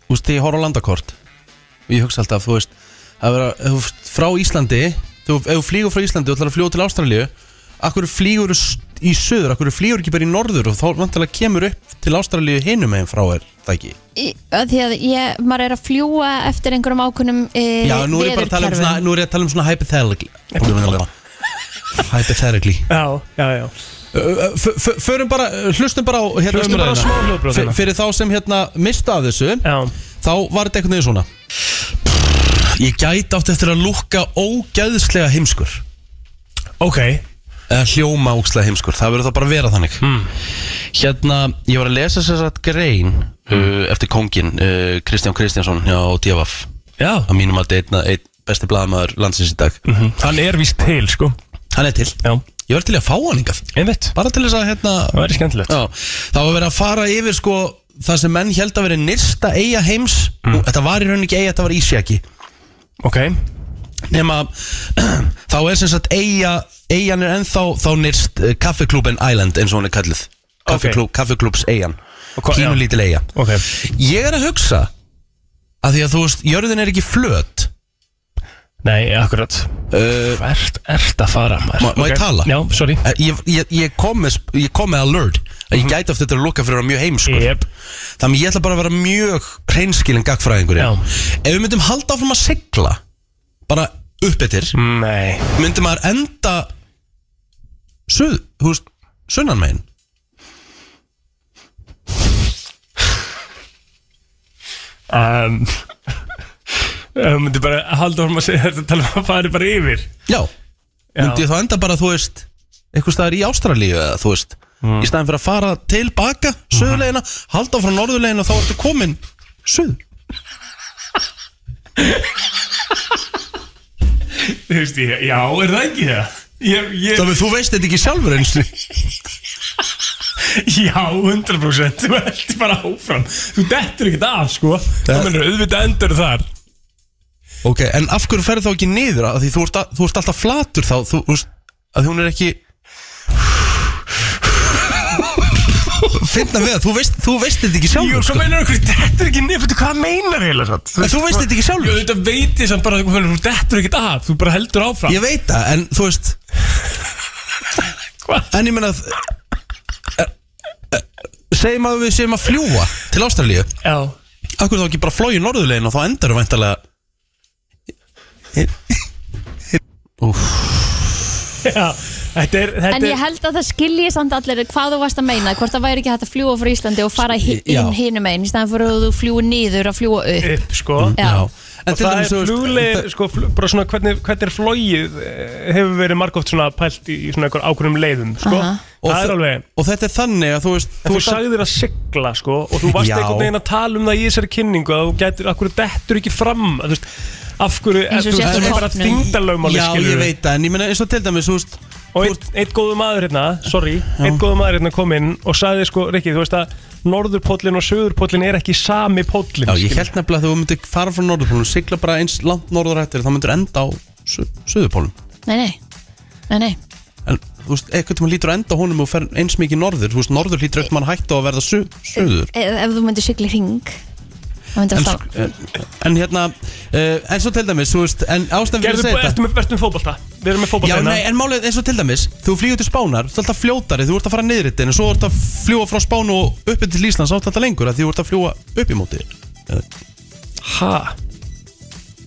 [SPEAKER 1] þú veist, ég horf á landakort og ég hugsa alltaf, þú veist að vera, ef þú ert frá Íslandi þú, ef þú flýgur frá Íslandi og ætlar að fljóða til Ástralíu Akkur flýgur í söður, akkur flýgur ekki bara í norður og þá vantilega kemur upp til Ástralíu hinum einn frá er það ekki
[SPEAKER 2] Í, að Því að ég, maður er að fljúa eftir einhverjum ákunnum e,
[SPEAKER 1] Já, nú er ég bara að tala um svona, nú er ég að tala um svona hypothetically Hypothetically
[SPEAKER 3] Já, já, já
[SPEAKER 1] Ö, ö, f- f- Förum bara, ö, hlustum bara á hérna
[SPEAKER 3] Hlustum bara á
[SPEAKER 1] umræðuna.
[SPEAKER 3] smá hljóðbrot
[SPEAKER 1] F-
[SPEAKER 3] hérna.
[SPEAKER 1] Fyrir þá sem hérna mista af þessu
[SPEAKER 3] Já,
[SPEAKER 1] Þá var þetta einhvern veginn svona Ég gæti átt eftir að lúkka ógæðslega heimskur
[SPEAKER 3] ok
[SPEAKER 1] Eða hljóma ógæðslega heimskur Það verður þá bara að vera þannig Hérna, ég var að lesa sér satt grein uh, Eftir kongin uh, Kristján Kristjánsson hjá Djavaf
[SPEAKER 3] Já,
[SPEAKER 1] Að mínum að þetta er einn einn besti blaðamaður landsins í dag
[SPEAKER 3] Mhm. hann er víst til, sko
[SPEAKER 1] Hann er til
[SPEAKER 3] Já,
[SPEAKER 1] Ég var til í að fá hann hingað
[SPEAKER 3] einmitt,
[SPEAKER 1] Bara til þess að hérna
[SPEAKER 3] það væri skemmtilegt
[SPEAKER 1] Já, það var verið að fara yfir sko það sem menn held að verið nyrsta eiga heims mm. þetta var í rauninni ekki eiga, þetta var Ísjaki
[SPEAKER 3] Ok,
[SPEAKER 1] nema [clears throat] þá er sem sagt eiga eigan er ennþá þá nyrst uh, kaffeklúben Island eins og hún er kalluð Kaffeklú, kaffeklúbs eigan
[SPEAKER 3] Og hvað-
[SPEAKER 1] pínu lítil eiga
[SPEAKER 3] ok
[SPEAKER 1] ég er að hugsa að því að þú veist, jörðin er ekki flöt
[SPEAKER 3] Nei, akkurat
[SPEAKER 1] uh,
[SPEAKER 3] Hvert ert að fara maður?
[SPEAKER 1] Má- má ég
[SPEAKER 3] Ok.
[SPEAKER 1] tala?
[SPEAKER 3] Já, sorry
[SPEAKER 1] eh, ég, ég, ég kom með, sp- ég kom með alert að
[SPEAKER 3] Mhm.
[SPEAKER 1] ég gæti aftur þetta að lukka fyrir að vera mjög heimskur
[SPEAKER 3] Jep.
[SPEAKER 1] Þannig ég ætla bara að vera mjög reynskilin gagfræðingur
[SPEAKER 3] Já.
[SPEAKER 1] Ef við myndum halda áfram að sigla bara upp eftir
[SPEAKER 3] Nei
[SPEAKER 1] myndum maður enda suð, þú veist, sunnan megin
[SPEAKER 3] um, [laughs] Þú myndir bara halda orðum að segja þetta tala um að fara bara yfir
[SPEAKER 1] Já,
[SPEAKER 3] Já,
[SPEAKER 1] myndi ég þá enda bara, þú veist eitthvað staðar í Ástralíu eða þú veist í staðan fyrir að fara til baka suðulegina, halda áfram norðulegina og þá ertu komin suð
[SPEAKER 3] þú veist ég, já, er það ekki það? Ég, ég,
[SPEAKER 1] Þannig þú veist þetta ekki sjálfur eins
[SPEAKER 3] já, 100% Þú heldur bara áfram Þú dettur ekkert af, sko Þú myndir auðvitað endur þar
[SPEAKER 1] Ok, en af hverju ferð þá ekki niður að því þú ert, að, þú ert alltaf flatur þá þú, þú veist, að hún er ekki finna við að þú veist þú veist þetta ekki
[SPEAKER 3] Jú,
[SPEAKER 1] sjálfur
[SPEAKER 3] svo
[SPEAKER 1] sko.
[SPEAKER 3] meinar okkur, dettur ekki niður Fyrir hvað meinar heila satt?
[SPEAKER 1] En þú veist þetta ekki
[SPEAKER 3] Jú,
[SPEAKER 1] sjálfur
[SPEAKER 3] þetta veit ég samt bara Þú dettur ekkert af, þú bara heldur áfram
[SPEAKER 1] Ég veit það, en þú veist
[SPEAKER 3] Hvað?
[SPEAKER 1] En ég meina að segjum að við séum að fljúa til Ástralíu
[SPEAKER 3] Já
[SPEAKER 1] af hverju þá ekki bara flóið norðulegin og þá endar við væntalega Úf
[SPEAKER 3] Já, þetta er, þetta
[SPEAKER 2] En
[SPEAKER 3] er
[SPEAKER 2] ég held að það skilji samt allir hvað þú varst að meina, hvort það væri ekki hægt að fljúa frá Íslandi og fara hi-
[SPEAKER 1] Já.
[SPEAKER 2] inn hinum einn í staðan fyrir að þú fljúi niður að fljúa upp
[SPEAKER 3] upp, sko
[SPEAKER 2] Já.
[SPEAKER 1] En
[SPEAKER 3] Og
[SPEAKER 1] til
[SPEAKER 3] það er
[SPEAKER 1] dæmis, þú veist,
[SPEAKER 3] fluglegir,
[SPEAKER 1] það-
[SPEAKER 3] sko, fl bara svona hvernig, hvernig er flogið eh, hefur verið margótt svona pælt í í svona einhver ákveðnum leiðum, sko.
[SPEAKER 2] Aha.
[SPEAKER 1] Og
[SPEAKER 3] Það er
[SPEAKER 1] þa-
[SPEAKER 3] alveg,
[SPEAKER 1] Og þetta er þannig að þú veist
[SPEAKER 3] þú
[SPEAKER 1] ert að-
[SPEAKER 3] sagðir að sigla, sko, og þú varst
[SPEAKER 1] Já.
[SPEAKER 3] einhvern veginn að tala um það í þessari kynningu að þú getur, af hverju dettur ekki fram, að þú veist, af hverju,
[SPEAKER 2] Eins og
[SPEAKER 3] þú
[SPEAKER 2] sést
[SPEAKER 3] veist,
[SPEAKER 1] á
[SPEAKER 3] það er bara
[SPEAKER 2] toppnum.
[SPEAKER 3] þingdalögmáli,
[SPEAKER 1] Já,
[SPEAKER 3] skilur
[SPEAKER 1] ég veit það, en ég meina eins og til dæmis, þú veist
[SPEAKER 3] Og einn ein góðu maður hérna, sorry, einn góðu maður hérna kom inn og sagði, sko, Rikki, þú veist að norðurpóllin og söðurpóllin er ekki sami póllin,
[SPEAKER 1] Já, ég held nefnilega að þú myndir fara frá norðurpólum sigla bara eins langt norður hættir þá myndir enda á su suðurpólum
[SPEAKER 2] Nei, nei, nei, nei.
[SPEAKER 1] En þú veist, eitthvað tíma lítur að enda á honum og fer eins mikið norður Þú veist, norður lítur eitthvað mann hættu á að verða su suður
[SPEAKER 2] Ef, ef þú myndir sigla í ring þá myndir
[SPEAKER 1] En,
[SPEAKER 3] sko,
[SPEAKER 2] alltaf
[SPEAKER 1] sk- en, En hérna, uh, en svo til dæmis, þú veist, en ástæðan fyrir að
[SPEAKER 3] Gerðu,
[SPEAKER 1] segja þetta
[SPEAKER 3] ertu með, ertu með fótbolta? Við erum með fótbolta hérna.
[SPEAKER 1] Já, nei, en málið, eins og til dæmis, þú flýgur til Spánar, þú ert alltaf fljótari, þú ert að fara niður þetta En svo ert að fljúa frá Spán og upp til Íslands, þá ert alltaf lengur að Því þú ert að fljúa upp í móti
[SPEAKER 3] Ha?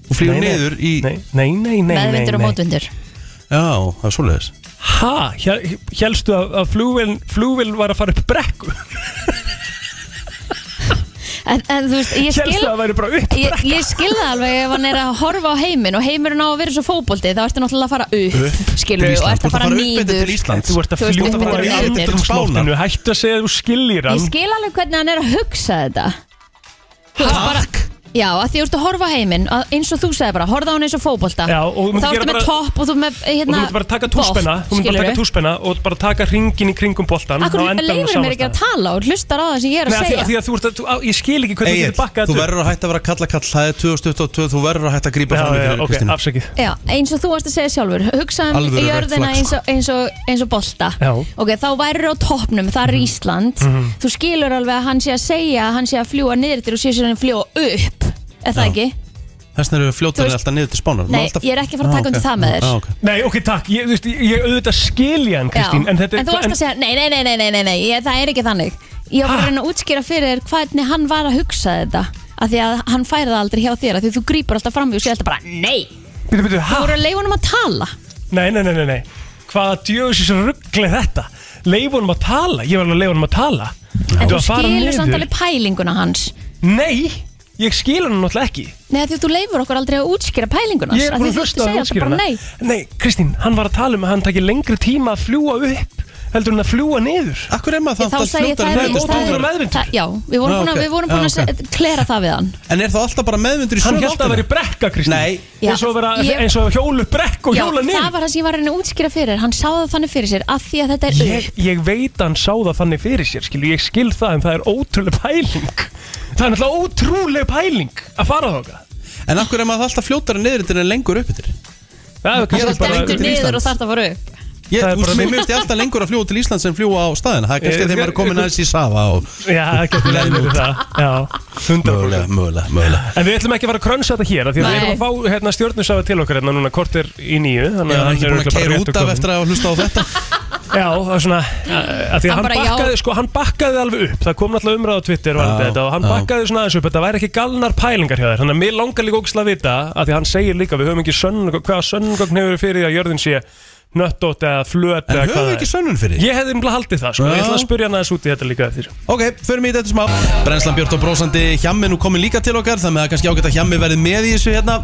[SPEAKER 1] Þú flýgur niður í,
[SPEAKER 3] Nei, nei, nei, nei, nei,
[SPEAKER 2] meðvindur og
[SPEAKER 3] nei.
[SPEAKER 2] mótvindur
[SPEAKER 1] já, það er svoleiðis
[SPEAKER 3] Ha? Hjælstu að, að flugvél, flugvél var að fara upp brekku?
[SPEAKER 2] en, en þú veist, ég
[SPEAKER 3] Hjælstu að
[SPEAKER 2] skil
[SPEAKER 3] það væri bara upp?
[SPEAKER 2] Ég, ég skil það alveg ef hann er að horfa á heiminn og heimurinn á að vera svo fótbolti þá ertu náttúrulega að fara upp, upp skilur og
[SPEAKER 1] Íslands,
[SPEAKER 2] ert
[SPEAKER 1] þú
[SPEAKER 2] að fara
[SPEAKER 1] uppbyttir
[SPEAKER 2] niður
[SPEAKER 1] til Íslands
[SPEAKER 3] Þú ert að
[SPEAKER 2] Þú veist,
[SPEAKER 3] fljúta
[SPEAKER 2] upp
[SPEAKER 3] bara
[SPEAKER 2] eftir
[SPEAKER 3] í
[SPEAKER 2] og niður.
[SPEAKER 1] Spánar.
[SPEAKER 3] andrumsloftinu Hættu að segja að þú skiljir
[SPEAKER 2] Ég
[SPEAKER 3] hann
[SPEAKER 2] skil alveg hvernig hann er að hugsa þetta Þú veist bara Já, að því þú ert að horfa á heiminn að- eins og þú segir bara, horfa á hann eins og fótbolta
[SPEAKER 3] Já, og þú
[SPEAKER 2] þá
[SPEAKER 3] myndir
[SPEAKER 2] ertu
[SPEAKER 3] gera
[SPEAKER 2] með
[SPEAKER 3] bara-
[SPEAKER 2] topp og þú með
[SPEAKER 3] Og
[SPEAKER 2] hérna,
[SPEAKER 3] þú ert bara að taka túspenna Þú myndir bara að taka túspenna og bara taka ringin í kringum boltan
[SPEAKER 2] Akkur leifir mér ekki að tala og hlustar á það sem ég er að
[SPEAKER 3] Nei,
[SPEAKER 2] segja
[SPEAKER 3] að því að þú ert að, þú- á- ég skil ekki hvernig þú
[SPEAKER 1] Egil,
[SPEAKER 3] getur bakkað
[SPEAKER 1] þú
[SPEAKER 3] þetta upp.
[SPEAKER 1] verður að hætta að vera kalla kall Það er 2022, þú verður að hætta að grípa
[SPEAKER 3] Já,
[SPEAKER 1] fram í
[SPEAKER 3] já,
[SPEAKER 1] fyrir
[SPEAKER 3] ok,
[SPEAKER 1] Kristín
[SPEAKER 3] afsakið
[SPEAKER 2] Já, eins og þú varst að segja sjálfur hugsa um
[SPEAKER 1] Alvöru red
[SPEAKER 2] jörðina
[SPEAKER 1] flag,
[SPEAKER 2] eins og, eins, og, eins og bolta
[SPEAKER 3] Já. Mhm.
[SPEAKER 2] ok, þá værir á toppnum, það er Ísland þú skilur alveg að hann sé að segja að hann sé að fljúa niður til og sé að hann fljúa upp er það
[SPEAKER 1] Já.
[SPEAKER 2] ekki?
[SPEAKER 1] Þess vegna eru við
[SPEAKER 2] Þú
[SPEAKER 1] fljótari
[SPEAKER 2] veist-
[SPEAKER 1] alltaf Ah, niður til Spánar
[SPEAKER 2] Nei, ég er ekki að fara að taka undir það með þér.
[SPEAKER 3] Nei, ok, takk, ég, þú veist, ég, ég auðvitað skilja hann, Kristín
[SPEAKER 2] Já.
[SPEAKER 3] En, þetta,
[SPEAKER 2] þú varst að segja, nei, nei, nei, nei, nei, nei, nei ég, það er ekki þannig ég var bara að reyna að útskýra fyrir þér hvernig hann var að hugsa þetta af því að hann færi það aldrei hjá þér af því að þú grýpur alltaf fram í og sé alltaf bara nei,
[SPEAKER 3] Býtu, býtu,
[SPEAKER 2] þú voru
[SPEAKER 3] hæ?
[SPEAKER 2] að leifa honum að tala
[SPEAKER 3] Nei, nei, nei, nei, nei Hvaða djöfisins ruggli þetta? Leif honum að tala, ég var alveg að leif honum að tala
[SPEAKER 2] en þú
[SPEAKER 3] Ertu að fara
[SPEAKER 2] skilur
[SPEAKER 3] niður?
[SPEAKER 2] samt alveg pælinguna hans
[SPEAKER 3] Nei, ég skil hann náttúrulega ekki
[SPEAKER 2] Nei, af því að þú leifur okkur aldrei að útskýra pælingun hans
[SPEAKER 3] Ég er
[SPEAKER 2] af því
[SPEAKER 3] búin að
[SPEAKER 2] þú
[SPEAKER 3] hlusta að
[SPEAKER 2] segir alltaf
[SPEAKER 3] útskýra
[SPEAKER 2] bara
[SPEAKER 3] hana
[SPEAKER 2] nei.
[SPEAKER 3] Nei, Kristín, hann var að tala um að hann takir lengri tíma að fljúa upp heldur en að fljúa niður
[SPEAKER 1] Akkur er maður
[SPEAKER 2] Þá
[SPEAKER 1] þá
[SPEAKER 2] segi
[SPEAKER 1] fljótari
[SPEAKER 2] ég það
[SPEAKER 3] niður,
[SPEAKER 2] er
[SPEAKER 1] niður til
[SPEAKER 2] ekki það
[SPEAKER 3] og þú
[SPEAKER 1] Spánar
[SPEAKER 3] voru meðvitund.
[SPEAKER 2] það- Já, við vorum
[SPEAKER 1] Ah,
[SPEAKER 2] búin að-
[SPEAKER 1] ok.
[SPEAKER 2] við vorum búin
[SPEAKER 1] Ah,
[SPEAKER 2] að se- klera það við hann
[SPEAKER 1] En er það alltaf bara meðvindur í
[SPEAKER 3] Hann
[SPEAKER 1] sömu
[SPEAKER 3] held að það
[SPEAKER 1] áttina?
[SPEAKER 3] væri brekka, Kristín
[SPEAKER 1] Nei.
[SPEAKER 2] Já.
[SPEAKER 3] eins og að vera,
[SPEAKER 2] Ég-
[SPEAKER 3] eins og að hjóla upp brekk og
[SPEAKER 2] Já,
[SPEAKER 3] hjóla
[SPEAKER 2] það
[SPEAKER 3] niður
[SPEAKER 2] var það sem ég var að reyna að útskýra fyrir Hann sáði það þannig fyrir sér af því að þetta er
[SPEAKER 3] ég, ég veit að hann sá það þannig fyrir sér skilu, ég skil það en það er ótrúlega pæling það er náttúrulega ótrúlega pæling að fara þóka
[SPEAKER 1] En akkur er maður alltaf fljótari niður til en lengur upp yfir
[SPEAKER 3] það er kannski
[SPEAKER 1] alltaf
[SPEAKER 3] bara
[SPEAKER 1] lengur
[SPEAKER 2] Stendur
[SPEAKER 1] til
[SPEAKER 2] niður
[SPEAKER 1] Íslands.
[SPEAKER 2] og þarf að fara upp
[SPEAKER 1] Ég
[SPEAKER 3] Það er bara
[SPEAKER 1] úst, mér
[SPEAKER 3] mjög- Eh,
[SPEAKER 1] minnst ég alltaf lengur að fljúa til Íslands en fljúa á staðina Það er
[SPEAKER 3] Ég-
[SPEAKER 1] kannski þegar maður er komin aðeins í Safa og
[SPEAKER 3] já, það getur
[SPEAKER 1] Leiðin
[SPEAKER 3] leiðin
[SPEAKER 1] út.
[SPEAKER 3] út það já, 100%
[SPEAKER 1] Mögulega, mögulega, mögulega
[SPEAKER 3] En við ætlum ekki að fara að krönsa þetta hér af Því að við
[SPEAKER 2] Nei.
[SPEAKER 3] erum að fá hérna, stjórnusafa til okkar hérna núna kortir í nýju
[SPEAKER 1] Ég
[SPEAKER 3] Þannig
[SPEAKER 1] er ekki búin
[SPEAKER 3] örugglega
[SPEAKER 1] að
[SPEAKER 3] bara
[SPEAKER 1] keira
[SPEAKER 3] rétt
[SPEAKER 1] út
[SPEAKER 3] að
[SPEAKER 1] af
[SPEAKER 3] koma.
[SPEAKER 1] eftir að hlusta á þetta
[SPEAKER 3] Já, það er svona að
[SPEAKER 2] Hann
[SPEAKER 3] Því að hann
[SPEAKER 2] bara, já.
[SPEAKER 3] bakkaði, sko, hann bakkaði alveg upp Það kom náttúrulega umræða á Twitter og allt
[SPEAKER 1] Já,
[SPEAKER 3] þetta Og hann
[SPEAKER 1] já.
[SPEAKER 3] bakkaði svona aðeins upp Þetta væri ekki galnar pælingar hjá þér Þannig að mér langar líka ógislega að vita að Því að hann segir líka Við höfum ekki sönnugögn Hvaða sönnugögn hefur verið fyrir því að jörðin sé Nöttótt eða flöt
[SPEAKER 1] En
[SPEAKER 3] eða
[SPEAKER 1] höfum við ekki sönnun fyrir?
[SPEAKER 3] Ég hefði umlað haldið það, sko Ég
[SPEAKER 1] Já.
[SPEAKER 3] ætla að spyrja hann aðeins út í þetta líka eftir
[SPEAKER 1] Ok, förum í þetta smá Brennslan Björn og Brósandi Hjammi nú komin líka til okkar Þannig að kannski ágætt að Hjammi verið með í þessu hérna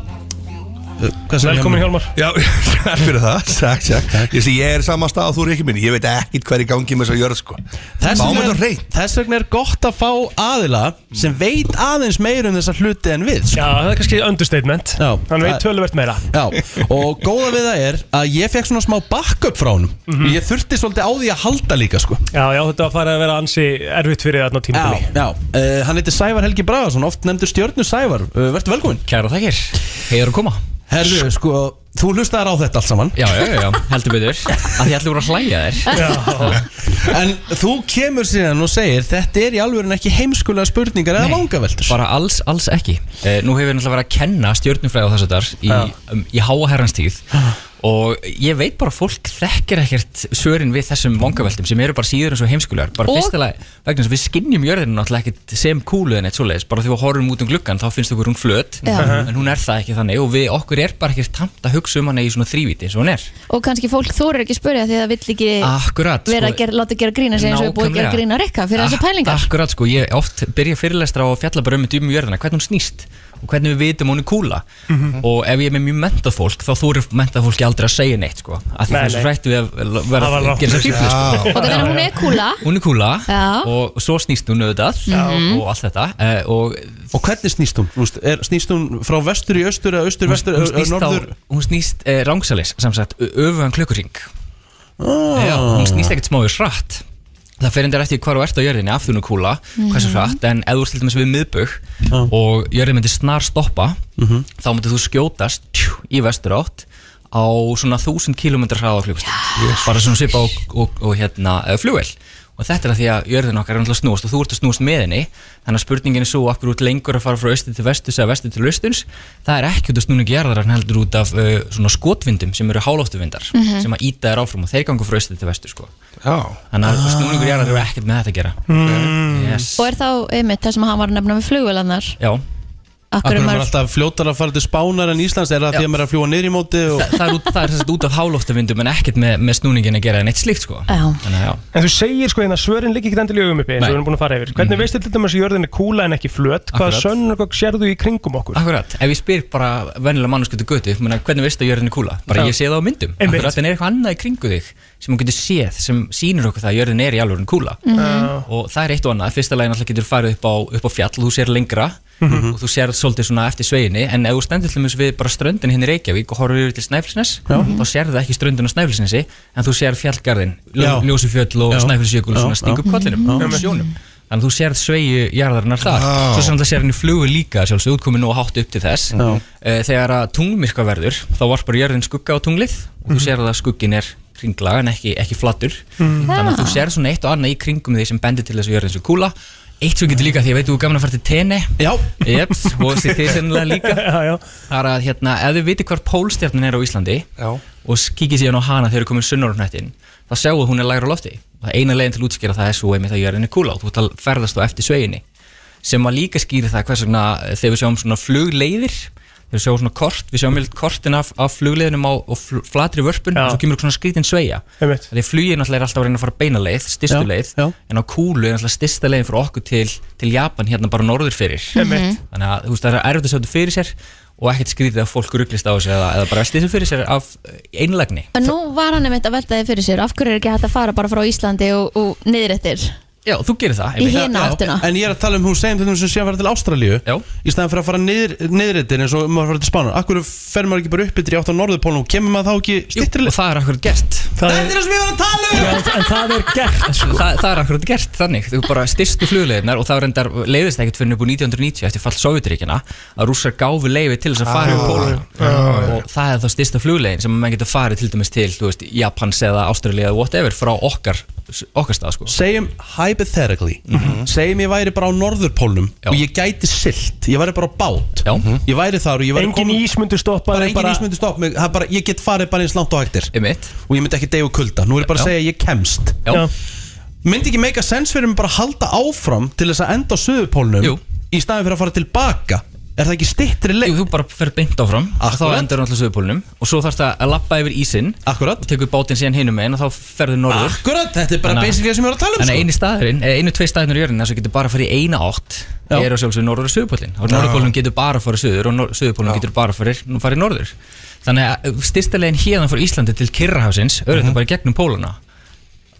[SPEAKER 1] Uh, Hvað segir
[SPEAKER 3] Velkomin Hjálmar
[SPEAKER 8] Já, [laughs] það fyrir það, sagt, sagt Ég, sé, ég er saman stað og þú er ekki minn Ég veit ekkit hver í gangi með þess að jörð sko
[SPEAKER 1] Þess
[SPEAKER 8] Fáum
[SPEAKER 1] vegna,
[SPEAKER 8] þetta á
[SPEAKER 1] er,
[SPEAKER 8] hreint.
[SPEAKER 1] þess vegna er gott að fá aðila
[SPEAKER 9] Mm.
[SPEAKER 1] sem veit aðeins meir um þessa hluti en við sko.
[SPEAKER 3] Já, það er kannski understatement
[SPEAKER 1] Já.
[SPEAKER 3] Hann veit
[SPEAKER 1] Það-
[SPEAKER 3] töluvert meira
[SPEAKER 1] Já, og góða við það er að ég fekk svona smá backup frá honum
[SPEAKER 9] Mhm.
[SPEAKER 1] Ég þurfti svolítið á því að halda líka sko
[SPEAKER 3] Já, já, þetta var farið að vera ansi erfitt fyrir þarna á
[SPEAKER 1] Já,
[SPEAKER 3] tímabili
[SPEAKER 1] já, uh, hann heitir Sævar Helgi Bragason, oft nefndur stjörnu Sævar uh, Vertu velkomin
[SPEAKER 9] Kæra þakkir, hefur að koma
[SPEAKER 1] Herru, sko, þú hlustaðar á þetta allt
[SPEAKER 9] [laughs]
[SPEAKER 1] saman
[SPEAKER 9] Já, já, já, já, heldur betur Að ég ætla voru að hlæja þér
[SPEAKER 1] En þú kemur síðan og segir Þetta er í alvöru ekki heimskulega spurningar eða vangaveltur
[SPEAKER 9] Bara alls, alls ekki eh, Nú hefur ég náttúrulega verið að kenna stjörnufræði á þessu þar Í, um, í háa herranstíð Og ég veit bara að fólk þekkir ekkert svörin við þessum vangaveltum sem eru bara síður en svo heimskulegar Bara
[SPEAKER 2] Og-
[SPEAKER 9] fyrstilega vegna þess að við skinnjum jörðinu náttúrulega ekkert sem kúlu en eitt svoleiðis Bara því við horfum út um gluggan þá finnst okkur hún flöt
[SPEAKER 2] Já. Uh-huh.
[SPEAKER 9] En hún er það ekki þannig og við okkur er bara ekkert tamt að hugsa um hana í svona þrývíti eins og hún er
[SPEAKER 2] og kannski fólk þórir ekki spyrja því að það vill ekki
[SPEAKER 3] Ah, sko,
[SPEAKER 9] Akkurat
[SPEAKER 2] vera að gera, láta gera grína sig eins og við búið að gera
[SPEAKER 9] Nákvæmlega.
[SPEAKER 2] grína rikka
[SPEAKER 3] Ah,
[SPEAKER 2] fyrir þessar
[SPEAKER 9] Ak-
[SPEAKER 2] pælingar
[SPEAKER 9] Akkurat sko, ég oft byrja fyrirlestra á að fjalla bara um djúmum jörðina, hvernig hún snýst og hvernig við vitum að hún er kúla og ef ég er með mjög mentað fólk þá þú eru mentað fólki aldrei að segja neitt sko af því
[SPEAKER 3] Nei,
[SPEAKER 9] það er svo
[SPEAKER 3] nei.
[SPEAKER 9] hrættu við að vera
[SPEAKER 3] Það var
[SPEAKER 9] að
[SPEAKER 3] rangt.
[SPEAKER 9] gera þess að fíflu sko
[SPEAKER 3] ah,
[SPEAKER 8] Já,
[SPEAKER 2] og þannig að hún er kúla
[SPEAKER 9] hún er kúla
[SPEAKER 2] Já.
[SPEAKER 9] og svo snýst hún auðvitað og allt þetta eh, og
[SPEAKER 1] Og hvernig snýst hún? Þú veist, Er, snýst hún frá vestur í austur eða austur,
[SPEAKER 9] hún,
[SPEAKER 1] vestur,
[SPEAKER 9] hún
[SPEAKER 1] ö- ö-
[SPEAKER 9] snýst, á,
[SPEAKER 1] norður?
[SPEAKER 9] hún snýst eh, rangsalis sem sagt ö- öfugan klukkuring
[SPEAKER 1] Ah.
[SPEAKER 9] Já, hún snýst ekkert smá við hratt Það fer endur eftir hvar þú ert á jörðinni af því hún er kúla, hversu hratt en ef þú ert til dæmis við miðbögg og jörðin myndir snar stoppa þá myndir þú skjótast tjú, í vestur átt á svona 1000 km hraða á klukkustund bara svona svipa og, og, og hérna flugvel
[SPEAKER 10] og þetta er að því að jörðin okkar er náttúrulega að snúast og þú ert að snúast með henni þannig að spurningin er svo af hverju út lengur að fara frá austin til vestus eða vestur til austins það er ekki út af snúningi jarðar en heldur út af uh, svona skotvindum sem eru hálóftuvindar
[SPEAKER 11] Mhm.
[SPEAKER 10] sem að íta þér áfram og þeir gangu frá austin til vestur sko.
[SPEAKER 9] Já.
[SPEAKER 10] þannig að snúningur jarðar eru ekkert með þetta að gera Ah. mm. yes.
[SPEAKER 2] Og er þá einmitt það sem hann var að nefna með flugvélarnar
[SPEAKER 10] Já,
[SPEAKER 2] Akkur
[SPEAKER 1] Akkur
[SPEAKER 2] er
[SPEAKER 1] maður
[SPEAKER 2] maður
[SPEAKER 1] alltaf fljótar að fara til Spánar en Íslands Er það því að maður er að fljúa niður í móti og...
[SPEAKER 10] Þa, það er, út- það er þess að út af hálóftuvindum en ekkert með, með snúningin að gera en eitt slíkt sko.
[SPEAKER 2] Já.
[SPEAKER 10] Þannig að já
[SPEAKER 3] En þú segir sko hérna, svörin liggi ekki endilega um uppi eins og
[SPEAKER 10] Nei.
[SPEAKER 3] við erum búin að fara yfir. Hvernig veistu til dæmis að jörðin er kúla en ekki flöt? Hvaða
[SPEAKER 10] Akkurat.
[SPEAKER 3] sönnugokk sérðu í kringum okkur? [laughs]
[SPEAKER 10] Akkurat, ef ég spyr bara vennilega mannskjöldu götu menna, hvernig veistu að jörðin er kúla? Bara
[SPEAKER 3] Já.
[SPEAKER 10] ég sé það á myndum
[SPEAKER 3] Einmitt.
[SPEAKER 10] Akkurat, en er eitthvað annað í kringu þig sem hún getur séð, sem sýnir okkur það að jörðin er í alvöru kúla
[SPEAKER 3] Mhm.
[SPEAKER 10] og það er eitt og annað, fyrsta lagi náttúrulega getur farið upp á, upp á fjall og þú sér lengra
[SPEAKER 3] Mhm.
[SPEAKER 10] og þú sér svolítið svona eftir sveiginni en ef þú stendur til þess við bara ströndin hérna í Reykjavík og horfir yfir til Snæfellsnes Mhm. þá sér það ekki ströndin á Snæfellsnesi en þú sér fjallgarðin,
[SPEAKER 1] Já.
[SPEAKER 10] ljósufjöll og
[SPEAKER 1] Já.
[SPEAKER 10] Snæfellsjökul
[SPEAKER 1] Já,
[SPEAKER 10] svona stinga upp
[SPEAKER 1] já.
[SPEAKER 10] kollinum
[SPEAKER 1] Mhm.
[SPEAKER 10] á sjónum Þannig að þú sérð sveigju jarðarinnar þar
[SPEAKER 1] Já.
[SPEAKER 10] Svo sem það sér henni flugur líka sjálfsög útkomin nú hátt upp til þess
[SPEAKER 1] Já.
[SPEAKER 10] Eh, Þegar að tungmyrka verður þá varpar jörðin skugga á tunglið og þú sérð að skuggin er kringla en ekki, ekki flattur
[SPEAKER 11] Mhm.
[SPEAKER 10] Þannig að þú
[SPEAKER 11] Já.
[SPEAKER 10] sérð svona eitt og annað í kringum því sem bendir til þess að jörðin sé kúla Eitt sem getur líka því ég veit þú er gaman að fara til Tene
[SPEAKER 1] Já
[SPEAKER 10] Jeps, og því þið sennilega líka Það er að hérna, ef þið viti hvar pólstjarnin er á Íslandi
[SPEAKER 9] Já.
[SPEAKER 10] og kikið síðan á hana þegar þið komin sunnar á hnettin þá sjáu að hún er lægra á lofti og það eina leiðin til að útskýra það er svo einmitt að jörðin er kúla og þú tal ferðast þá eftir sveiginni sem að líka skýri það hvers vegna eh, þegar við sjáum svona flugleiðir þegar við sjáum svona kort, við sjáum mjög kortin af, af flugleiðinum á og fl flatri vörpun og svo kemur svona skrítin sveia
[SPEAKER 3] Einmitt.
[SPEAKER 10] því flugið náttúrulega er alltaf að reyna að fara beina leið, stystu
[SPEAKER 3] Já,
[SPEAKER 10] leið en á kúlu er náttúrulega stysta leiðin frá okkur til, til Japan hérna bara norður fyrir
[SPEAKER 2] Mhm.
[SPEAKER 3] Einmitt.
[SPEAKER 10] þannig að þú veist það er erfitt að sjá þetta fyrir sér og ekkert skrítið að fólk rugglist á þessu eða, eða bara velti þessu fyrir sér af einlagni
[SPEAKER 2] En nú var hann einmitt að velta þið fyrir sér Af hverju er ekki hægt að fara bara frá Íslandi og, og niður eftir
[SPEAKER 10] Já, þú gerir það
[SPEAKER 2] Í hina áttina.
[SPEAKER 1] En ég er að tala um hún segjum þetta sem sé að fara til Ástralíu
[SPEAKER 10] Já
[SPEAKER 1] Í staðan fyrir að fara niður, niðritir eins og maður fara til Spánar Akkur fer maður ekki bara upp yttir í átt á norðupólnum og kemur maður þá ekki stittrilega
[SPEAKER 10] Og það er akkur gert
[SPEAKER 1] Það er það sem ég var að tala um
[SPEAKER 3] En það er gert
[SPEAKER 10] sko. það, það er akkurat gert þannig Þú bara styrstu flugleiðinar og það reyndar leiðist ekkert fyrir upp úr 1990 eftir fall Sovjeturíkjana að rússar gáfu leiði til þess að fara upp pólana og það er þá styrsta flugleiðin sem mann getur farið til dæmis til þú veist, Japans eða Ástralja eða whatever frá okkar, okkar stað sko.
[SPEAKER 1] Segjum hypothetically
[SPEAKER 10] Mhm.
[SPEAKER 1] Segjum ég væri bara á norðurpólnum Og ég gæti silt Ég væri bara á bát
[SPEAKER 10] Já.
[SPEAKER 1] Ég væri þar og ég væri
[SPEAKER 3] Engin ís myndu stoppa
[SPEAKER 1] Bara
[SPEAKER 3] þig
[SPEAKER 1] engin bara... ísmyndu stopp mig það er bara, Ég get farið bara eins langt og hægtir
[SPEAKER 10] Einmitt.
[SPEAKER 1] Og ég myndi ekki deyja úr kulda Nú er ég bara að
[SPEAKER 10] Já.
[SPEAKER 1] segja að ég kemst
[SPEAKER 10] Já. Já.
[SPEAKER 1] Myndi ekki meika sens fyrir mig bara að halda áfram Til þess að enda á söðupólnum
[SPEAKER 10] Jú.
[SPEAKER 1] Í staðin fyrir að fara tilbaka Er það ekki stittri leið?
[SPEAKER 10] Jú, þú bara fer beint áfram og þá
[SPEAKER 1] Akkúrat.
[SPEAKER 10] endur náttúrulega söðupólunum og svo þarfst að lappa yfir ísinn
[SPEAKER 1] Akkurat.
[SPEAKER 10] og tekur bátinn síðan hinum meginn og þá ferður norður
[SPEAKER 1] Akkurat, þetta er bara
[SPEAKER 10] Þannig að-
[SPEAKER 1] basically það sem ég var að tala um
[SPEAKER 10] Þannig
[SPEAKER 1] sko.
[SPEAKER 10] að einu staðurinn, eða einu tvei staðurinn í jörðinni þess að getur bara að fara í eina átt
[SPEAKER 1] Já.
[SPEAKER 10] er á sjálfsögur norður og söðupólinn og norðupólinn getur bara að fara söður og nor- söðupólinn getur bara að fara, fara í norður Þannig að styrsta leginn hérna frá Íslandi til Kirrahafsins auðvitað
[SPEAKER 1] Mhm.
[SPEAKER 10] bara í gegnum póluna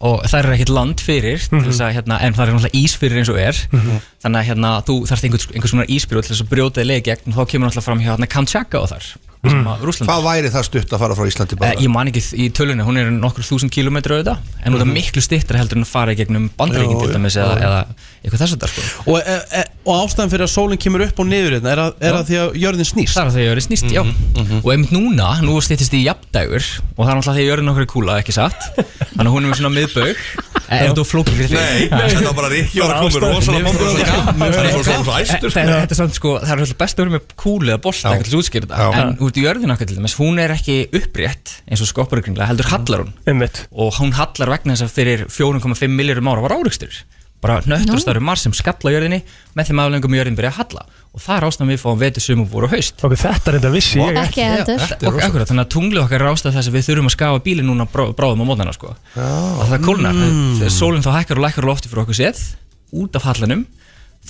[SPEAKER 10] og það er ekkert land fyrir mm
[SPEAKER 1] Mhm.
[SPEAKER 10] -hmm. hérna, en það er náttúrulega ís fyrir eins og er þannig að hérna, þú þarft einhvers, einhvers konar ísbyrjóð til þess að brjóta þig leið í gegn og þá kemur náttúrulega fram hjá hérna, Kamchatka og þar
[SPEAKER 1] Mhm.
[SPEAKER 10] sem að Rússland
[SPEAKER 9] Hvað væri það stutt að fara frá Íslandi bara?
[SPEAKER 10] Eh, Ég man ekki þ- í tölunni, hún er nokkur þúsund kilometri auðvitað En
[SPEAKER 9] Mhm.
[SPEAKER 10] hún er miklu stittra heldur en að fara í gegnum bandreikin
[SPEAKER 9] Já,
[SPEAKER 10] til
[SPEAKER 9] já,
[SPEAKER 10] dæmis eða, eða eitthvað þess að það sko
[SPEAKER 1] og, e, e, og ástæðan fyrir að sólinn kemur upp og niður hérna Er, að, er
[SPEAKER 10] Já.
[SPEAKER 1] að því að jörðin snýst
[SPEAKER 10] Það er þegar jörðin snýst, já
[SPEAKER 9] Mhm,
[SPEAKER 10] Og einmitt núna, nú styttist í jafndægur Og það er náttúrulega þegar jörðin okkur er kúla, ekki satt Þannig að hún er með svona miðbaug Eh, Er þetta flókið fyrir þig?
[SPEAKER 9] Nei, þetta var bara Rikki var að koma rosalega bomba og segja, Það er svo svo æstur sko.
[SPEAKER 10] Þetta þetta er samt sko, Eh, það er alltaf best að vera með kúli eða bolta ekkert til að útskýra þetta,
[SPEAKER 9] Já.
[SPEAKER 10] en út í jörðin okkar til dæmis, hún er ekki upprétt eins og skopparugringlega, heldur hallar hún
[SPEAKER 3] Einmitt.
[SPEAKER 10] og hún hallar vegna þess að fyrir 4,5 miljórum ára var áreikstur bara nöttur stærri mar sem skalla á jörðinni með þeim aflengum jörðin byrja að halla og það er ástæðan við fáum vetur sumum voru og haust
[SPEAKER 3] Ok, þetta reynda vissi ég
[SPEAKER 2] Ekki heldur.
[SPEAKER 10] Þetta- og akkurat, þannig að tunglið okkar er ástæð þess að við þurfum að skafa bílinn núna brá, bráðum á mótana sko. og það kólnar, mm. sólinn þá hækkar og lækkar á lofti fyrir okkur séð, út af hallanum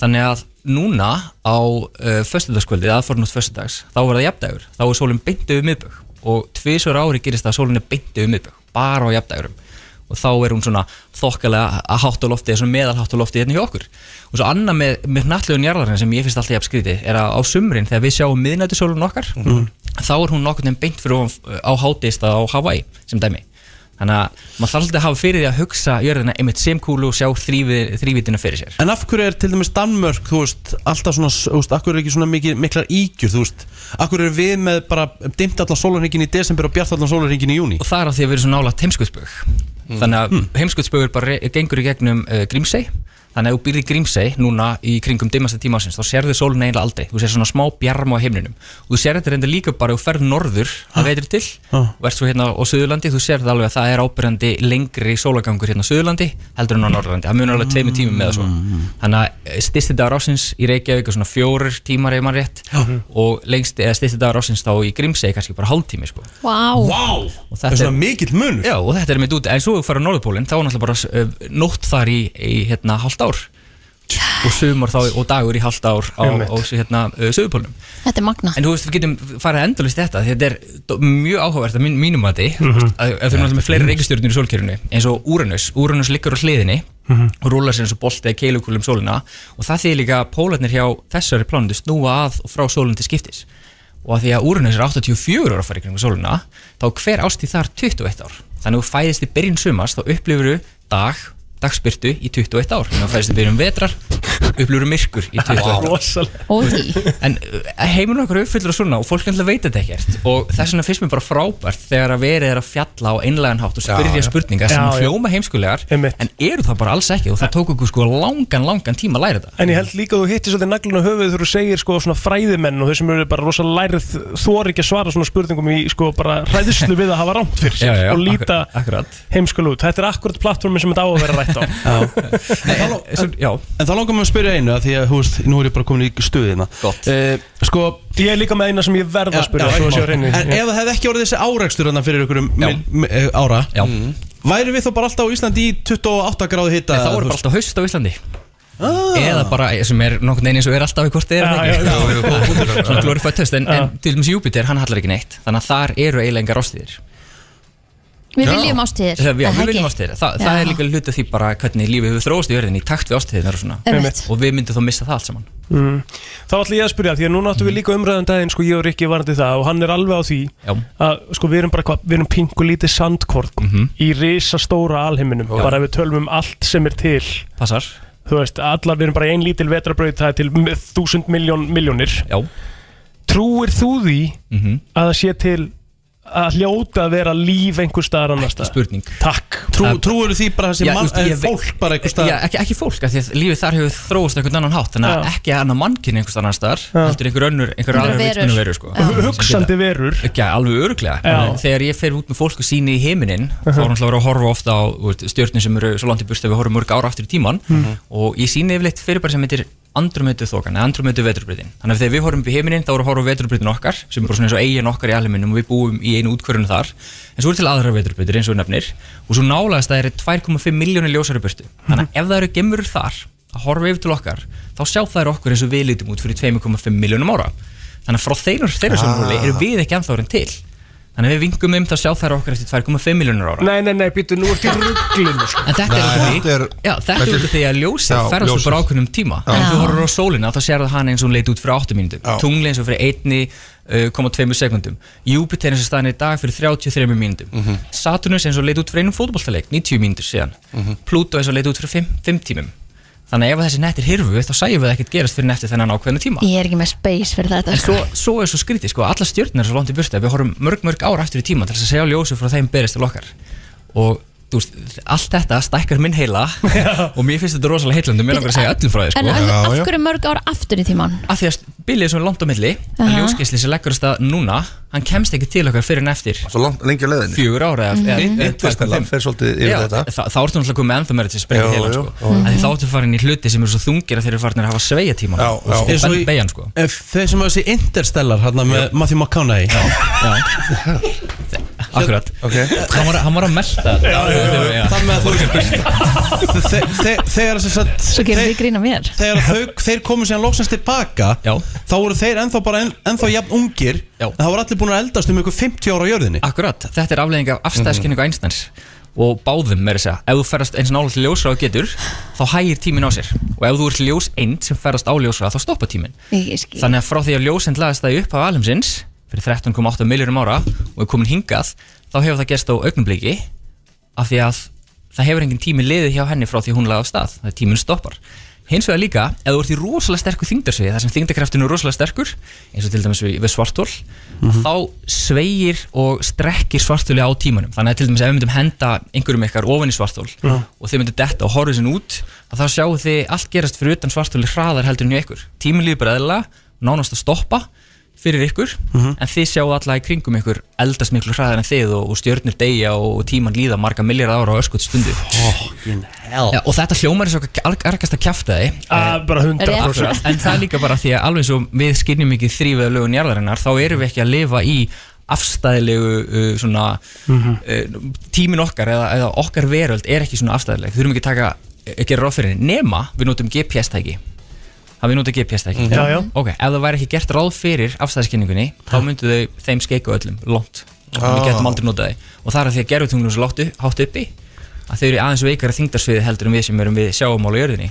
[SPEAKER 10] þannig að núna á uh, föstudagskvöldið, aðfornótt föstudags þá er það jafndægur, þá er sólinn beint yfir miðbögg og tvisur ári gerist það að sólinn er beint yfir miðbögg, bara á jafndægurum og þá er hún svona þokkalega að hátt á lofti, eða svona meðal hátt á lofti hérna hjá okkur og svo annað með, með hnallugun jarðarinn sem ég finnst alltaf jafn skrítið er að á sumrin þegar við sjáum miðnættisólun okkar þá er hún nokkur nefn beint fyrir ofan- á hátist á Hawaii sem dæmi þannig að maður þarf alltaf að hafa fyrir því að hugsa jörðina einmitt sem kúlu og sjá þrívið, þrívitina fyrir sér
[SPEAKER 1] En af hverju er til dæmis Danmörk, þú veist, alltaf svona, þú veist, af hverju er ekki svona mikil, miklar ígjur, þú veist, af hverju er við með bara dimt allan sólarhingin í desember og bjart allan sólarhingin í júni?
[SPEAKER 10] og það er að því að við erum svo nála heimskuðsbögg þannig að mm. heimskutspögur bara re- gengur í gegnum uh, Grímsey þannig að ef þú býrð í Grímsey núna í kringum dimmasta tíma ásins, þá sérðu sólun eiginlega aldrei þú sér svona smá bjarm á heimninum og þú sér þetta reynda líka bara ef þú ferð norður að veitir til og ert svo hérna á Suðurlandi þú sér það alveg að það er ábyrjandi lengri sólagangur hérna á Suðurlandi heldur en á Norðurlandi það munur alveg tveimur tímum með það svo þannig að styrsti dagar ásins í Reykjavík er svona fjórir tímar ef maður rétt og lengst eða styrsti dagar ásins þá í Grímsey kannski bara hálftími sko
[SPEAKER 2] Vá,
[SPEAKER 1] Vá,
[SPEAKER 10] Og
[SPEAKER 1] það
[SPEAKER 10] þetta
[SPEAKER 1] er svona
[SPEAKER 10] er-
[SPEAKER 1] mikill munur
[SPEAKER 10] Já, og þetta er mitt út, en svo ef þú fara á Norðupólinn þá er náttúrulega bara uh, nótt þar í, í hérna, hálft ár og sumar þá og dagur í hálft ár á,
[SPEAKER 3] Einmitt.
[SPEAKER 10] á hérna, uh, söðupólnum
[SPEAKER 2] þetta er magna
[SPEAKER 10] en þú veist, við getum farið endalist þetta því þetta er dó- mjög áhugavert að mín, mínum að því að þau eru náttúrulega með fleiri reikistjörnir í sólkerfinu eins og Uranus, Uranus liggur á hliðinni og rúlar sér eins og bolti eða keilukúlum sólina og það þýðir líka að pólarnir hjá þessari plánundi snúa að og frá sólinn til skiptis og að því að Uranus er 84 ára að fara í kringum sólina þá er hver ástíð þar 21 ár þannig að þú fæðist í byrjun sumars þá upplifur dag, dagsbyrtu í 21 ár þannig að þú fæðist í byrjun vetrar upplifur myrkur í 21 ár
[SPEAKER 3] Rosalega
[SPEAKER 2] og því
[SPEAKER 10] En uh, heimurinn okkar er uppfyllur af svona og fólk ennlega veit þetta ekkert og þess vegna finnst mér bara frábært þegar að verið er að fjalla á einlegan hátt og spyrja
[SPEAKER 9] Já, já.
[SPEAKER 10] spurningar
[SPEAKER 3] Já,
[SPEAKER 10] sem
[SPEAKER 3] já.
[SPEAKER 10] hljóma heimskulegar
[SPEAKER 3] Einmitt.
[SPEAKER 10] en eru það bara alls ekki og það tók okkur sko langan, langan tíma að læra þetta
[SPEAKER 3] En ég held líka að þú hittir svolítið naglun á höfuð þegar þú segir sko svona fræðimenn og þau sem eru bara rosalega lærið þor ekki að svara svona spurningum í sko bara hræðislu við að hafa rámt fyrir sér og líta
[SPEAKER 10] akkur- akkurat
[SPEAKER 3] heimskul út. Þetta er akkurat plattformin sem þetta á að
[SPEAKER 1] [laughs]
[SPEAKER 3] vera rætt á.
[SPEAKER 10] en, svo, Já,
[SPEAKER 1] En þá langar mér að spyrja einu að því að, hú veist, nú er ég bara komin í stuðina
[SPEAKER 10] Gott.
[SPEAKER 1] Eh, Sko
[SPEAKER 3] Ég er líka með eina sem ég verð að spyrja,
[SPEAKER 1] já, ekki
[SPEAKER 3] svo að sjá
[SPEAKER 1] mál.
[SPEAKER 3] hreinu.
[SPEAKER 1] En ef það hefði ekki orðið þessi árekstur hérna fyrir ykkur um
[SPEAKER 10] Já.
[SPEAKER 1] mil- mi- eh, ára
[SPEAKER 10] já
[SPEAKER 3] Mm.
[SPEAKER 1] Væri við þá bara alltaf á Íslandi í 28 gráði hita
[SPEAKER 10] En þá er bara alltaf haust á Íslandi Eða bara, eh, sem er nokkurn veginn eins og er alltaf í hvort eða
[SPEAKER 3] Ah. Já, já, já.
[SPEAKER 10] [laughs] Svona glorifætt haust, en, en til dæmis Júpiter, hann hallar ekki neitt Þannig að þar eru eiginlega engar ástíðir
[SPEAKER 2] Við viljum ástíðir
[SPEAKER 10] Já,
[SPEAKER 2] er
[SPEAKER 10] við
[SPEAKER 2] það
[SPEAKER 10] viljum
[SPEAKER 2] ekki?
[SPEAKER 10] ástíðir Þa, Það
[SPEAKER 2] Já.
[SPEAKER 10] er líka hluti af því bara hvernig lífið hefur þróast í verðinni í takt við ástíðirnar og svona
[SPEAKER 2] Einmitt.
[SPEAKER 10] Og við myndum þá missa það allt saman
[SPEAKER 3] Mm. Þá ætla ég að spyrja, því að núna áttum við líka umræðan daginn sko ég og Rikki varandi það og hann er alveg á því
[SPEAKER 10] Já,
[SPEAKER 3] að sko við erum bara hvað, við erum pingu lítið sandkort
[SPEAKER 10] Mhm.
[SPEAKER 3] í risastóra alheiminum, bara ef við tölum um allt sem er til,
[SPEAKER 10] passar
[SPEAKER 3] þú veist, allar við erum bara ein lítil vetrabraut, það er til m- þúsund miljón miljónir.
[SPEAKER 10] Já,
[SPEAKER 3] Trúir þú því
[SPEAKER 10] mhm,
[SPEAKER 3] að það sé til að hljóta að vera líf einhver staðar annar staðar?
[SPEAKER 10] spurning
[SPEAKER 3] Takk.
[SPEAKER 1] Trú,
[SPEAKER 10] Það-
[SPEAKER 1] Trúir því bara þessi
[SPEAKER 10] Já,
[SPEAKER 1] mann,
[SPEAKER 10] þú veist, ég
[SPEAKER 1] eh,
[SPEAKER 10] veit-
[SPEAKER 1] fólk bara einhvers
[SPEAKER 10] Já,
[SPEAKER 1] stað
[SPEAKER 10] ekki, ekki fólk, af því að lífið þar hefur þróast einhvern annan hátt Þannig að
[SPEAKER 3] Já.
[SPEAKER 10] ekki annað mannkinn einhvers annar staðar
[SPEAKER 3] Já.
[SPEAKER 10] Heldur einhver önnur, einhver
[SPEAKER 2] Einhverjar
[SPEAKER 10] aðra
[SPEAKER 2] verur.
[SPEAKER 10] vitsmunu veru sko
[SPEAKER 2] Já.
[SPEAKER 10] sem
[SPEAKER 3] Hugsandi verur.
[SPEAKER 10] Ekki, alveg öruglega
[SPEAKER 3] Já.
[SPEAKER 10] Þegar ég fer út með fólk og síni í heiminin þá er hann að vera að horfa ofta á þú veist, stjörnir sem eru svo langt í burst ef við horfum mörg ára aftur í tíman og ég síni yfirleitt fyrirbæri sem heitir andrumötu þokan, andrumötu veturbreytin þannig að þegar við horfum upp í heiminin þá erum við að horfa á veturbreytin okkar sem er bara svona eins og eigin okkar í alheiminum og við búum í einu útkvörunum þar en svo eru til aðra veturbreytir eins og þú nefnir og svo nálaðast það eru 2,5 miljónir ljósari burtu þannig að ef það eru gemurur þar að horfa yfir til okkar þá sjá þær okkur eins og við lítum út fyrir 2,5 miljónum ára þannig að frá þeirra, þeirra sjónarhóli eru við ekki ennþá orðin til þannig að við vingum um það sjá þær okkur eftir 2,5 miljónur ára
[SPEAKER 3] Nei, nei, nei, býtu, nú ert í rugglinu sko.
[SPEAKER 10] en þetta er
[SPEAKER 9] Nei,
[SPEAKER 10] út af því
[SPEAKER 9] þetta er-
[SPEAKER 10] já, þetta er
[SPEAKER 9] þetta
[SPEAKER 10] út af því að ljósið
[SPEAKER 9] Já,
[SPEAKER 10] ferðast
[SPEAKER 9] ljósið.
[SPEAKER 10] ljósið. bara ákveðnum tíma
[SPEAKER 9] Já.
[SPEAKER 10] en þú
[SPEAKER 2] Já.
[SPEAKER 10] horfur á sólina þá sér það hana eins og hún leit út fyrir 8 mínútum
[SPEAKER 9] Já.
[SPEAKER 10] tungli eins og fyrir uh, 1,2 sekundum Júpiter eins og staðan er í dag fyrir 33 mínútum
[SPEAKER 9] Mhm.
[SPEAKER 10] Saturnus eins og leit út fyrir einum fótbolltaleik 90 mínútur síðan
[SPEAKER 9] Mhm.
[SPEAKER 10] Pluto eins og leit út fyrir 5, 5 tímum þannig að ef þessi nettir hirfu þá sæjum við það ekkert gerast fyrir nettir þennan ákveðna tíma
[SPEAKER 2] Ég er ekki með space fyrir þetta
[SPEAKER 10] En
[SPEAKER 2] sko.
[SPEAKER 10] svo, svo er svo skrítið, sko, alla stjörnir er svo langt í burtu að við horfum mörg, mörg ára aftur í tíma til þess að segja ljósu frá þeim berist til okkar og, þú veist, allt þetta stækkar minn heila og mér finnst þetta rosalega heillandi og mér langar að segja öllum frá því,
[SPEAKER 2] En
[SPEAKER 10] sko
[SPEAKER 2] af,
[SPEAKER 9] Já,
[SPEAKER 2] af
[SPEAKER 9] já.
[SPEAKER 2] hverju mörg ár aftur í tíman?
[SPEAKER 10] af því að bilið er svona langt á milli en
[SPEAKER 2] Aha.
[SPEAKER 10] ljósgeisli sem leggur að stað núna hann kemst ekki til okkar fyrir en eftir
[SPEAKER 9] Svo langt, lengi á leiðinni Mm.
[SPEAKER 10] fjögur ára
[SPEAKER 2] Mhm.
[SPEAKER 10] eða, eða, eða,
[SPEAKER 9] Interstellar fer svolítið
[SPEAKER 10] Já,
[SPEAKER 9] yfir
[SPEAKER 10] þa-
[SPEAKER 9] þetta
[SPEAKER 10] þá ertu náttúrulega komið ennþá meira til að sprengja
[SPEAKER 9] Jú,
[SPEAKER 10] heila
[SPEAKER 9] jú,
[SPEAKER 10] sko. Af því þá ertu farin í hluti sem eru svo þungir að þeir eru farin að hafa sveigja tíma
[SPEAKER 9] Já, já.
[SPEAKER 10] og
[SPEAKER 1] Eins og í-
[SPEAKER 10] bend beigjan sko
[SPEAKER 1] Ef Þeir sem hafa þessi Interstellar hérna með Matthew McConaughey
[SPEAKER 10] Akkurat
[SPEAKER 9] Ok.
[SPEAKER 10] Hann var, hann var að melta þetta Já,
[SPEAKER 1] Þar með að
[SPEAKER 10] [laughs]
[SPEAKER 1] þú Þe- þe- Þegar sem sagt-
[SPEAKER 2] Svo gerum við
[SPEAKER 1] þeir-
[SPEAKER 2] grín á mér
[SPEAKER 1] Þegar þau, þeir komu síðan loksins tilbaka
[SPEAKER 10] Já.
[SPEAKER 1] Þá voru þeir ennþá bara enn, ennþá jafn ungir
[SPEAKER 10] Já.
[SPEAKER 1] En það voru allir búin að eldast um ykkur 50 ára á jörðinni
[SPEAKER 10] Akkurat, þetta er afleiðing af afstæðiskenningu Einsteins og báðum með þess að segja. ef þú ferðast eins nála til ljósraða getur þá hægir tíminn á sér og ef þú ert ljós eind sem ferðast á ljósraða þá stoppa tíminn
[SPEAKER 2] Ég, ég skil
[SPEAKER 10] þannig að frá því að ljósend laðist það í upphaf alheimsins fyrir 13,8 miljónum ára og er komin hingað þá hefur það gerst á augnabliki af því að það hefur engin tími liðið hjá henni frá því að hún laði af stað það er tíminn stoppar Hins vegar líka, ef þú ert í rosalega sterku þyngdarsviði, þar sem þyngdakraftinu er rosalega sterkur, eins og til dæmis við, við svartól, þá sveigir og strekkir svartóli á tímanum. Þannig að til dæmis ef við myndum henda einhverjum ykkar ofan í svartól og þið myndum detta og horfið sinn út, að þá sjáu þið allt gerast fyrir utan svartóli hraðar heldur en hjá ykkur. Tíminn líður bara eðla, nánast að stoppa fyrir ykkur, en þið sjáu alla í kringum ykkur eldast miklu hraðar en þið og, og stjörnur deyja og, og tíman líða marga milljara ára á öskut stundu. Já, og þetta hljómar eins og argast að kjafta
[SPEAKER 3] Ah, bara 100%
[SPEAKER 10] en það er líka bara því að alveg eins og við skynjum ekki þrýfið lögun jarðarinnar þá erum við ekki að lifa í afstæðilegu uh, svona mm tímin okkar eða, eða okkar veröld er ekki svona afstæðileg við þurfum ekki að taka, eh, gera ráð fyrir henni nema við notum GPS-tæki að við notum GPS-tæki
[SPEAKER 3] Já, já.
[SPEAKER 10] ok, ef það væri ekki gert ráð fyrir afstæðiskenningunni þá myndu þau þeim skeiku öllum lónt og við
[SPEAKER 3] Ah.
[SPEAKER 10] getum aldrei notað þau og það er að því að gerfutunglum svo láttu, hátt uppi að þau eru í aðeins veikara þingdarsviði heldur en við sem erum við sjáum á jörðinni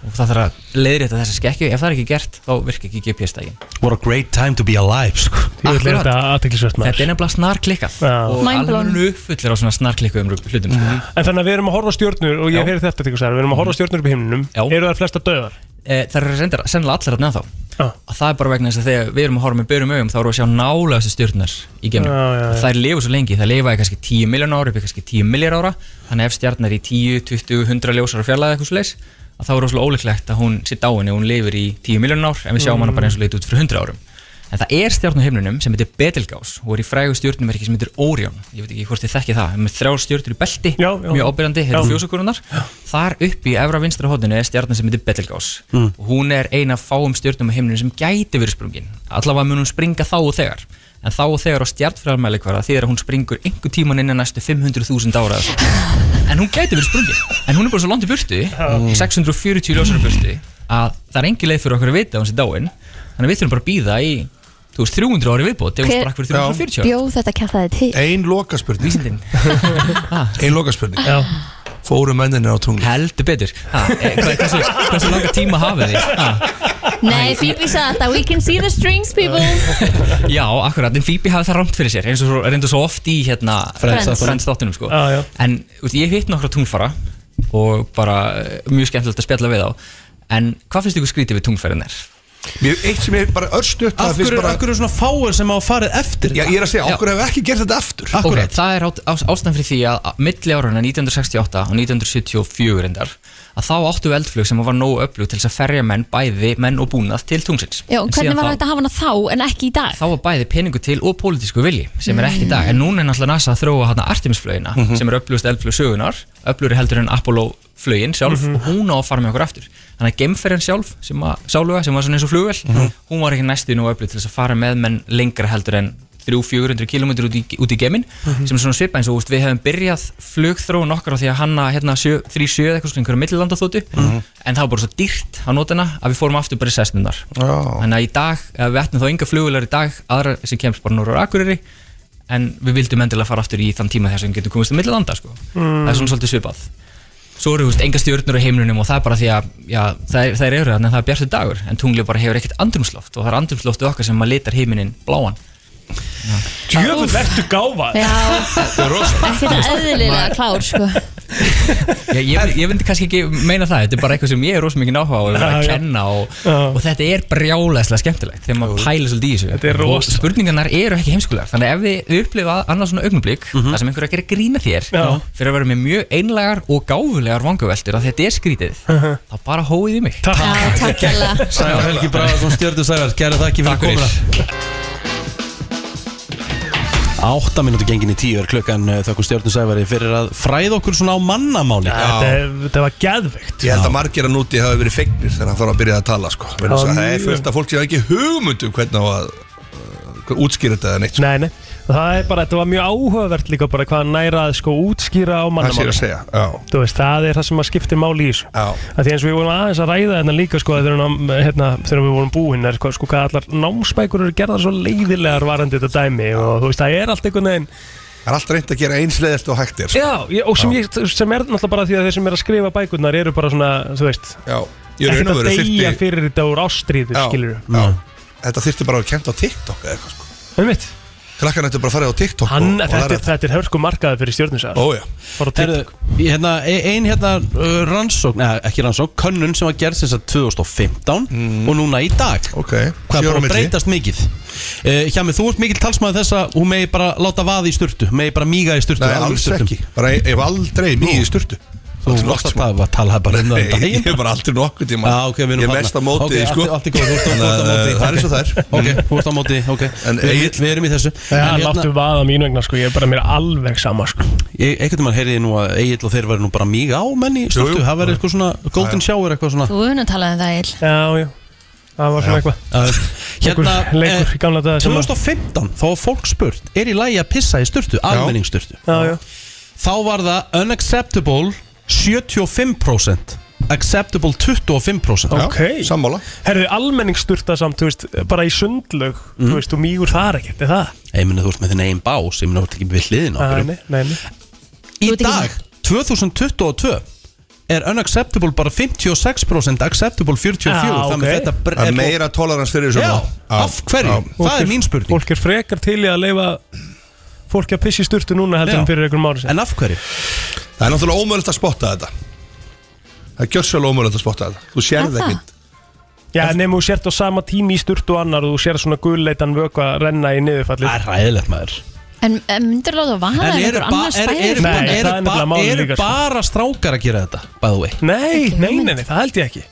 [SPEAKER 10] og það þarf að leiðrétta þessa skekju ef það er ekki gert þá virka ekki GPS-tækin
[SPEAKER 1] What a great time to be alive sko.
[SPEAKER 3] Ég vil
[SPEAKER 10] Akkurat.
[SPEAKER 3] þetta aðteklisvert
[SPEAKER 10] þetta
[SPEAKER 3] maður
[SPEAKER 10] er nefnilega snarklikkað
[SPEAKER 3] Já. Mhm.
[SPEAKER 10] og
[SPEAKER 2] Mindblown.
[SPEAKER 10] alveg uppfullir á svona snarklikkuðum hlutum sko.
[SPEAKER 3] En þannig að við erum að horfa á stjórnur og
[SPEAKER 10] Já.
[SPEAKER 3] ég heyri þetta til þess að við erum að horfa á stjórnur upp í himninum
[SPEAKER 10] Já.
[SPEAKER 3] Eru þær flesta döðar?
[SPEAKER 10] Eh, það eru reyndar- sennilega allar að neða þá
[SPEAKER 3] Já.
[SPEAKER 10] og það er bara vegna þess að þegar við erum að horfa með börum augum þá erum við að sjá nálega þessu stjórnar í geimnum
[SPEAKER 3] Já, já, já.
[SPEAKER 10] og það er lifu svo lengi, það lifa í kannski 10 miljón ára upp í kannski 10 miljór ára þannig að ef stjarnar er í 10, 20, 100 ljósar og fjarlæði eitthvað svoleiðis að þá er rosalega óleiklegt að hún sitt á henni og hún lifir í 10 miljón ár en við sjáum hana bara eins og leit út fyrir 100 árum en það er stjárn á himnunum sem heitir Betelgeuse og er í frægu stjórnumerki sem heitir Orion ég veit ekki hvort þið þekki það, með þrjár stjórnur í belti
[SPEAKER 3] Já, já.
[SPEAKER 10] mjög ábyrjandi, þetta
[SPEAKER 3] Já.
[SPEAKER 10] er fjósakurunar hérna þar upp í efra vinstra hóttinu er stjarnan sem heitir Betelgeuse
[SPEAKER 3] Mm.
[SPEAKER 10] og hún er eina fáum stjörnum á himninu sem gæti verið sprungin allavega mun hún springa þá og þegar en þá og þegar á stjartfræðarmæli hverða því er að hún springur einhver tíman innan næstu 500.000 ára eða svo. en hún gæti verið sprungin en hún er bara svo langt í burtu Mm. 640 ljósar í burtu að það er engin leið fyrir okkur að vita að hún sé dáin þannig að við þurfum bara að býða í þú veist 300 ári viðbót ef hún
[SPEAKER 2] Hver-
[SPEAKER 10] sprakk fyrir 340 ára.
[SPEAKER 2] Bjó þetta kæftaði til
[SPEAKER 9] Ein lokaspurning
[SPEAKER 10] Vísindin.
[SPEAKER 9] Ein lokaspurning
[SPEAKER 3] Já.
[SPEAKER 9] Fóru menninir á tungli
[SPEAKER 10] heldur betur ha, eh, hvað- hversu, hversu langa tíma hafið þið ha,
[SPEAKER 2] Nei, Phoebe sagði þetta We can see the strings, people
[SPEAKER 10] Já, akkurat, en Phoebe hafði það rámt fyrir sér eins og svo, reyndu svo oft í hérna
[SPEAKER 2] Friends.
[SPEAKER 10] Friends Friends þáttunum sko
[SPEAKER 3] Já, já.
[SPEAKER 10] En út, ég hitt nokkra tungfara og bara eh, mjög skemmtilegt að spjalla við þá En hvað finnst ykkur skrítið við tungferðinir?
[SPEAKER 9] Mér eitt sem ég bara örstuð
[SPEAKER 1] Af hverju bara... er svona fáir sem hafa farið eftir
[SPEAKER 9] Já, ég er að segja,
[SPEAKER 10] Já.
[SPEAKER 9] okkur hefur ekki gert þetta aftur
[SPEAKER 1] Akkurat.
[SPEAKER 10] Ok, það er á- á- ástæðan fyrir því að að milli árana 1968 og 1974 reyndar að þá áttu við eldflug sem var nógu öflug til þess að ferja menn bæði menn og búnað til tungsins
[SPEAKER 2] Já,
[SPEAKER 10] En
[SPEAKER 2] hvernig
[SPEAKER 10] síðan
[SPEAKER 2] var
[SPEAKER 10] þá-
[SPEAKER 2] hægt að hafa hana þá en ekki í dag?
[SPEAKER 10] þá var bæði peningu til og pólitísku vilji sem er ekki í dag, en núna er náttúrulega NASA að þróa hana Artemis-flögina, sem er upplugust eldflug sögunar, upplugri heldur en Apollo-flögin sjálf og hún á að fara með okkur aftur þannig að gemferðin sjálf, sem að sáluga sem var svona eins og flugvel, hún var ekki næstu nú upplug til þess að fara með menn lengra heldur en 300-400 km út í, út í gemin sem er svona svipa eins og úst, við hefum byrjað flugþróun okkar á því að hanna hérna, sjö- 37 eða eitthvað svona einhverju millilandaþótu en það var bara svo dýrt á nótina að við fórum aftur bara í sesnunar
[SPEAKER 9] Já.
[SPEAKER 10] Þannig að í dag, eh, við ættum þá enga flugulegar í dag aðra sem kemst bara norður á Akureyri en við vildum endilega fara aftur í þann tíma þess að við getum komist að millilanda sko. það er svona svolítið svipað svo eru þú veist, enga stjórnur á heimlunum og það er bara því að já, það, er, það er eru þannig að það er bjartu dagur en tunglið bara hefur ekkert andrumsloft og það er andrumsloftið okkar sem maður litar heiminin bláan
[SPEAKER 3] Djöfull vertu gáfa
[SPEAKER 2] Já, ekki það eðlilega klár,
[SPEAKER 10] [laughs]
[SPEAKER 2] sko
[SPEAKER 10] ég, ég, ég myndi kannski ekki meina það þetta er bara eitthvað sem ég er rosa mikið náhuga og er
[SPEAKER 3] Já,
[SPEAKER 10] að
[SPEAKER 3] já.
[SPEAKER 10] kenna og,
[SPEAKER 3] Já.
[SPEAKER 10] og þetta er brjálæslega skemmtilegt þegar maður pælir svolítið í þessu
[SPEAKER 3] Þetta er
[SPEAKER 10] Og
[SPEAKER 3] rosa.
[SPEAKER 10] spurningarnar eru ekki heimskulegar þannig að ef við upplifa annars svona augnablík þar sem einhver er að gera grína þér
[SPEAKER 3] Já.
[SPEAKER 10] fyrir að vera með mjög einlegar og gáfulegar vangaveltir að þetta er skrítið
[SPEAKER 3] Uh-huh.
[SPEAKER 10] þá bara hóið í mig
[SPEAKER 2] Já, takk hella
[SPEAKER 1] Sævar Helgi Braðarsson stjörðu Sævar, kæra þakki fyrir
[SPEAKER 10] Takk fyrir.
[SPEAKER 1] komuna Átta mínúti gengin í tíu er klukkan eh, þökkum stjörnu Sævari fyrir að fræða okkur svona á mannamáli
[SPEAKER 3] Þetta er- þetta var geðveikt sko.
[SPEAKER 9] Ég held að margir að núti hafa verið feignir þegar hann þarf að byrja að tala sko. Vegna þess að Það er fullt af fólk sem hafa ekki hugmyndum hvernig á að uh, útskýra þetta eða neitt sko.
[SPEAKER 3] Nei, nei, það er bara, þetta var mjög áhugavert líka bara hvað næra að sko útskýra á
[SPEAKER 9] Það sé ég
[SPEAKER 3] mannamáli
[SPEAKER 9] að segja Já,
[SPEAKER 3] Þú veist, það er það sem að skiptir máli í þessu
[SPEAKER 9] já,
[SPEAKER 3] að því eins og við vorum aðeins að ræða hérna líka sko þegar, nám, hérna, þegar við vorum búin er, sko, sko hvað allar námsbækur eru gerðar svo leiðilegar varandi þetta dæmi og þú veist það er allt einhvern veginn
[SPEAKER 9] það er alltaf reynd að gera einsleðist og hægt er sko.
[SPEAKER 3] já, ég, og sem, ég, sem er náttúrulega bara því að þeir sem er að skrifa bækurnar eru bara svona, þú veist
[SPEAKER 9] Já, ég er raun
[SPEAKER 3] ekkert
[SPEAKER 9] og
[SPEAKER 3] að
[SPEAKER 9] veru
[SPEAKER 3] deyja
[SPEAKER 9] þyrfti
[SPEAKER 3] fyrir þetta úr ástríðu
[SPEAKER 9] Já,
[SPEAKER 3] skilur
[SPEAKER 9] já. Þetta þyrfti bara að kemta á TikTok eða eitthvað sko.
[SPEAKER 3] við mitt
[SPEAKER 9] Krakkan ættu bara að fara á TikTok
[SPEAKER 3] Hann,
[SPEAKER 9] og, og
[SPEAKER 3] þetta, er,
[SPEAKER 9] læra
[SPEAKER 3] þetta er hörku markaði fyrir stjórninsæðar
[SPEAKER 9] Ó já
[SPEAKER 3] Fór á
[SPEAKER 1] Herðu,
[SPEAKER 3] TikTok
[SPEAKER 1] hérna, e- ein hérna uh, rannsókn, neða ekki rannsókn, könnun sem var gerð sem sagt 2015
[SPEAKER 9] Mhm.
[SPEAKER 1] og núna í dag
[SPEAKER 9] Ok
[SPEAKER 1] Hvað
[SPEAKER 9] Sjö ára
[SPEAKER 1] er bara að
[SPEAKER 9] milli.
[SPEAKER 1] breytast mikið uh, Hjá mig, þú ert mikil talsmaður þess að hún megi bara láta vaði í sturtu hún megi bara míga í sturtu
[SPEAKER 9] Nei,
[SPEAKER 1] alveg
[SPEAKER 9] alls
[SPEAKER 1] sturtum.
[SPEAKER 9] ekki Bara e- ég ég hef aldrei mikið í sturtu
[SPEAKER 1] Þú
[SPEAKER 9] Aldrei
[SPEAKER 1] varst
[SPEAKER 9] nokkuð
[SPEAKER 1] að tala, tala bara
[SPEAKER 9] Nei,
[SPEAKER 1] um það um
[SPEAKER 9] ég
[SPEAKER 1] daginn
[SPEAKER 9] hef bara aldrei nokkuð tíma
[SPEAKER 1] [laughs] Já, Ah, ok, við erum
[SPEAKER 9] Ég er
[SPEAKER 1] þarna.
[SPEAKER 9] mest á móti
[SPEAKER 1] Ok,
[SPEAKER 9] sko.
[SPEAKER 1] allt- allt í góðu, þú ert- þú ert
[SPEAKER 9] Þannig
[SPEAKER 1] á
[SPEAKER 9] að
[SPEAKER 1] móti.
[SPEAKER 9] Það er eins og það er
[SPEAKER 1] Ok, þú ert á móti, ok
[SPEAKER 9] En
[SPEAKER 1] Við
[SPEAKER 9] Egill-
[SPEAKER 1] vi erum í þessu
[SPEAKER 3] Já,
[SPEAKER 1] En hérna-
[SPEAKER 3] láttu vaða mín vegna sko, ég er bara mér alveg sama sko
[SPEAKER 1] Ég- Einhvern veginn heyrði ég nú að Egil og þeir væri nú bara míg á menni í
[SPEAKER 9] Jú,
[SPEAKER 1] sturtu
[SPEAKER 9] jú.
[SPEAKER 1] Það væri eitthvað svona golden shower eitthvað svona
[SPEAKER 2] Þú hefur nú talað um það, Egil
[SPEAKER 3] Já, já, það var svona eitthvað
[SPEAKER 1] Uh, Hérna
[SPEAKER 3] Einhver leikur
[SPEAKER 1] eh,
[SPEAKER 3] í gamla daga sem að-
[SPEAKER 1] 2015 þá var fólk spurt Er í lagi að pissa í sturtu, almenningssturtu
[SPEAKER 3] Já, já,
[SPEAKER 1] Þá var það unacceptable 75% Acceptable 25%
[SPEAKER 3] ok
[SPEAKER 9] Sammála
[SPEAKER 3] Herðu, almenningssturta samt, þú veist, bara í sundlög
[SPEAKER 1] Mhm.
[SPEAKER 3] Þú veist, þú mígur þar ekkert, er það?
[SPEAKER 1] Ég meni þú ert með þinn eigin bás Ég meni þú ert ekki við hliðin á
[SPEAKER 3] Nei,
[SPEAKER 1] okkur
[SPEAKER 3] nei, nei, nei.
[SPEAKER 1] Í
[SPEAKER 2] Þú ert ekki
[SPEAKER 1] dag, 2022 Er unacceptable bara 56% Acceptable 44
[SPEAKER 3] Já,
[SPEAKER 1] Þannig
[SPEAKER 3] ok.
[SPEAKER 1] þetta br-
[SPEAKER 9] Það
[SPEAKER 1] er
[SPEAKER 9] er meira tolerans fyrir þessu
[SPEAKER 1] Já,
[SPEAKER 9] mál. Já.
[SPEAKER 1] af hverju?
[SPEAKER 9] Já.
[SPEAKER 1] Það er mín spurning
[SPEAKER 3] Fólk er frekar til í að leifa fólki að pissi sturtu núna heldur
[SPEAKER 1] Já.
[SPEAKER 3] en fyrir einhverjum ári sér
[SPEAKER 1] En af hverju?
[SPEAKER 9] Það er náttúrulega ómöðulegt að spotta þetta Það er gjörsvölu ómöðulegt að spotta þetta Þú sér
[SPEAKER 2] Er
[SPEAKER 9] það
[SPEAKER 2] það?
[SPEAKER 9] ekki
[SPEAKER 3] Já, nema þú sért á sama tími í sturtu og annar og þú sér svona gulleitan vökva renna í niðurfallið
[SPEAKER 1] Það er ræðilegt maður
[SPEAKER 2] En en myndirðu láta vaða
[SPEAKER 1] En
[SPEAKER 2] ef
[SPEAKER 1] eru
[SPEAKER 2] einhver
[SPEAKER 1] ba
[SPEAKER 2] annars
[SPEAKER 1] er, er,
[SPEAKER 2] bæðir?
[SPEAKER 3] Nei,
[SPEAKER 1] er,
[SPEAKER 3] það er
[SPEAKER 1] ba
[SPEAKER 3] nefnilega málið
[SPEAKER 1] er
[SPEAKER 3] líka, sko.
[SPEAKER 1] bara strákar að gera þetta By the way
[SPEAKER 3] Nei,
[SPEAKER 2] Ekki
[SPEAKER 3] nei, nei,
[SPEAKER 2] hugmynd.
[SPEAKER 3] nei, það held ég ekki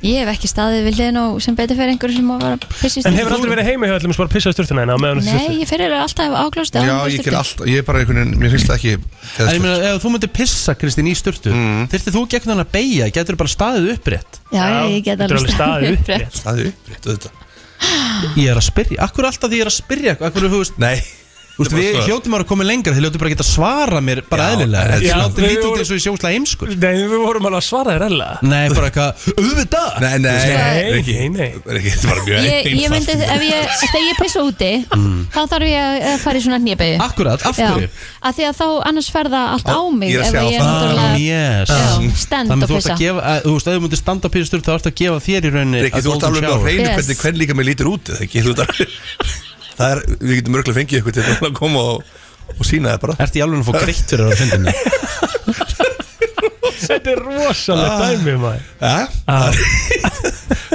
[SPEAKER 2] Ég hef ekki staðið við hliðin og sem betur fyrir einhverjum sem á að vera að pissa í
[SPEAKER 3] En
[SPEAKER 2] sturtu.
[SPEAKER 3] hefur aldrei verið heima hjá allir bara pissað sturtuna hérna á meðan þessi
[SPEAKER 2] Nei,
[SPEAKER 3] sturtu
[SPEAKER 2] ég fyrir alltaf áklósti
[SPEAKER 9] Já, ég ger allt, ég er bara einhvern veginn, mér finnst það ekki
[SPEAKER 1] En ég
[SPEAKER 9] geðsveikt.
[SPEAKER 1] meina, ef þú myndir pissa, Kristín, í sturtu mm. Þyrftir þú gegn hann að beigja, getur bara staðið upprétt
[SPEAKER 2] Já, ég get
[SPEAKER 3] getur
[SPEAKER 2] alveg [laughs] staðið upp
[SPEAKER 3] rétt.
[SPEAKER 9] Það er upprétt, auðvitað
[SPEAKER 1] Ég er að spyrja, akkur alltaf því ég er að spyrja Akkur, þú veist,
[SPEAKER 9] Nei
[SPEAKER 1] þú veist
[SPEAKER 9] bara
[SPEAKER 1] við
[SPEAKER 9] svo-
[SPEAKER 1] hljótum að koma lengra Þið hljótum bara að geta svara mér bara
[SPEAKER 9] Já,
[SPEAKER 1] eðlilega
[SPEAKER 9] en
[SPEAKER 1] Þið
[SPEAKER 3] þetta er
[SPEAKER 1] látið
[SPEAKER 3] svona-
[SPEAKER 1] lítið út eins og ég sjóslega heimskur
[SPEAKER 3] Nei, við vorum alveg að svara þér ella
[SPEAKER 1] Nei, bara eitthvað, auðvitað
[SPEAKER 9] Nei, nei,
[SPEAKER 3] Nei,
[SPEAKER 9] ekki,
[SPEAKER 3] nei, nei.
[SPEAKER 9] ekki, þetta var mjög
[SPEAKER 2] Ég, ég myndi, ef ég, þegar ég pissa úti
[SPEAKER 3] Mm.
[SPEAKER 2] þá þarf ég að- að fara í svona hnébegi
[SPEAKER 1] Akkurat, af
[SPEAKER 2] Já,
[SPEAKER 1] hverju?
[SPEAKER 2] af því að þá annars ferða allt á mig
[SPEAKER 9] ég er að
[SPEAKER 2] ef
[SPEAKER 9] sjá
[SPEAKER 2] að ég
[SPEAKER 9] það.
[SPEAKER 1] Ah,
[SPEAKER 2] náttúrulega
[SPEAKER 1] yes
[SPEAKER 2] Já, stend
[SPEAKER 1] Þannig
[SPEAKER 2] og
[SPEAKER 1] þú ert
[SPEAKER 2] pissa.
[SPEAKER 1] að gefa, að, þú veist, ef þú myndir standa á pyrr sturtu Þá ert að gefa þér í rauninni
[SPEAKER 9] Rikki,
[SPEAKER 1] að
[SPEAKER 9] þú ert
[SPEAKER 1] golden
[SPEAKER 9] alveg með á
[SPEAKER 1] shower.
[SPEAKER 9] hreinu
[SPEAKER 2] Yes.
[SPEAKER 9] hvernig hvern líka mér lítur út eða ekki, þú ert alveg [laughs] Það er, við getum örgulega fengið ykkur til að koma og, og sína það bara
[SPEAKER 1] Ert í
[SPEAKER 9] [laughs]
[SPEAKER 1] alveg að fá greitt fyrir að finna
[SPEAKER 3] Þetta er
[SPEAKER 1] Ah.
[SPEAKER 3] rosalegt dæmi, maður Ah,
[SPEAKER 9] ja?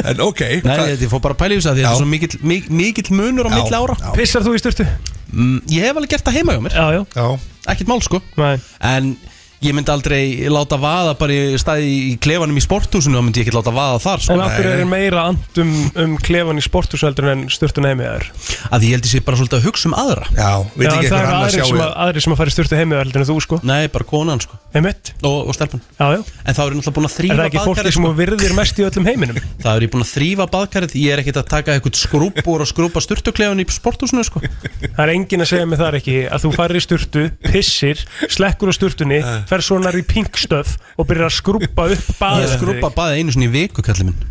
[SPEAKER 9] En ok
[SPEAKER 1] Nei,
[SPEAKER 9] hvað-
[SPEAKER 1] þetta ég fór bara að pæla í þessu að því að
[SPEAKER 9] Já.
[SPEAKER 1] þetta er svo mikill, mik- mikill munur á
[SPEAKER 9] Já,
[SPEAKER 1] milli ára
[SPEAKER 9] já.
[SPEAKER 3] Pissar þú í sturtu?
[SPEAKER 1] Mm, Ég hef alveg gert það heima hjá mér,
[SPEAKER 3] Já, já
[SPEAKER 9] Já,
[SPEAKER 1] ekkert mál sko
[SPEAKER 3] Nei.
[SPEAKER 1] En ég myndi aldrei láta vaða bara í staði í klefanum í sporthúsinu þá myndi ég ekki láta vaða þar sko
[SPEAKER 3] En af hverju
[SPEAKER 9] Nei, nei.
[SPEAKER 3] er meira and um, um klefan í sporthúsöldur en sturtun heimiðar?
[SPEAKER 1] Af því ég held ég sé bara svolítið að hugsa um aðra
[SPEAKER 9] já, veit
[SPEAKER 3] Já, en
[SPEAKER 9] ekki
[SPEAKER 3] það
[SPEAKER 9] eitthvað
[SPEAKER 3] eru
[SPEAKER 9] annað
[SPEAKER 3] aðrir sem, að,
[SPEAKER 9] sjáu
[SPEAKER 3] aðrir sem að fara í sturtu heimiðar heldur en þú, sko
[SPEAKER 1] Nei, bara konan sko
[SPEAKER 3] Heimitt?
[SPEAKER 1] og, og stelpan
[SPEAKER 3] Já, já
[SPEAKER 1] En þá er ég náttúrulega búin að
[SPEAKER 3] Er
[SPEAKER 1] þrýfa
[SPEAKER 3] það ekki fólki
[SPEAKER 1] baðkarið
[SPEAKER 3] sem
[SPEAKER 1] sko.
[SPEAKER 3] þú virðir mest í öllum
[SPEAKER 9] [laughs]
[SPEAKER 3] heiminum?
[SPEAKER 1] Það er ég búin að þrýfa baðkarið Ég er ekkert að taka eitthvað skrúpur og skrúpa sturtuklefan í sporthúsinu sko
[SPEAKER 3] Það er enginn að segja mig þar ekki að þú farir í sturtu, pissir, slekkur á sturtunni,
[SPEAKER 9] Eh.
[SPEAKER 3] fer svona í pinkstöf og byrjar að skrúpa
[SPEAKER 9] [laughs]
[SPEAKER 3] upp
[SPEAKER 1] Ég
[SPEAKER 3] baðið.
[SPEAKER 1] skrúpa baðið einu sinni í viku kallið minn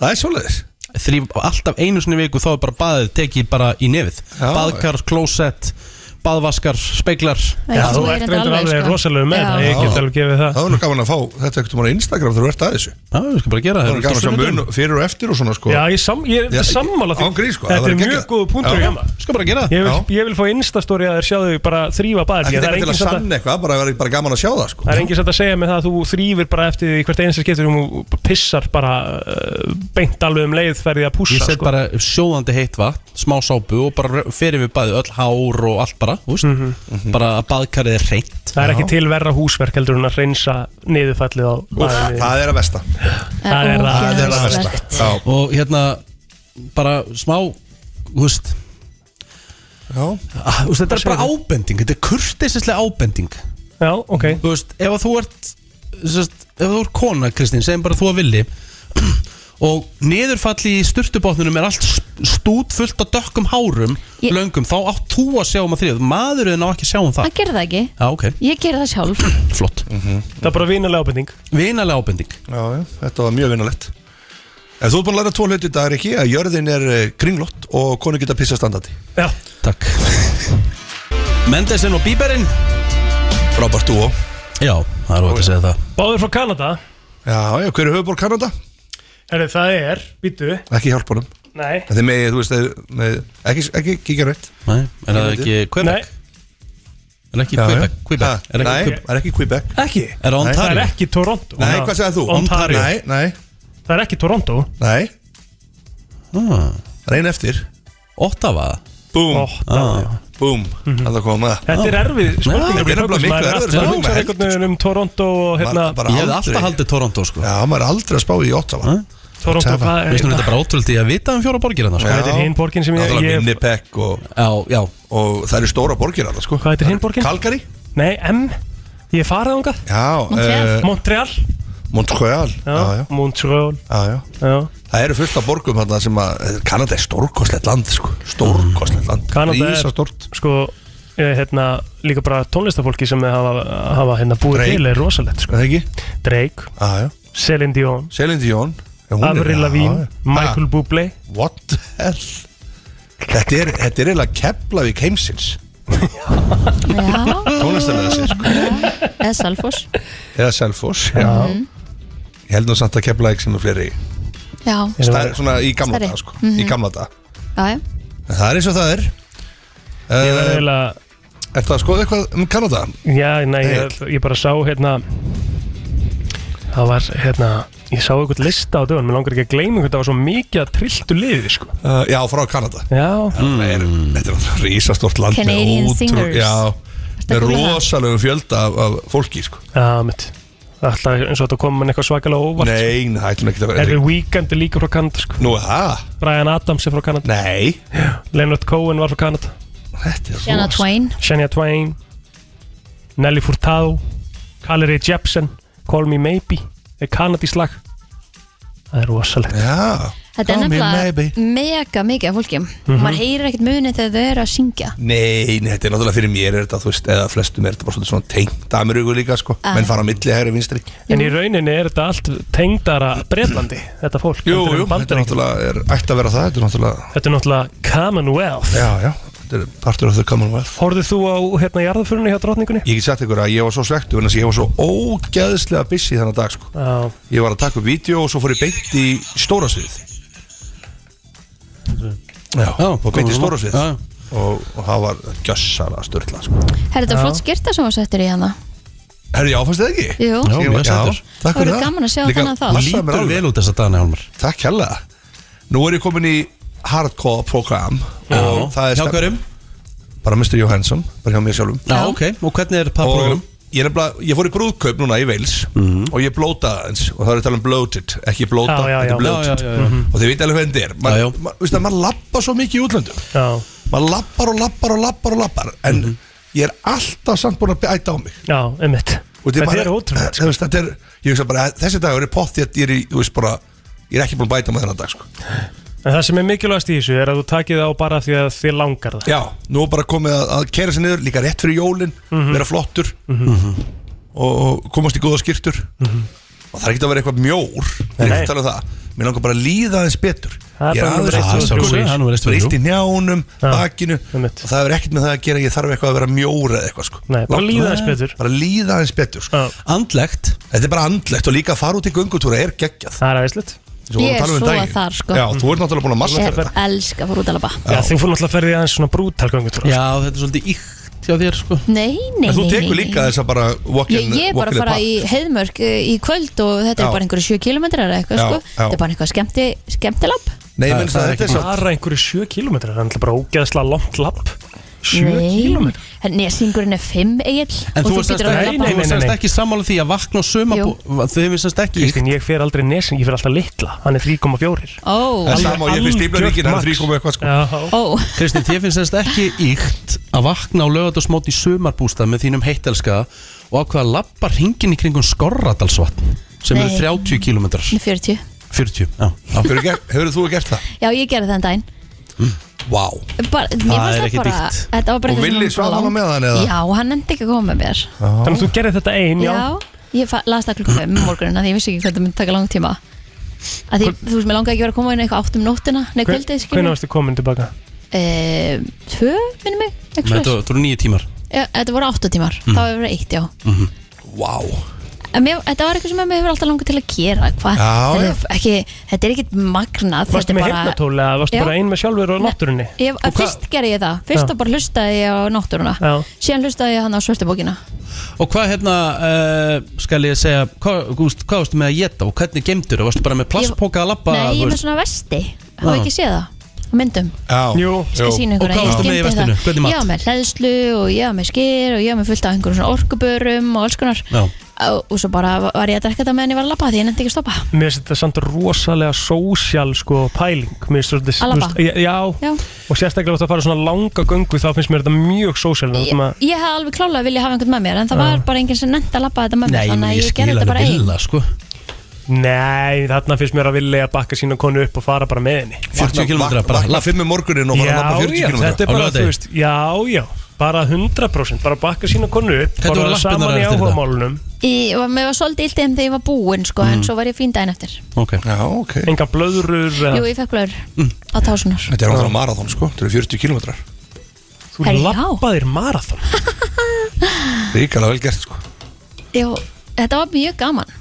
[SPEAKER 9] Það er svoleiðis
[SPEAKER 1] þrýfa alltaf einu sinni í viku þá er bara baðið tekið bara í nefið
[SPEAKER 9] Já.
[SPEAKER 1] baðkar, klósett, baðvaskar, speiklar
[SPEAKER 3] Já, þú ert reyndar alveg
[SPEAKER 2] sko.
[SPEAKER 3] rosalega með það, ég get alveg gefið það.
[SPEAKER 9] Það var nú gaman að fá þetta ekkert um á Instagram þegar þú ert að þessu
[SPEAKER 1] Já, við skulum bara gera
[SPEAKER 9] Það
[SPEAKER 1] það um.
[SPEAKER 9] var gaman að sjá mun fyrir og eftir og svona sko
[SPEAKER 3] Já, ég, sam, ég
[SPEAKER 9] Já,
[SPEAKER 3] er sammála því.
[SPEAKER 9] án gríns, sko, það
[SPEAKER 3] Þetta
[SPEAKER 9] væri
[SPEAKER 3] er mjög
[SPEAKER 9] geggjað.
[SPEAKER 3] góð punktur
[SPEAKER 9] Já. Sko,
[SPEAKER 3] hjá maður.
[SPEAKER 1] Við skulum bara gera það
[SPEAKER 3] Ég vil,
[SPEAKER 9] Já.
[SPEAKER 3] ég vil fá instastóri að þér sjáðu bara þrýfa baðið.
[SPEAKER 9] Ekki
[SPEAKER 3] Það
[SPEAKER 9] eitthvað til
[SPEAKER 3] er enginn
[SPEAKER 9] að
[SPEAKER 3] sem þetta-
[SPEAKER 9] sanna eitthvað, bara, bara, bara gaman að sjá það sko
[SPEAKER 3] það er enginn sem þetta að segja mig það að þú þrýfir bara eftir því hvert einasta skiptur og þú pissar bara uh, beint alveg um leið ferðið að
[SPEAKER 1] Ég
[SPEAKER 3] pússa.
[SPEAKER 1] set bara sjóðandi heitt vatn, smá sápu og bara fyrir við baðið öll hár og allt bara, þú veist bara að baðkarið er reynt
[SPEAKER 3] Það er ekki til verra húsverk heldur en að reynsa niðurfallið á baðinu.
[SPEAKER 9] Það er að vesta
[SPEAKER 3] Það er það.
[SPEAKER 9] Það er að
[SPEAKER 2] ógeðslegt.
[SPEAKER 9] vesta Já,
[SPEAKER 1] og hérna bara smá, þú veist
[SPEAKER 9] já
[SPEAKER 1] ah, þú veist, þetta er bara ábending, þetta er kurtisislega ábending
[SPEAKER 3] Já, ok.
[SPEAKER 1] þú veist, ef að þú ert sest, ef þú ert kona, Kristín, segjum bara þú að villi [clears throat] og niðurfalli í sturtubotnunum er allt stút fullt af dökkum hárum
[SPEAKER 2] Ég-
[SPEAKER 1] löngum, þá átt þú að sjá um að þrjóð maðurinn á ekki að sjá um það
[SPEAKER 2] Það gerði það ekki,
[SPEAKER 1] Já, ok,
[SPEAKER 2] ég gerði það
[SPEAKER 9] [laughs]
[SPEAKER 2] sjálf
[SPEAKER 1] flott
[SPEAKER 3] Það er bara vinalega ábending
[SPEAKER 1] Vinalega ábending
[SPEAKER 9] Já, já, þetta var mjög vinnulegt En þú er búin að læra tvo hluti í dag, Rikki, að jörðin er eh, kringlótt og konu geta pissa standandi.
[SPEAKER 3] Já,
[SPEAKER 1] Takk [laughs] Mendesen og Bíberinn
[SPEAKER 9] Frábært dúo.
[SPEAKER 1] Já, það er óvægt að segja það
[SPEAKER 3] báður frá Kanada
[SPEAKER 9] Já, já, hver er höfuborg Kanada?
[SPEAKER 3] Herri, það er, býtu
[SPEAKER 9] Ekki hjálp honum.
[SPEAKER 3] Nei,
[SPEAKER 9] En þeir megið, þú veist, þeir megið, ekki, ekki kíkja rætt
[SPEAKER 1] Nei, er það ekki
[SPEAKER 3] nei,
[SPEAKER 1] Quebec? Er
[SPEAKER 9] Já,
[SPEAKER 1] ekki
[SPEAKER 9] já.
[SPEAKER 1] Quebec?
[SPEAKER 9] Ha,
[SPEAKER 1] Quebec? Er
[SPEAKER 9] Nei,
[SPEAKER 1] ekki
[SPEAKER 9] það er ekki Quebec
[SPEAKER 3] ekki
[SPEAKER 1] Er það
[SPEAKER 3] Það er
[SPEAKER 1] Ontario?
[SPEAKER 3] ekki Toronto
[SPEAKER 9] Nei, hvað segðað þú?
[SPEAKER 3] Ontario.
[SPEAKER 9] Nei, nei,
[SPEAKER 3] Það er ekki Toronto
[SPEAKER 9] nei,
[SPEAKER 1] Ah,
[SPEAKER 9] það er einn eftir
[SPEAKER 1] Ottawa?
[SPEAKER 9] Búm,
[SPEAKER 3] Ó, Mhm. það-
[SPEAKER 9] búm, það er komað
[SPEAKER 3] Þetta er erfið
[SPEAKER 9] Þetta
[SPEAKER 3] spurningar
[SPEAKER 9] er nefnilega miklu erfiðari
[SPEAKER 3] Það er
[SPEAKER 9] spurning,
[SPEAKER 3] hugsað
[SPEAKER 9] maður
[SPEAKER 3] einhvern veginn um Toronto og hérna
[SPEAKER 9] Bara- bara
[SPEAKER 1] Ég hef alltaf haldið Toronto sko
[SPEAKER 9] Já, maður er aldrei að spá í Ottawa
[SPEAKER 1] Hæ?
[SPEAKER 3] Toronto,
[SPEAKER 9] Ottawa.
[SPEAKER 3] hvað
[SPEAKER 1] Við
[SPEAKER 3] er
[SPEAKER 1] snurðum þetta bara ótrúld í að vita um fjóra borgir hennar sko.
[SPEAKER 3] Hvað heitir hin borgin sem ég-
[SPEAKER 9] Það
[SPEAKER 3] ég-
[SPEAKER 9] er Winnipeg og,
[SPEAKER 1] Já, já
[SPEAKER 9] og það eru stóra borgir alltaf sko
[SPEAKER 3] Hvað heitir hin borgin?
[SPEAKER 9] Calgary
[SPEAKER 3] Nei, M Ég er farið þangað
[SPEAKER 9] Já,
[SPEAKER 2] Montreal.
[SPEAKER 9] eh,
[SPEAKER 3] Montreal
[SPEAKER 9] Montreal Já, já,
[SPEAKER 3] Montreal
[SPEAKER 9] já, já
[SPEAKER 3] Já
[SPEAKER 9] Það eru fullt af borgum þarna sem að eh, Kanada er stórkostlegt land sko Stórkostlegt land
[SPEAKER 3] Mm. Kanada er-
[SPEAKER 9] Ísa stórt
[SPEAKER 3] Sko eh, Hérna Líka bara tónlistafólki sem þið hafa, hafa hérna búið
[SPEAKER 9] Drake.
[SPEAKER 3] til er rosalegt sko
[SPEAKER 9] Það ekki?
[SPEAKER 3] Drake
[SPEAKER 9] Já, já
[SPEAKER 3] Celine Dion
[SPEAKER 9] Celine Dion Já, hún er-
[SPEAKER 3] Avril
[SPEAKER 9] já,
[SPEAKER 3] Lavigne
[SPEAKER 9] já.
[SPEAKER 3] Michael Bublé
[SPEAKER 9] Ha, What the hell Þetta er, þetta er eiginlega Keflavík heimsins
[SPEAKER 2] Já,
[SPEAKER 9] Tónlistanlega sér sko
[SPEAKER 2] eða Salfors
[SPEAKER 9] Eða Selfoss Já
[SPEAKER 2] Mhm.
[SPEAKER 9] Ég held nú samt að Keflavík sem er fleiri
[SPEAKER 2] Já,
[SPEAKER 9] Stær, Svona í gamla
[SPEAKER 2] Stærri.
[SPEAKER 9] daga sko Í gamla daga
[SPEAKER 2] já, já
[SPEAKER 9] En Það er eins og það er
[SPEAKER 3] Ég verði
[SPEAKER 9] uh,
[SPEAKER 3] eiginlega
[SPEAKER 9] Er það að skoða eitthvað um Kanada?
[SPEAKER 3] Já, nei, ég,
[SPEAKER 9] Egill.
[SPEAKER 3] ég bara sá hérna Það var hérna Ég sá einhvern lista á dögun Mér langar ekki að gleyma hvernig það var svo mikið að trilltu liði sko.
[SPEAKER 9] Uh, já, frá Kanada
[SPEAKER 3] Já,
[SPEAKER 9] mm. er, Þetta er náttúrulega rísastort land með
[SPEAKER 2] Canadian
[SPEAKER 9] ótrú-
[SPEAKER 2] singers.
[SPEAKER 9] Já,
[SPEAKER 2] að
[SPEAKER 9] með
[SPEAKER 2] googla það?
[SPEAKER 9] rosalegu fjölda af, af fólki sko.
[SPEAKER 3] já, mitt Alltaf eins og þetta kom mann eitthvað svakalega óvart
[SPEAKER 9] Nei, nei, það ætlum ekki að vera
[SPEAKER 3] Erfið Weekend er líka frá Kanada sko.
[SPEAKER 9] Nú, það?
[SPEAKER 3] Brian Adams er frá Kanada
[SPEAKER 9] Nei
[SPEAKER 3] Leonard Cohen var frá Kanada
[SPEAKER 9] Þetta er
[SPEAKER 2] Jana
[SPEAKER 9] rosa-
[SPEAKER 2] Twain
[SPEAKER 3] Shania Twain Nelly Furtado Calery Jepsen Call Me Maybe er kanadísk lag Það er rosalegt
[SPEAKER 9] Já,
[SPEAKER 2] Þetta er
[SPEAKER 9] Call me
[SPEAKER 2] nefnilega mega mikið af fólki
[SPEAKER 9] Mhm.
[SPEAKER 2] Maður heyrir ekkert muni þegar þau eru að syngja
[SPEAKER 9] nei, nei, þetta er náttúrulega fyrir mér er þetta, þú veist, eða flestum er þetta bara svolítið svona tengt Ameríku líka, sko,
[SPEAKER 2] Ah.
[SPEAKER 9] menn fara á milli hægri vinstri
[SPEAKER 3] En í rauninni er þetta allt tengdara Breitlandi, þetta fólk
[SPEAKER 9] Jú,
[SPEAKER 3] heldur
[SPEAKER 9] jú, þetta
[SPEAKER 3] en
[SPEAKER 9] er
[SPEAKER 3] Bandaríkin.
[SPEAKER 9] náttúrulega, er, ætti að vera það, þetta er náttúrulega
[SPEAKER 3] Þetta er náttúrulega Commonwealth
[SPEAKER 9] Já, já, þetta er partur af þau Commonwealth
[SPEAKER 3] Horfðu þú á hérna jarðaförunni hjá drottningunni?
[SPEAKER 9] Ég get sagt ykkur að ég var svo svektu, en ég var svo ógeðslega busy þannig dag, sko
[SPEAKER 3] Já,
[SPEAKER 9] Ég var að taka upp vídeo og svo fór ég beint í stóra svið Já,
[SPEAKER 1] Já,
[SPEAKER 9] og beint í stóra svið
[SPEAKER 1] Já.
[SPEAKER 9] og, og það var gjössala störtla sko.
[SPEAKER 2] Herra, þetta er flott skyrta sem var settur í hana
[SPEAKER 9] Herri, já, fannst þið ekki?
[SPEAKER 2] Jú,
[SPEAKER 1] Já,
[SPEAKER 9] Ég var-
[SPEAKER 1] mjög sætur.
[SPEAKER 9] takk
[SPEAKER 2] Það
[SPEAKER 9] fyrir
[SPEAKER 2] verður gaman að sjá
[SPEAKER 9] Líka
[SPEAKER 2] þennan þátt.
[SPEAKER 9] passaði mér
[SPEAKER 1] Lítur
[SPEAKER 9] alveg.
[SPEAKER 1] vel út þess að dana Hjálmar
[SPEAKER 9] Takk hella Nú er ég komin í hardcore program og það er
[SPEAKER 1] Hjá
[SPEAKER 9] stefn-
[SPEAKER 1] hverjum?
[SPEAKER 9] bara Mr. Johansson, bara hjá mér sjálfum
[SPEAKER 1] Já, ok Og hvernig er það
[SPEAKER 9] og
[SPEAKER 1] program? Mhm.
[SPEAKER 9] ég, nefnilega, ég fór í brúðkaup núna í Wales og ég blótaði aðeins og það er að tala um bloated, ekki blóta,
[SPEAKER 3] Já, já,
[SPEAKER 9] þetta
[SPEAKER 3] já. Mhm.
[SPEAKER 9] er bloated
[SPEAKER 1] Já, já, já, já.
[SPEAKER 9] og þið veit alveg hvernig þetta er Man-
[SPEAKER 1] Já, já.
[SPEAKER 9] ma- veistu að maður lappa svo mikið í útlöndum
[SPEAKER 3] já,
[SPEAKER 9] maður lappar og lappar og lappar og lappar en
[SPEAKER 1] Mhm.
[SPEAKER 9] ég er alltaf samt búin að æta á mig
[SPEAKER 3] já, einmitt
[SPEAKER 9] Og
[SPEAKER 3] Þetta
[SPEAKER 9] bara-
[SPEAKER 3] er sko. ótrúlega
[SPEAKER 9] Þú veist, þetta er, ég hugsa bara, þessi dagur er pott ég er, í, þú veist, bara, ég er ekki búin að bæta með þennan dag sko.
[SPEAKER 3] En það sem er mikilvægast í þessu er að þú takið á bara því að þið langar það
[SPEAKER 9] já, nú er bara komið að, að kera sér niður líka rétt fyrir jólin,
[SPEAKER 3] Mhm.
[SPEAKER 9] vera flottur og, og komast í góða skýrtur og það er ekki að vera eitthvað mjór það er ekki
[SPEAKER 3] Mhm. Nei.
[SPEAKER 9] að tala um það mér langar bara að líða aðeins betur
[SPEAKER 3] Það er
[SPEAKER 9] ég er
[SPEAKER 3] bara númer
[SPEAKER 9] aðeins
[SPEAKER 3] eitt, tvö, þrjú.
[SPEAKER 1] Já, nú er eitt, tvö,
[SPEAKER 9] Illt í njánum,
[SPEAKER 3] Já.
[SPEAKER 9] bakinu
[SPEAKER 3] Einmitt.
[SPEAKER 9] og það er ekkert með það að gera að ég þarf eitthvað að vera mjór eða eitthvað sko.
[SPEAKER 3] Nei, bara
[SPEAKER 9] Langt-
[SPEAKER 3] líða þess betur
[SPEAKER 9] bara líða aðeins betur sko.
[SPEAKER 3] Já,
[SPEAKER 1] Andlegt
[SPEAKER 9] þetta er bara andlegt og líka að fara út í göngutúra er geggjað
[SPEAKER 3] Það er aðeinslitt
[SPEAKER 9] Svo vorum
[SPEAKER 2] Ég
[SPEAKER 9] að
[SPEAKER 2] er
[SPEAKER 9] tala um
[SPEAKER 2] svo
[SPEAKER 9] daginn.
[SPEAKER 2] þar, sko.
[SPEAKER 9] Já, þú ert náttúrulega búin að massa
[SPEAKER 2] Ég
[SPEAKER 9] þetta
[SPEAKER 2] elska að fór út að labba
[SPEAKER 3] Já, þið fór náttúrulega að ferðið aðeins svona brútalgöngutur
[SPEAKER 1] Já, þetta er svolítið íkt hjá þér sko
[SPEAKER 2] Nei, nei,
[SPEAKER 9] En þú
[SPEAKER 2] nei,
[SPEAKER 9] tekur
[SPEAKER 2] nei, nei.
[SPEAKER 9] líka þess að bara walk
[SPEAKER 2] Ég,
[SPEAKER 9] in
[SPEAKER 2] ég er
[SPEAKER 9] walk
[SPEAKER 2] bara að
[SPEAKER 9] in the
[SPEAKER 2] fara
[SPEAKER 9] park.
[SPEAKER 2] í heiðmörk eh, í kvöld og þetta
[SPEAKER 9] Já.
[SPEAKER 2] er bara einhverju 7 km eða eitthvað
[SPEAKER 9] Já,
[SPEAKER 2] sko.
[SPEAKER 9] já.
[SPEAKER 2] Þetta er bara einhverju skemmti, skemmtilapp
[SPEAKER 9] Nei,
[SPEAKER 1] Það-
[SPEAKER 9] minnst
[SPEAKER 1] það
[SPEAKER 9] að þetta
[SPEAKER 1] er
[SPEAKER 9] er
[SPEAKER 1] ekki
[SPEAKER 9] samt
[SPEAKER 3] Bara einhverju sjö kílómetrar, það er náttúrulega bara ógeðslega langt lapp Sjö
[SPEAKER 2] Nei,
[SPEAKER 3] kílómetrar
[SPEAKER 2] nesingurinn er 5 eigill
[SPEAKER 1] En þú
[SPEAKER 2] býtur að
[SPEAKER 3] nei, nei,
[SPEAKER 2] labba
[SPEAKER 3] nei.
[SPEAKER 1] er semst ekki sammála því að vakna og söma
[SPEAKER 2] Jú.
[SPEAKER 1] Þau hefur semst ekki íkt
[SPEAKER 3] Kristín, ég fer aldrei nesin, ég fer alltaf litla Hann er 3,4
[SPEAKER 2] Ó,
[SPEAKER 9] Það er sama og ég fyrir stíflaríkin Það er 3 komið eitthvað sko
[SPEAKER 3] Já,
[SPEAKER 2] ó,
[SPEAKER 1] Kristinn, þér finnst þess ekki íkt að vakna á lögatarsmót í sumarbústað með þínum heittelska og ákveða að lappa hringin í kringum Skorradalsvatn sem eru
[SPEAKER 2] Nei.
[SPEAKER 1] 30 km
[SPEAKER 2] 40
[SPEAKER 1] 40, já, já.
[SPEAKER 9] Hefur, ger, hefur þú gert það?
[SPEAKER 2] Já, ég gerði þann daginn
[SPEAKER 9] Vá
[SPEAKER 2] bara, Það
[SPEAKER 1] er ekki dýrt.
[SPEAKER 2] Þetta var bara
[SPEAKER 9] Og
[SPEAKER 2] eitthvað sem
[SPEAKER 9] Willi
[SPEAKER 2] var
[SPEAKER 9] svaf
[SPEAKER 2] bara
[SPEAKER 9] hana með hann, eða?
[SPEAKER 2] Já, hann endi ekki að koma með mér
[SPEAKER 3] Þannig að þú gerir þetta ein, já,
[SPEAKER 2] Já, ég fa- las það klukka 5 morgunin að ég vissi ekki hvað það myndi taka langt tíma að því, þú veist, mér langaði ekki að vera að koma inn eitthvað 8 um nóttina, nei, kvöldið,
[SPEAKER 3] Hvernig
[SPEAKER 2] skiljum
[SPEAKER 3] varstu komin tilbaka?
[SPEAKER 2] eh, Tvö, minnum mig,
[SPEAKER 1] Menn,
[SPEAKER 2] eitthvað
[SPEAKER 1] Þetta
[SPEAKER 2] svo
[SPEAKER 3] Mhm.
[SPEAKER 1] þetta voru nýju tímar
[SPEAKER 2] Þetta voru 8 tímar, þá hefur verið 1, já
[SPEAKER 9] Vá
[SPEAKER 2] En mér, þetta var eitthvað sem mér hefur alltaf langað til að gera hva?
[SPEAKER 9] Já,
[SPEAKER 2] þetta,
[SPEAKER 9] já.
[SPEAKER 2] er Ekki, þetta er ekkit magnað
[SPEAKER 3] Varstu
[SPEAKER 2] þetta er
[SPEAKER 3] með
[SPEAKER 2] bara-
[SPEAKER 3] hirtnatól eða varstu
[SPEAKER 2] Já.
[SPEAKER 3] bara ein með sjálfur og náttúrunni?
[SPEAKER 2] Ég,
[SPEAKER 3] Og hvað-
[SPEAKER 2] fyrst gerði ég það, fyrst
[SPEAKER 3] Já.
[SPEAKER 2] þá bara hlustaði ég á náttúruna
[SPEAKER 3] Já.
[SPEAKER 2] síðan hlustaði ég hann á svörtubókina
[SPEAKER 1] Og hvað hérna, uh, skal ég segja Hvað, Gúst, hvað varstu með að geta og hvernig gemdur Varstu bara með plastpóka að lappa
[SPEAKER 2] Nei, ég er með svona vesti, hafa
[SPEAKER 1] Já.
[SPEAKER 2] ekki séð það á myndum,
[SPEAKER 9] Já,
[SPEAKER 3] Jú,
[SPEAKER 2] ég skal sína ykkur
[SPEAKER 1] Og hvað
[SPEAKER 2] að ég
[SPEAKER 1] varstu með í
[SPEAKER 2] skildi
[SPEAKER 1] vestinu?
[SPEAKER 2] það.
[SPEAKER 1] Hvernig mat?
[SPEAKER 2] Ég var með hleðslu og ég var með skýr og ég var með fullt af einhverjum svona orkubörum og alls konar
[SPEAKER 1] Já.
[SPEAKER 2] og, og svo bara var ég að drekka þetta meðan ég var að labba því ég nefndi ekki að stoppa
[SPEAKER 3] mér finnst þetta samt rosalega sósjál sko pæling Mér finnst þetta-
[SPEAKER 2] Að labba?
[SPEAKER 3] þú veist, Já, já.
[SPEAKER 2] Já.
[SPEAKER 3] og sérstaklega átt að fara svona langa göngu þá finnst mér þetta mjög sósjál
[SPEAKER 2] Ég, ég hef alveg klálega viljað hafa einhvern með mér en það var bara enginn sem nefndi að labba þetta
[SPEAKER 1] Nei,
[SPEAKER 2] með mér
[SPEAKER 1] ég,
[SPEAKER 2] þannig
[SPEAKER 1] meina,
[SPEAKER 2] að
[SPEAKER 1] ég
[SPEAKER 2] ég
[SPEAKER 1] skil
[SPEAKER 2] gerði þetta
[SPEAKER 1] alveg
[SPEAKER 2] bara einn
[SPEAKER 1] vilja sko
[SPEAKER 3] Nei, þarna finnst mér að vilja að bakka sína konu upp og fara bara með henni
[SPEAKER 1] 40 km bara
[SPEAKER 9] Vakna
[SPEAKER 1] lapp.
[SPEAKER 9] fimm um morgunin og fara að lappa 40 km
[SPEAKER 3] þetta
[SPEAKER 1] Á
[SPEAKER 3] er bara,
[SPEAKER 1] laugardegi?
[SPEAKER 3] þú veist, já, já bara 100%, bara bakka sína konu upp
[SPEAKER 1] Hvernig voru
[SPEAKER 3] borða
[SPEAKER 1] lappirnar
[SPEAKER 3] saman í
[SPEAKER 1] eftir þetta?
[SPEAKER 3] áhugamálunum
[SPEAKER 2] Ég- og mér var svolítið illt þegar ég var búinn sko,
[SPEAKER 1] Mm.
[SPEAKER 2] en svo var ég fín daginn eftir
[SPEAKER 1] Ok
[SPEAKER 9] Já, ok
[SPEAKER 3] enga blöðrur eða-
[SPEAKER 2] Jú, ég fekk blöður
[SPEAKER 1] Mm.
[SPEAKER 2] á tásunar
[SPEAKER 9] Þetta er náttúrulega marathon sko, þetta eru 40 km
[SPEAKER 3] þú
[SPEAKER 2] Herri, já.
[SPEAKER 3] lappaðir marathon
[SPEAKER 9] Ríkala vel gert sko
[SPEAKER 2] Jú, þetta var mjög gaman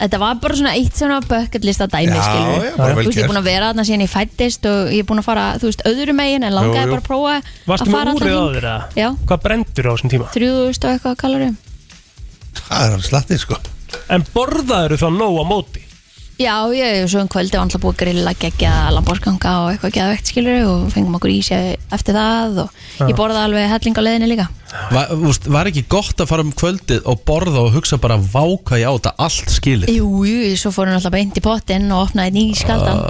[SPEAKER 2] Þetta var bara svona eitt svona bucket list að dæmi,
[SPEAKER 9] Já,
[SPEAKER 2] skilur
[SPEAKER 9] já, bara vel
[SPEAKER 2] Þú veist, ég er
[SPEAKER 9] gert.
[SPEAKER 2] búin að vera þarna síðan ég fættist og ég er búin að fara, þú veist, öðru megin en langaði
[SPEAKER 9] Jú, jú.
[SPEAKER 2] bara að prófa
[SPEAKER 3] Varstu
[SPEAKER 2] að fara
[SPEAKER 3] með úrið á
[SPEAKER 2] hring.
[SPEAKER 3] þér að?
[SPEAKER 2] Já,
[SPEAKER 3] Hvað brendur á þessum tíma?
[SPEAKER 2] 3000 og eitthvað kaloríum
[SPEAKER 9] Það er hann slattið sko
[SPEAKER 3] En borðaður þá nóg á móti?
[SPEAKER 2] Já, ég svo um kvöldi var alltaf búið að grilla geggja lambórskanga og eitthvað geðvegt skilur og fengum okkur ísja eftir það og ég borða alveg helling á leiðinni líka
[SPEAKER 1] Var, úst, var ekki gott að fara um kvöldið og borða og hugsa bara váka ég á þetta allt skilið
[SPEAKER 2] Jú, jú, svo fór hún alltaf beint í pottinn og opnaði ný skaldan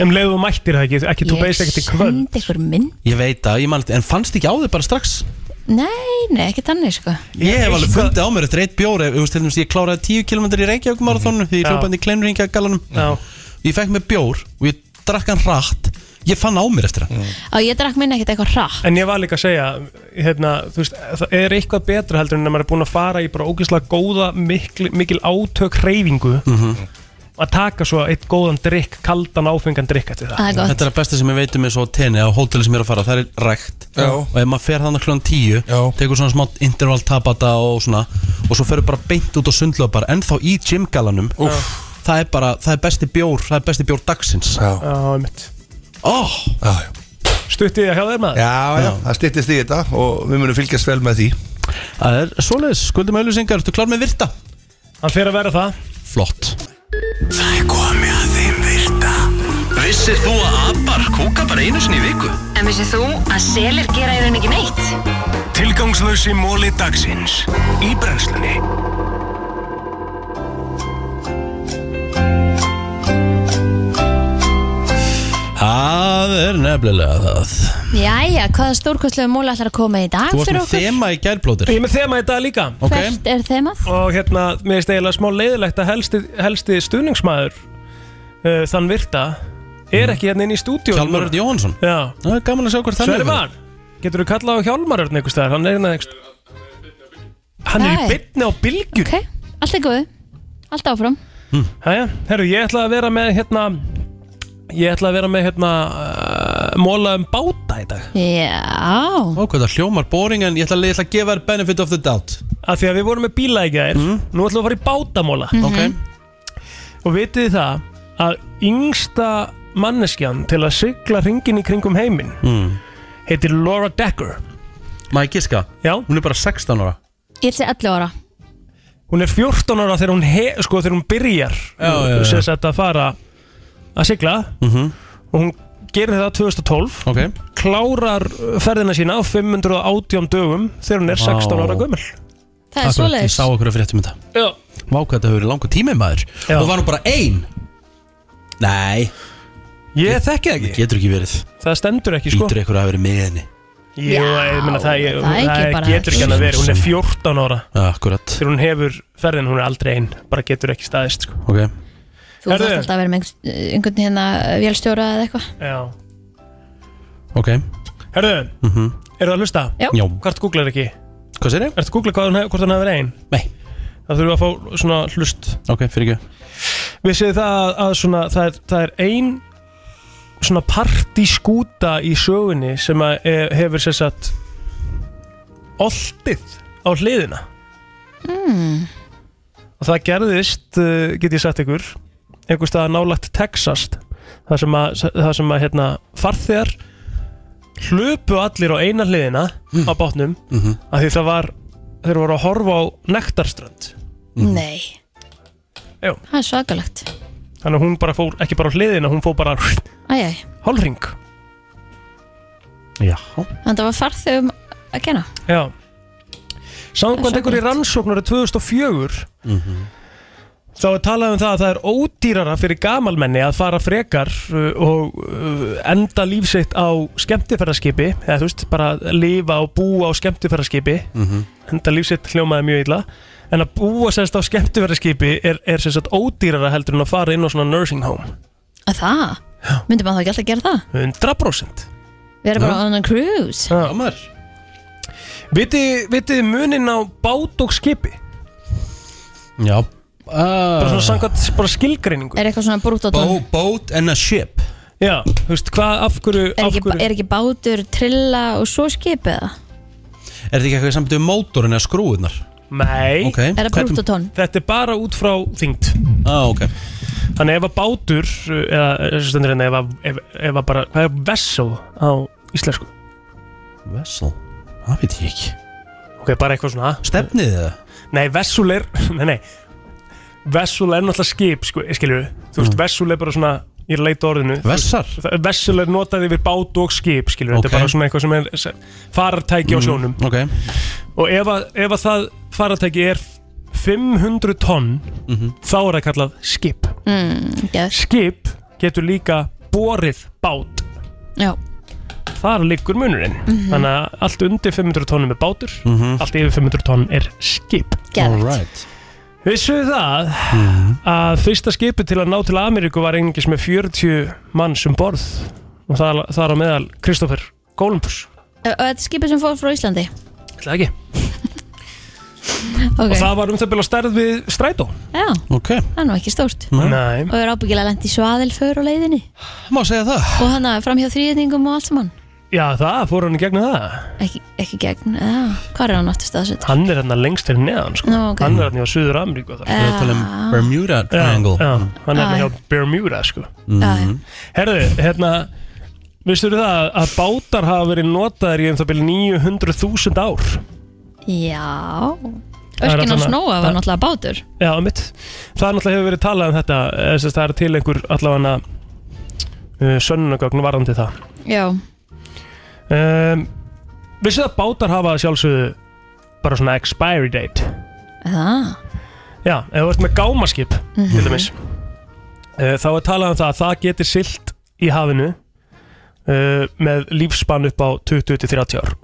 [SPEAKER 3] Um leiðu mættir það ekki, ekki þú beist ekkert í kvöld
[SPEAKER 2] sendi ykkur mynd
[SPEAKER 1] Ég veit að, ég mannst, en fannst ekki á þig bara strax
[SPEAKER 2] Nei, nei, ekki þannig sko
[SPEAKER 1] Ég hef alveg
[SPEAKER 3] eitthvað-
[SPEAKER 1] fundið á mér eftir eitt bjór ef, þú veist, til dæmis, Ég kláraði 10 km í Reykjavík marathonu Því ég
[SPEAKER 3] Já.
[SPEAKER 1] hljópaði í kleinringja galanum
[SPEAKER 3] Já.
[SPEAKER 1] Ég fekk mér bjór og ég drakk hann rætt Ég fann á mér eftir hann
[SPEAKER 2] Á, ég drakk minna ekkert eitthvað hratt
[SPEAKER 3] En ég var líka að segja, hérna, þú veist, það er eitthvað betra heldur en að maður er búin að fara í bara ógeðslega góða, mikil, mikil átök reyfingu
[SPEAKER 1] Mhm.
[SPEAKER 3] að taka svo eitt góðan drikk, kaldan áfengan drikk eftir það.
[SPEAKER 2] Það er gott
[SPEAKER 1] Þetta er að besta sem ég veit um eins og tenni á hóteli sem ég er að fara, það er rækt
[SPEAKER 9] Já.
[SPEAKER 1] og ef maður fer þannig kljóðan 10
[SPEAKER 9] Já.
[SPEAKER 1] tekur svona smátt interval tapata og svona og svo ferur bara beint út á sundlöpar ennþá í gymgalanum það er bara, það er besti bjór, það er besti bjór dagsins
[SPEAKER 9] Já,
[SPEAKER 3] Já, einmitt.
[SPEAKER 1] oh,
[SPEAKER 9] já, já
[SPEAKER 3] Stuttið að hjá þér maður?
[SPEAKER 9] Já, já, það styttist í þetta og við munum fylgjast vel með því
[SPEAKER 1] það er svoleiðis, skuldum auðlýsingar, ertu klár með virta?
[SPEAKER 3] Hann fer að vera það.
[SPEAKER 1] Flott
[SPEAKER 4] Það er komið að þeim virta Vissir þú að abar kúka bara einu sinni í viku?
[SPEAKER 11] En vissið þú að selir gera í raun ekki neitt?
[SPEAKER 4] Tilgangslösi móli dagsins Í brennslunni
[SPEAKER 1] Það er nefnilega það
[SPEAKER 2] Jæja, hvaða stórkostlegu múli ætlar að koma í dag
[SPEAKER 1] Þú varst
[SPEAKER 2] fyrir
[SPEAKER 1] með
[SPEAKER 2] okkur?
[SPEAKER 1] þema í gærblótir
[SPEAKER 3] Ég er með þema í dag líka.
[SPEAKER 1] Ok,
[SPEAKER 2] Hvert er þemað?
[SPEAKER 3] og hérna, mér finnst eiginlega smá leiðilegt að helsti, helsti stuðningsmaður uh, þann virta er ekki hérna inn í stúdíu
[SPEAKER 1] Hjálmar Örn Jóhansson
[SPEAKER 3] Já,
[SPEAKER 1] Það er gaman að sjá hvort þannig
[SPEAKER 3] Sverman Getur þú kallað á Hjálmar Örn einhvers staðar, hann er hérna einhvers Hann er í
[SPEAKER 2] Nei.
[SPEAKER 3] bytni á bylgju
[SPEAKER 2] Ok, allt er góðu Allt áfram
[SPEAKER 3] Jæja, herru, ég ætla að vera með hérna Ég ætla að vera með hérna uh, Móla um báta í dag
[SPEAKER 2] Já,
[SPEAKER 1] Ó, hvað það hljómar boring en ég ætla, ég ætla að gefa þér benefit of the doubt
[SPEAKER 3] Af því að við vorum með bíla í gær Nú ætlum við að fara í bátamóla
[SPEAKER 2] Mhm.
[SPEAKER 1] Ok,
[SPEAKER 3] Og vitið þið það að yngsta manneskjan til að sigla ringin í kringum heiminn
[SPEAKER 1] Mm.
[SPEAKER 3] heitir Laura Decker
[SPEAKER 1] maður giska
[SPEAKER 3] Já,
[SPEAKER 1] Hún er bara 16 ára
[SPEAKER 2] ég ætla 11 ára
[SPEAKER 3] hún er 14 ára þegar hún, he, sko, þegar hún byrjar
[SPEAKER 1] Já, já, já.
[SPEAKER 3] sem sagt að fara að sigla
[SPEAKER 1] Mhm.
[SPEAKER 3] og hún gerir það 2012
[SPEAKER 1] Ok,
[SPEAKER 2] Eh,
[SPEAKER 3] klárar ferðina sína á 518 dögum þegar hún er 16
[SPEAKER 1] Vá.
[SPEAKER 3] ára
[SPEAKER 2] Það
[SPEAKER 3] gömul
[SPEAKER 1] Akkurat,
[SPEAKER 2] er
[SPEAKER 1] ég
[SPEAKER 2] svoleiðis
[SPEAKER 1] sá okkur að fréttum þetta
[SPEAKER 3] Já,
[SPEAKER 1] Vá hvað þetta hefur verið langa tími maður
[SPEAKER 3] Já.
[SPEAKER 1] Og var hún bara ein Nei,
[SPEAKER 3] ég þekki það
[SPEAKER 1] það
[SPEAKER 3] ekki
[SPEAKER 1] getur ekki verið
[SPEAKER 3] Það stendur ekki sko
[SPEAKER 1] Ítur eitthvað að hafa verið með henni
[SPEAKER 3] Jú, ég meina það, ég,
[SPEAKER 2] það er ekki bara-
[SPEAKER 3] það getur ekki hann að vera Hún er 14 ára
[SPEAKER 1] Akkurat,
[SPEAKER 3] þegar hún hefur ferðin hún er aldrei einn bara getur ekki staðist sko.
[SPEAKER 1] ok
[SPEAKER 2] Þú
[SPEAKER 3] Herðu.
[SPEAKER 2] þarft alltaf að vera með einhvern- einhvern hérna eh, vélstjóra eða eitthvað
[SPEAKER 3] Já.
[SPEAKER 1] Ok, Mhm.
[SPEAKER 3] Herðu, mm -hmm. eru það að hlusta?
[SPEAKER 2] Já.
[SPEAKER 1] já,
[SPEAKER 3] Hvort googlar ekki?
[SPEAKER 1] hvað sér ég?
[SPEAKER 3] Ertu að googla hvað hún hef, hvort hann hefur einn?
[SPEAKER 1] Nei,
[SPEAKER 3] Það þurfum að fá svona hlust
[SPEAKER 1] ok, fyrir ekki
[SPEAKER 3] Vissið þið það að- að svona, það, er, það er ein svona partískúta í sögunni sem að eh, hefur sér satt
[SPEAKER 2] Hmm,
[SPEAKER 3] oltið á hliðina mm. og það gerðist, uh, get ég sagt ykkur einhver stað nálagt Texas það sem að, það sem að hérna, farþegar hlupu allir á eina hliðina á bátnum
[SPEAKER 1] Mhm.
[SPEAKER 3] af því það var, þeir voru að horfa á nektarströnd
[SPEAKER 1] Mm.
[SPEAKER 2] Nei
[SPEAKER 3] Jú.
[SPEAKER 2] Það er svakalegt
[SPEAKER 3] þannig að hún bara fór, ekki bara á hliðina, hún fór bara
[SPEAKER 2] Æjæj,
[SPEAKER 3] hálfring
[SPEAKER 1] Já
[SPEAKER 2] þannig að það var farþegum að kenna
[SPEAKER 3] Já
[SPEAKER 2] Það
[SPEAKER 3] Samkvæmt
[SPEAKER 2] er
[SPEAKER 3] einhverju rannsóknar 2004
[SPEAKER 1] Mhm.
[SPEAKER 3] Þá er talað um það að það er ódýrara fyrir gamalmenni að fara frekar uh, og uh, enda lífsitt á skemmtifæraskipi eða þú veist, bara lifa og búa á skemmtifæraskipi
[SPEAKER 1] Mhm.
[SPEAKER 3] enda lífsitt hljómaði mjög illa en að búa sérst á skemmtifæraskipi er, er sérst ódýrara heldur en að fara inn á svona nursing home
[SPEAKER 2] Að það? Myndi maður þá ekki alltaf gera það?
[SPEAKER 3] 100%
[SPEAKER 2] Við erum bara on a cruise
[SPEAKER 3] Já, maður Vitið vitið muninn á bát og skipi?
[SPEAKER 1] Já
[SPEAKER 3] bara svona samkvæmt bara skilgreiningu
[SPEAKER 2] Er eitthvað svona brútotón?
[SPEAKER 1] Ah. Bó, Boat and a ship
[SPEAKER 3] Já, þú veist, hvað, af hverju,
[SPEAKER 2] Er
[SPEAKER 3] af
[SPEAKER 2] ekki,
[SPEAKER 3] hverju
[SPEAKER 2] er ekki bátur, trilla og svo skipið það?
[SPEAKER 1] Er þetta ekki eitthvað samt um mótorin eða skrúðunar?
[SPEAKER 3] Nei
[SPEAKER 1] Ok
[SPEAKER 2] Er það
[SPEAKER 1] hvernig-
[SPEAKER 2] brútotón?
[SPEAKER 3] Þetta er bara út frá þyngd
[SPEAKER 1] Á, ok
[SPEAKER 3] Þannig ef að bátur eh, eða, þessu stundur hérna, ef að, ef, ef að bara hvað er vessel á íslensku?
[SPEAKER 1] Vessel Það veit ég ekki
[SPEAKER 3] Ok, bara eitthvað svona
[SPEAKER 1] Stefnið þið það?
[SPEAKER 3] Nei, vessel er, [laughs] nei, nei Vessel er náttúrulega skip, sko, skilur Þú
[SPEAKER 1] Mm.
[SPEAKER 3] veist, vessel er bara svona, ég er að leita að orðinu
[SPEAKER 1] Vessar?
[SPEAKER 3] Það- Vessel er notað yfir bát og skip, skilur Þetta
[SPEAKER 1] Ok. Mm.
[SPEAKER 3] er bara svona eitthvað sem er sem- farartæki á sjónum
[SPEAKER 1] Ok
[SPEAKER 3] Og ef að, ef að það farartæki er 500 tonn
[SPEAKER 1] Mhm.
[SPEAKER 3] þá er það kallað skip
[SPEAKER 2] Mm, yes.
[SPEAKER 3] Skip getur líka borið bát
[SPEAKER 2] Já,
[SPEAKER 3] Þar liggur munurinn
[SPEAKER 2] Mhm.
[SPEAKER 3] Þannig að allt undir 500 tonnum er bátur
[SPEAKER 1] Mhm.
[SPEAKER 3] Allt yfir 500 tonn er skip
[SPEAKER 2] gerð
[SPEAKER 1] right
[SPEAKER 3] Vissuð þið það
[SPEAKER 1] Mhm.
[SPEAKER 3] að fyrsta skipi til að ná til Ameríku var engis með 40 manns um borð og það, það er á meðal Kristoffer Columbus
[SPEAKER 2] Og þetta er skipið sem fór frá Íslandi
[SPEAKER 3] Ætlaði ekki
[SPEAKER 2] Ok,
[SPEAKER 3] Og það var um það byrja stærð við strætó
[SPEAKER 2] já,
[SPEAKER 1] Ok
[SPEAKER 2] það er nú ekki stórt
[SPEAKER 1] Mhm.
[SPEAKER 3] Nei
[SPEAKER 2] Og er ábyggilega lent í svaðilför á leiðinni
[SPEAKER 1] Má segja það
[SPEAKER 2] Og hann að framhjá þrýðningum og allt saman
[SPEAKER 3] Já, það fór hann í gegnum það
[SPEAKER 2] Ekki, ekki gegn, já, hvað er hann aftur staðsett?
[SPEAKER 3] Hann er hérna lengst fyrir neðan sko.
[SPEAKER 2] Nú, ok. Eh.
[SPEAKER 3] Hann er hérna á Suður Ameríku og það.
[SPEAKER 1] Við erum að tala um Bermuda Triangle
[SPEAKER 3] já, Hann er
[SPEAKER 2] Já,
[SPEAKER 3] hérna
[SPEAKER 2] já.
[SPEAKER 3] hjá Bermuda sko.
[SPEAKER 2] Já,
[SPEAKER 3] Herðu, hérna Vistu það að bátar hafa verið notaðir í um það byrja 900.000 ár
[SPEAKER 2] já
[SPEAKER 3] er
[SPEAKER 2] Örkin á
[SPEAKER 3] allavega-
[SPEAKER 2] snóa
[SPEAKER 3] það-
[SPEAKER 2] var náttúrulega bátur
[SPEAKER 3] Já, mitt Það náttúrulega hefur verið talað um þetta eða sem sagt, Það er til einhver allavega uh, sönnunagögn varðandi það
[SPEAKER 2] Já,
[SPEAKER 3] um, Vistu það að bátar hafa að sjálfsögðu bara svona expiry date
[SPEAKER 2] það
[SPEAKER 3] Já, ef þú ert með gámaskip
[SPEAKER 2] Mhm.
[SPEAKER 3] til dæmis uh, þá er talað um það að það geti silt í hafinu uh, með lífspann upp á 20-30 ár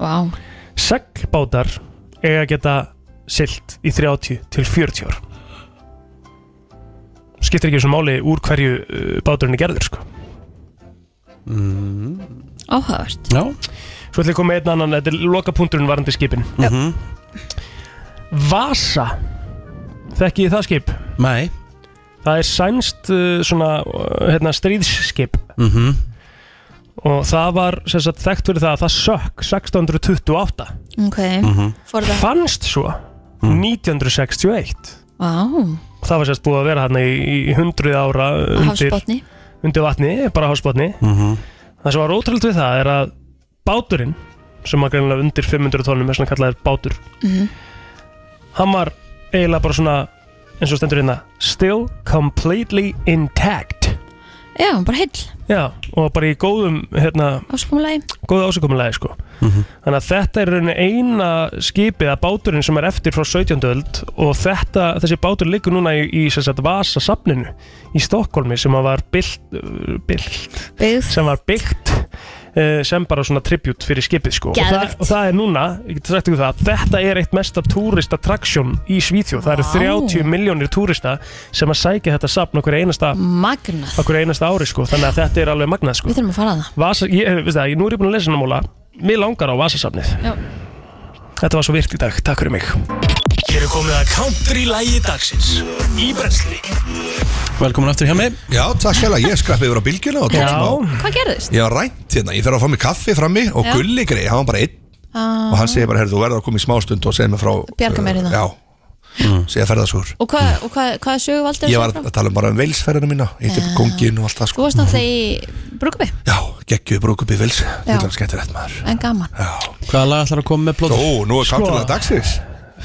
[SPEAKER 2] Vá,
[SPEAKER 3] Seglbátar eiga að geta silt í 30-40 ár Skiptir ekki þessu máli úr hverju uh, báturinn er gerður sko
[SPEAKER 2] áhugavert
[SPEAKER 1] Já
[SPEAKER 3] Svo ætlum ég að koma með einn annan, þetta er lokapunkturinn varandi skipin
[SPEAKER 1] Mhm.
[SPEAKER 3] Vasa Þekki ég það skip?
[SPEAKER 1] Nei
[SPEAKER 3] Það er sænst uh, svona uh, hérna, stríðsskip
[SPEAKER 1] Mhm.
[SPEAKER 3] og það var sem sagt, þekkt fyrir það að það sökk 1628
[SPEAKER 2] Ok,
[SPEAKER 3] Mhm.
[SPEAKER 2] forða
[SPEAKER 3] fannst svo 1961
[SPEAKER 2] Vá,
[SPEAKER 3] það var sérst búið að vera hérna í, í 100 ára
[SPEAKER 2] á
[SPEAKER 3] undir,
[SPEAKER 2] hafsbotni
[SPEAKER 3] undir vatni, bara hásbotni
[SPEAKER 1] Mhm.
[SPEAKER 3] það sem var ótrúld við það er að báturinn sem var greinlega undir 500 tónum er svona kallaðir bátur
[SPEAKER 2] Mhm.
[SPEAKER 3] hann var eiginlega bara svona eins og stendur hérna still completely intact
[SPEAKER 2] Já, bara heill,
[SPEAKER 3] já, og bara í góðum hérna,
[SPEAKER 2] áskumulegi
[SPEAKER 3] góða ásakomulegi sko þannig að þetta er í rauninni eina skipið að báturinn sem er eftir frá 17. öld og þetta, þessi bátur liggur núna í, í sem sagt Vasasafninu í Stokkólmi sem að var byggt, uh, byggt
[SPEAKER 2] Byggð
[SPEAKER 3] sem var byggt uh, sem bara svona tribut fyrir skipið sko og það,
[SPEAKER 2] Geðvegt.
[SPEAKER 3] og það er núna, ég get sagt ykkur það þetta er eitt mesta túristattraksjón í Svíþjóð, það eru
[SPEAKER 2] Vá.
[SPEAKER 3] 30 miljónir túrista sem að sækja þetta safn okkur einasta,
[SPEAKER 2] Magnað
[SPEAKER 3] okkur einasta ári sko þannig að þetta er alveg magnað sko
[SPEAKER 2] Við þurfum að fara að það
[SPEAKER 3] Vasa, ég, veist það, ég, nú er ég búin að lesa hennar múla Mér langar á Vasasafnið
[SPEAKER 2] Já.
[SPEAKER 3] Þetta var svo virkt í dag, takk fyrir mig
[SPEAKER 4] Hér er komið að country lægi dagsins Í brensli
[SPEAKER 1] Velkomin aftur hjá mig
[SPEAKER 9] Já, takk hella, ég skrappi yfir á bylgjuna og tók smá
[SPEAKER 2] Hvað gerðist?
[SPEAKER 9] Ég var rænt hérna, ég fer að fá mig kaffi frammi og
[SPEAKER 2] Já.
[SPEAKER 9] gulli greið, hann var bara einn
[SPEAKER 2] Uh,
[SPEAKER 9] og hann segir bara, herru, þú verður að koma í smástund og segja mér frá uh,
[SPEAKER 2] Bjarga mér hérna.
[SPEAKER 9] Já, segja ferðasúr
[SPEAKER 2] Og hvað, og hvað, hvað sögu valdur
[SPEAKER 9] ég var að tala bara um veilsferðina mína hitti
[SPEAKER 2] Já.
[SPEAKER 9] kongin og allt það
[SPEAKER 2] Þú
[SPEAKER 9] sko
[SPEAKER 2] varst náttúrulega í brúkubi
[SPEAKER 9] geggjuð brúkup í veils þetta er skemmtilegt maður
[SPEAKER 2] En gaman
[SPEAKER 1] Hvaða lag ætlar að koma með blóð?
[SPEAKER 9] Ó, nú er kantilega dagsins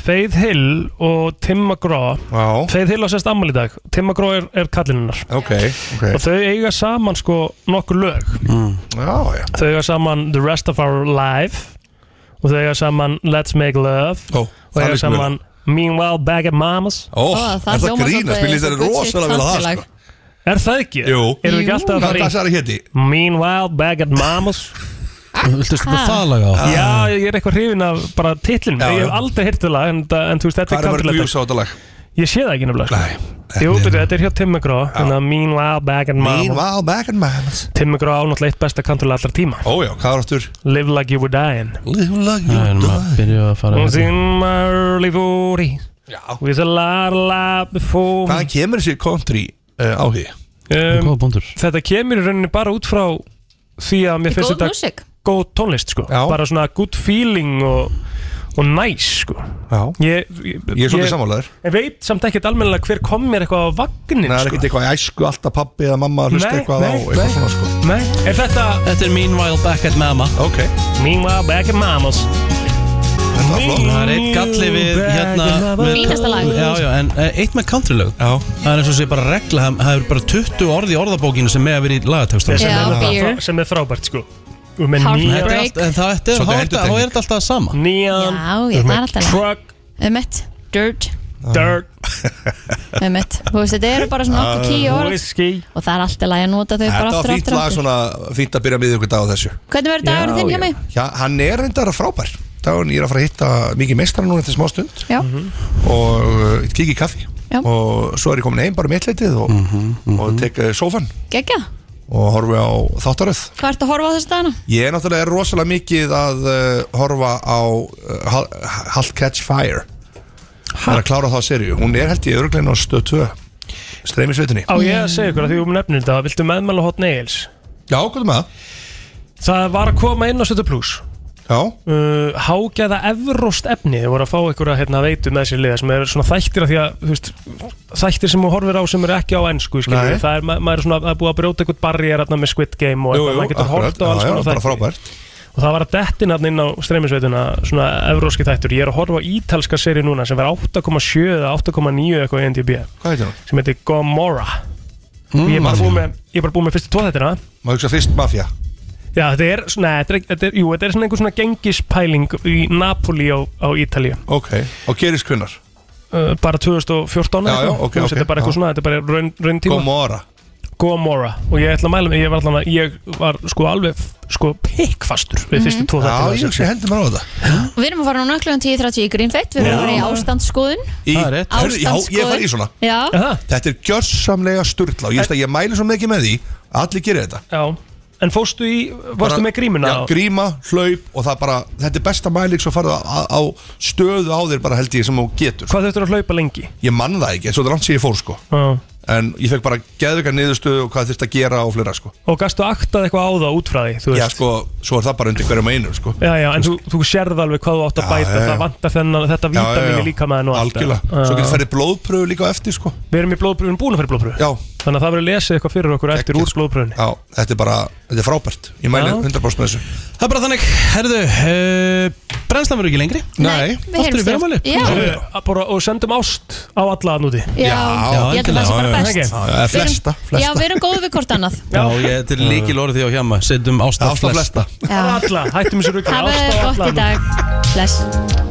[SPEAKER 3] Faith Hill og Tim McGraw
[SPEAKER 9] Já.
[SPEAKER 3] Faith Hill á sérst ammal í dag Tim McGraw er, er kallininnar
[SPEAKER 9] okay, okay.
[SPEAKER 3] og þau eiga saman sko nokkur lög
[SPEAKER 9] Já, já.
[SPEAKER 3] þau eiga saman The Rest of Our Life og þau eiga saman Let's Make Love
[SPEAKER 9] Ó,
[SPEAKER 3] og
[SPEAKER 9] það
[SPEAKER 3] eiga
[SPEAKER 9] líst mér
[SPEAKER 3] saman Meanwhile Back at Mama's
[SPEAKER 9] Ó, Ó, það er það hljómar grínast? svolítið Mér líst þetta eins og good rosalega shit vel á það, samfélag. sko.
[SPEAKER 3] Er það ekki?
[SPEAKER 9] Jú.
[SPEAKER 3] Erum við ekki alltaf að
[SPEAKER 9] Hvað
[SPEAKER 3] fara í
[SPEAKER 9] það sagði héti?
[SPEAKER 3] Meanwhile Back at Mama's
[SPEAKER 1] Viltu spila Ha? það lag á?
[SPEAKER 3] Já, ég er eitthvað hrifin af bara titlinu
[SPEAKER 9] Ah. Já, já.
[SPEAKER 3] Ég hef aldrei hirt það lag en, en þú veist, þetta
[SPEAKER 9] Hvað er
[SPEAKER 3] er
[SPEAKER 9] mörg
[SPEAKER 3] kallilegt
[SPEAKER 9] views á þetta lag?
[SPEAKER 3] Ég sé það ekki nefnilega sko. Jú,
[SPEAKER 9] þetta er-
[SPEAKER 3] betur, þetta er hjá Tim McGraw Þannig að Meanwhile Back and Mama's
[SPEAKER 9] Meanwhile Back and Mama's
[SPEAKER 3] Tim McGraw á náttúrulega eitt besta kantur allra tíma
[SPEAKER 9] Ójá, hvað er áttur?
[SPEAKER 3] Live like you were dying
[SPEAKER 9] Live like
[SPEAKER 1] Það er maður að byrja að fara hérna.
[SPEAKER 3] Was in my early 40s With a lot of love before me.
[SPEAKER 9] Hvaðan kemur þessi country uh, áhugi?
[SPEAKER 3] Um,
[SPEAKER 1] Góða búndur
[SPEAKER 3] Þetta kemur í rauninni bara út frá Því að mér
[SPEAKER 2] Í
[SPEAKER 3] finnst
[SPEAKER 2] góð
[SPEAKER 3] þetta
[SPEAKER 2] músík.
[SPEAKER 3] góð tónlist sko. Bara svona good feeling og, og nice sko. ég, ég,
[SPEAKER 9] Ég er svolítið sammálaður.
[SPEAKER 3] Ég veit samt ekkert almennilega hver kom mér eitthvað á vagnin
[SPEAKER 9] Það er
[SPEAKER 3] sko.
[SPEAKER 9] ekkert eitthvað í æsku alltaf pappi eða mamma að hlusta
[SPEAKER 3] Nei,
[SPEAKER 9] eitthvað á
[SPEAKER 3] nei,
[SPEAKER 9] eitthvað
[SPEAKER 3] nei.
[SPEAKER 9] svona sko
[SPEAKER 3] Nei, er þetta
[SPEAKER 1] Þetta er Meanwhile Back at Mama
[SPEAKER 9] Ok
[SPEAKER 3] Meanwhile Back at Mamas
[SPEAKER 9] Þetta var flott
[SPEAKER 1] Það er eitt galli við hérna við-
[SPEAKER 2] Fínasta lag.
[SPEAKER 1] Já, já, en eh, eitt með country lög
[SPEAKER 9] Já
[SPEAKER 1] Það er eins og sé bara regla Það það eru bara 20 orð í orðabókinu sem með að vera í lagatekstum
[SPEAKER 3] sem,
[SPEAKER 2] Já,
[SPEAKER 3] er,
[SPEAKER 2] beer.
[SPEAKER 3] frá- sem er frábært sko. Og með
[SPEAKER 2] Heartbreak.
[SPEAKER 3] nýjan-
[SPEAKER 2] Break.
[SPEAKER 1] En það þetta er
[SPEAKER 9] Svolítið
[SPEAKER 1] þá er þetta- þá er þetta alltaf sama
[SPEAKER 3] Nýjan
[SPEAKER 2] Já, ég var alltaf lag.
[SPEAKER 3] Truck
[SPEAKER 2] Emmett Dirt
[SPEAKER 3] Dirt
[SPEAKER 2] Emmett Þú veist, þetta eru bara svona okkur tíu
[SPEAKER 3] Ah,
[SPEAKER 2] orð
[SPEAKER 3] Whiskey
[SPEAKER 2] Og það er alltaf lagi að nota þau
[SPEAKER 9] Þetta
[SPEAKER 2] bara
[SPEAKER 9] var
[SPEAKER 2] aftur og
[SPEAKER 9] fýtt
[SPEAKER 2] aftur og
[SPEAKER 9] lag
[SPEAKER 2] aftur
[SPEAKER 9] svona fýtt að byrja með ykkur dag á þessu
[SPEAKER 2] Hvernig verður dagurinn þinn hjá mig?
[SPEAKER 9] Já, hann er reyndar frábær Dagurinn ég er að fara að hitta mikið meistara núna eftir smá stund
[SPEAKER 2] Já
[SPEAKER 9] og uh, kikið í kaffi
[SPEAKER 2] Já.
[SPEAKER 9] og svo er ég komin heim bara mitt leitið og,
[SPEAKER 3] Mhm,
[SPEAKER 9] og tek uh, sófan
[SPEAKER 2] Gekja
[SPEAKER 9] og horfi á þáttaröð
[SPEAKER 2] Hvað ertu að horfa á þessu dagana?
[SPEAKER 9] Ég er náttúrulega rosalega mikið að uh, horfa á uh, Halt Catch Fire Það er að klára þá serju Hún er held ég örglein á stöð 2 Streymisveitinni
[SPEAKER 3] Á ég að segja ykkur að því um nefnir þetta Viltu meðmæla hot nails?
[SPEAKER 9] Já, hvað er með það?
[SPEAKER 3] Það var að koma inn á Sötu Plus
[SPEAKER 9] Já,
[SPEAKER 3] uh, Hágæða evróst efni Þau voru að fá ykkur að hérna, veitu með sér liða Sem eru svona þættir að því að þú veist, Þættir sem þú horfir á sem eru ekki á ennsku
[SPEAKER 9] Nei.
[SPEAKER 3] Það er, ma maður er svona, það er búið að brjóta ykkur barriér hérna, Með Squid Game og
[SPEAKER 9] jú,
[SPEAKER 3] eitthvað,
[SPEAKER 9] jú,
[SPEAKER 3] maður getur
[SPEAKER 9] akkurat
[SPEAKER 3] horft á
[SPEAKER 9] Já,
[SPEAKER 3] alls
[SPEAKER 9] já,
[SPEAKER 3] konar
[SPEAKER 9] bara
[SPEAKER 3] þætti.
[SPEAKER 9] frábært
[SPEAKER 3] Og það var að dettin hann inn á streymisveituna Svona evróski þættur Ég er að horfa á ítalska seri núna sem var 8,7 eða 8,9 eitthvað í NDB
[SPEAKER 9] Hvað heitir hún?
[SPEAKER 3] sem heitir Gomorra mm, ég, er bara búinn með, ég er bara búið með fyrstu tóðhættina
[SPEAKER 9] Má hugsa fyrst Mafia
[SPEAKER 3] Já, þetta er svona, þetta er, ekki- þetta er, jú, þetta er svona einhver svona gengispæling í Napoli á, á Ítalíu
[SPEAKER 9] Ok, og gerist kunnar
[SPEAKER 3] uh, bara 2014
[SPEAKER 9] Já,
[SPEAKER 3] eitthvað.
[SPEAKER 9] já, ok,
[SPEAKER 3] Þú
[SPEAKER 9] ok,
[SPEAKER 3] veist, þetta er bara
[SPEAKER 9] já.
[SPEAKER 3] eitthvað svona, þetta er bara raun, raun tíma
[SPEAKER 9] Gomorra
[SPEAKER 3] Gomorra og ég ætla að mæla mig, ég var, allan, að- ég var sko alveg f- sko pikkfastur við fyrstu tvo
[SPEAKER 9] Mhm. Já,
[SPEAKER 3] þættina
[SPEAKER 9] ég hugsa hendur maður á þetta
[SPEAKER 2] Og Við erum að fara núna klukkan 10.30 í Greenfett Við erum að fara í ástandsskoðun
[SPEAKER 9] Í,
[SPEAKER 1] Það er rétt.
[SPEAKER 9] Herru, já, ég fær í svona
[SPEAKER 2] Já
[SPEAKER 9] Þetta er gjörsamlega sturla og ég, veist að ég mæli svo mikið með því að allir gerir þetta
[SPEAKER 3] Já, en fórstu í, varstu
[SPEAKER 9] Bara-
[SPEAKER 3] með grímuna
[SPEAKER 9] Já,
[SPEAKER 3] á-
[SPEAKER 9] gríma, hlaup og það bara þetta er besta mæling svo farið á, á stöðu á þér bara held ég sem þú getur
[SPEAKER 3] Hvað þurftur að hlaupa lengi?
[SPEAKER 9] Ég mann það ekki, svo þetta er langt sem ég fór sko
[SPEAKER 3] Já.
[SPEAKER 9] en ég fekk bara geðvika niðurstöðu og hvað þurft að gera og fleira sko
[SPEAKER 3] Og gastu aktað eitthvað á það út frá því, þú
[SPEAKER 9] Já
[SPEAKER 3] veist
[SPEAKER 9] sko, svo er það bara undir hverjum að einum sko
[SPEAKER 3] Já, já, en þú, þú sérð alveg hvað þú átt að bæta
[SPEAKER 9] já, já.
[SPEAKER 3] Það vantar þennan, þetta
[SPEAKER 9] Já, já,
[SPEAKER 3] vítamín
[SPEAKER 9] já.
[SPEAKER 3] í líkamæðin og allt
[SPEAKER 9] Algjörlega,
[SPEAKER 3] Já.
[SPEAKER 9] svo getur ferðið blóðpröfu líka á eftir sko
[SPEAKER 3] Við erum í blóðpröfu, við erum búin að fyrir blóðpröfu
[SPEAKER 9] Já,
[SPEAKER 3] Þannig að það verður lesið eitthvað fyrir okkur eftir úr blóðpröfunni
[SPEAKER 9] já, þetta er bara, þetta er frábært Ég mæli
[SPEAKER 3] Já.
[SPEAKER 9] 100% með þessu
[SPEAKER 1] Það er bara þannig Herðu, uh, brennslan verður ekki lengri
[SPEAKER 9] Nei,
[SPEAKER 2] Við
[SPEAKER 1] Aftur í
[SPEAKER 2] heyrumst
[SPEAKER 1] fyrramáli
[SPEAKER 2] eftir- Já,
[SPEAKER 3] Herru, að bara- Og sendum ást á alla að núti
[SPEAKER 2] já, ég held að það sé bara
[SPEAKER 3] já,
[SPEAKER 2] best
[SPEAKER 9] Já,
[SPEAKER 3] já,
[SPEAKER 9] eða
[SPEAKER 2] Við erum-
[SPEAKER 9] flesta,
[SPEAKER 2] Já,
[SPEAKER 9] flesta
[SPEAKER 2] við erum góð við hvort annað
[SPEAKER 1] Já, ég, þetta er líkil orðið því á hjama Setjum ástaf
[SPEAKER 9] Ástaf flesta
[SPEAKER 2] Já.
[SPEAKER 3] Alla, hættum þessu rugga
[SPEAKER 2] Hafið þið gott í dag Bless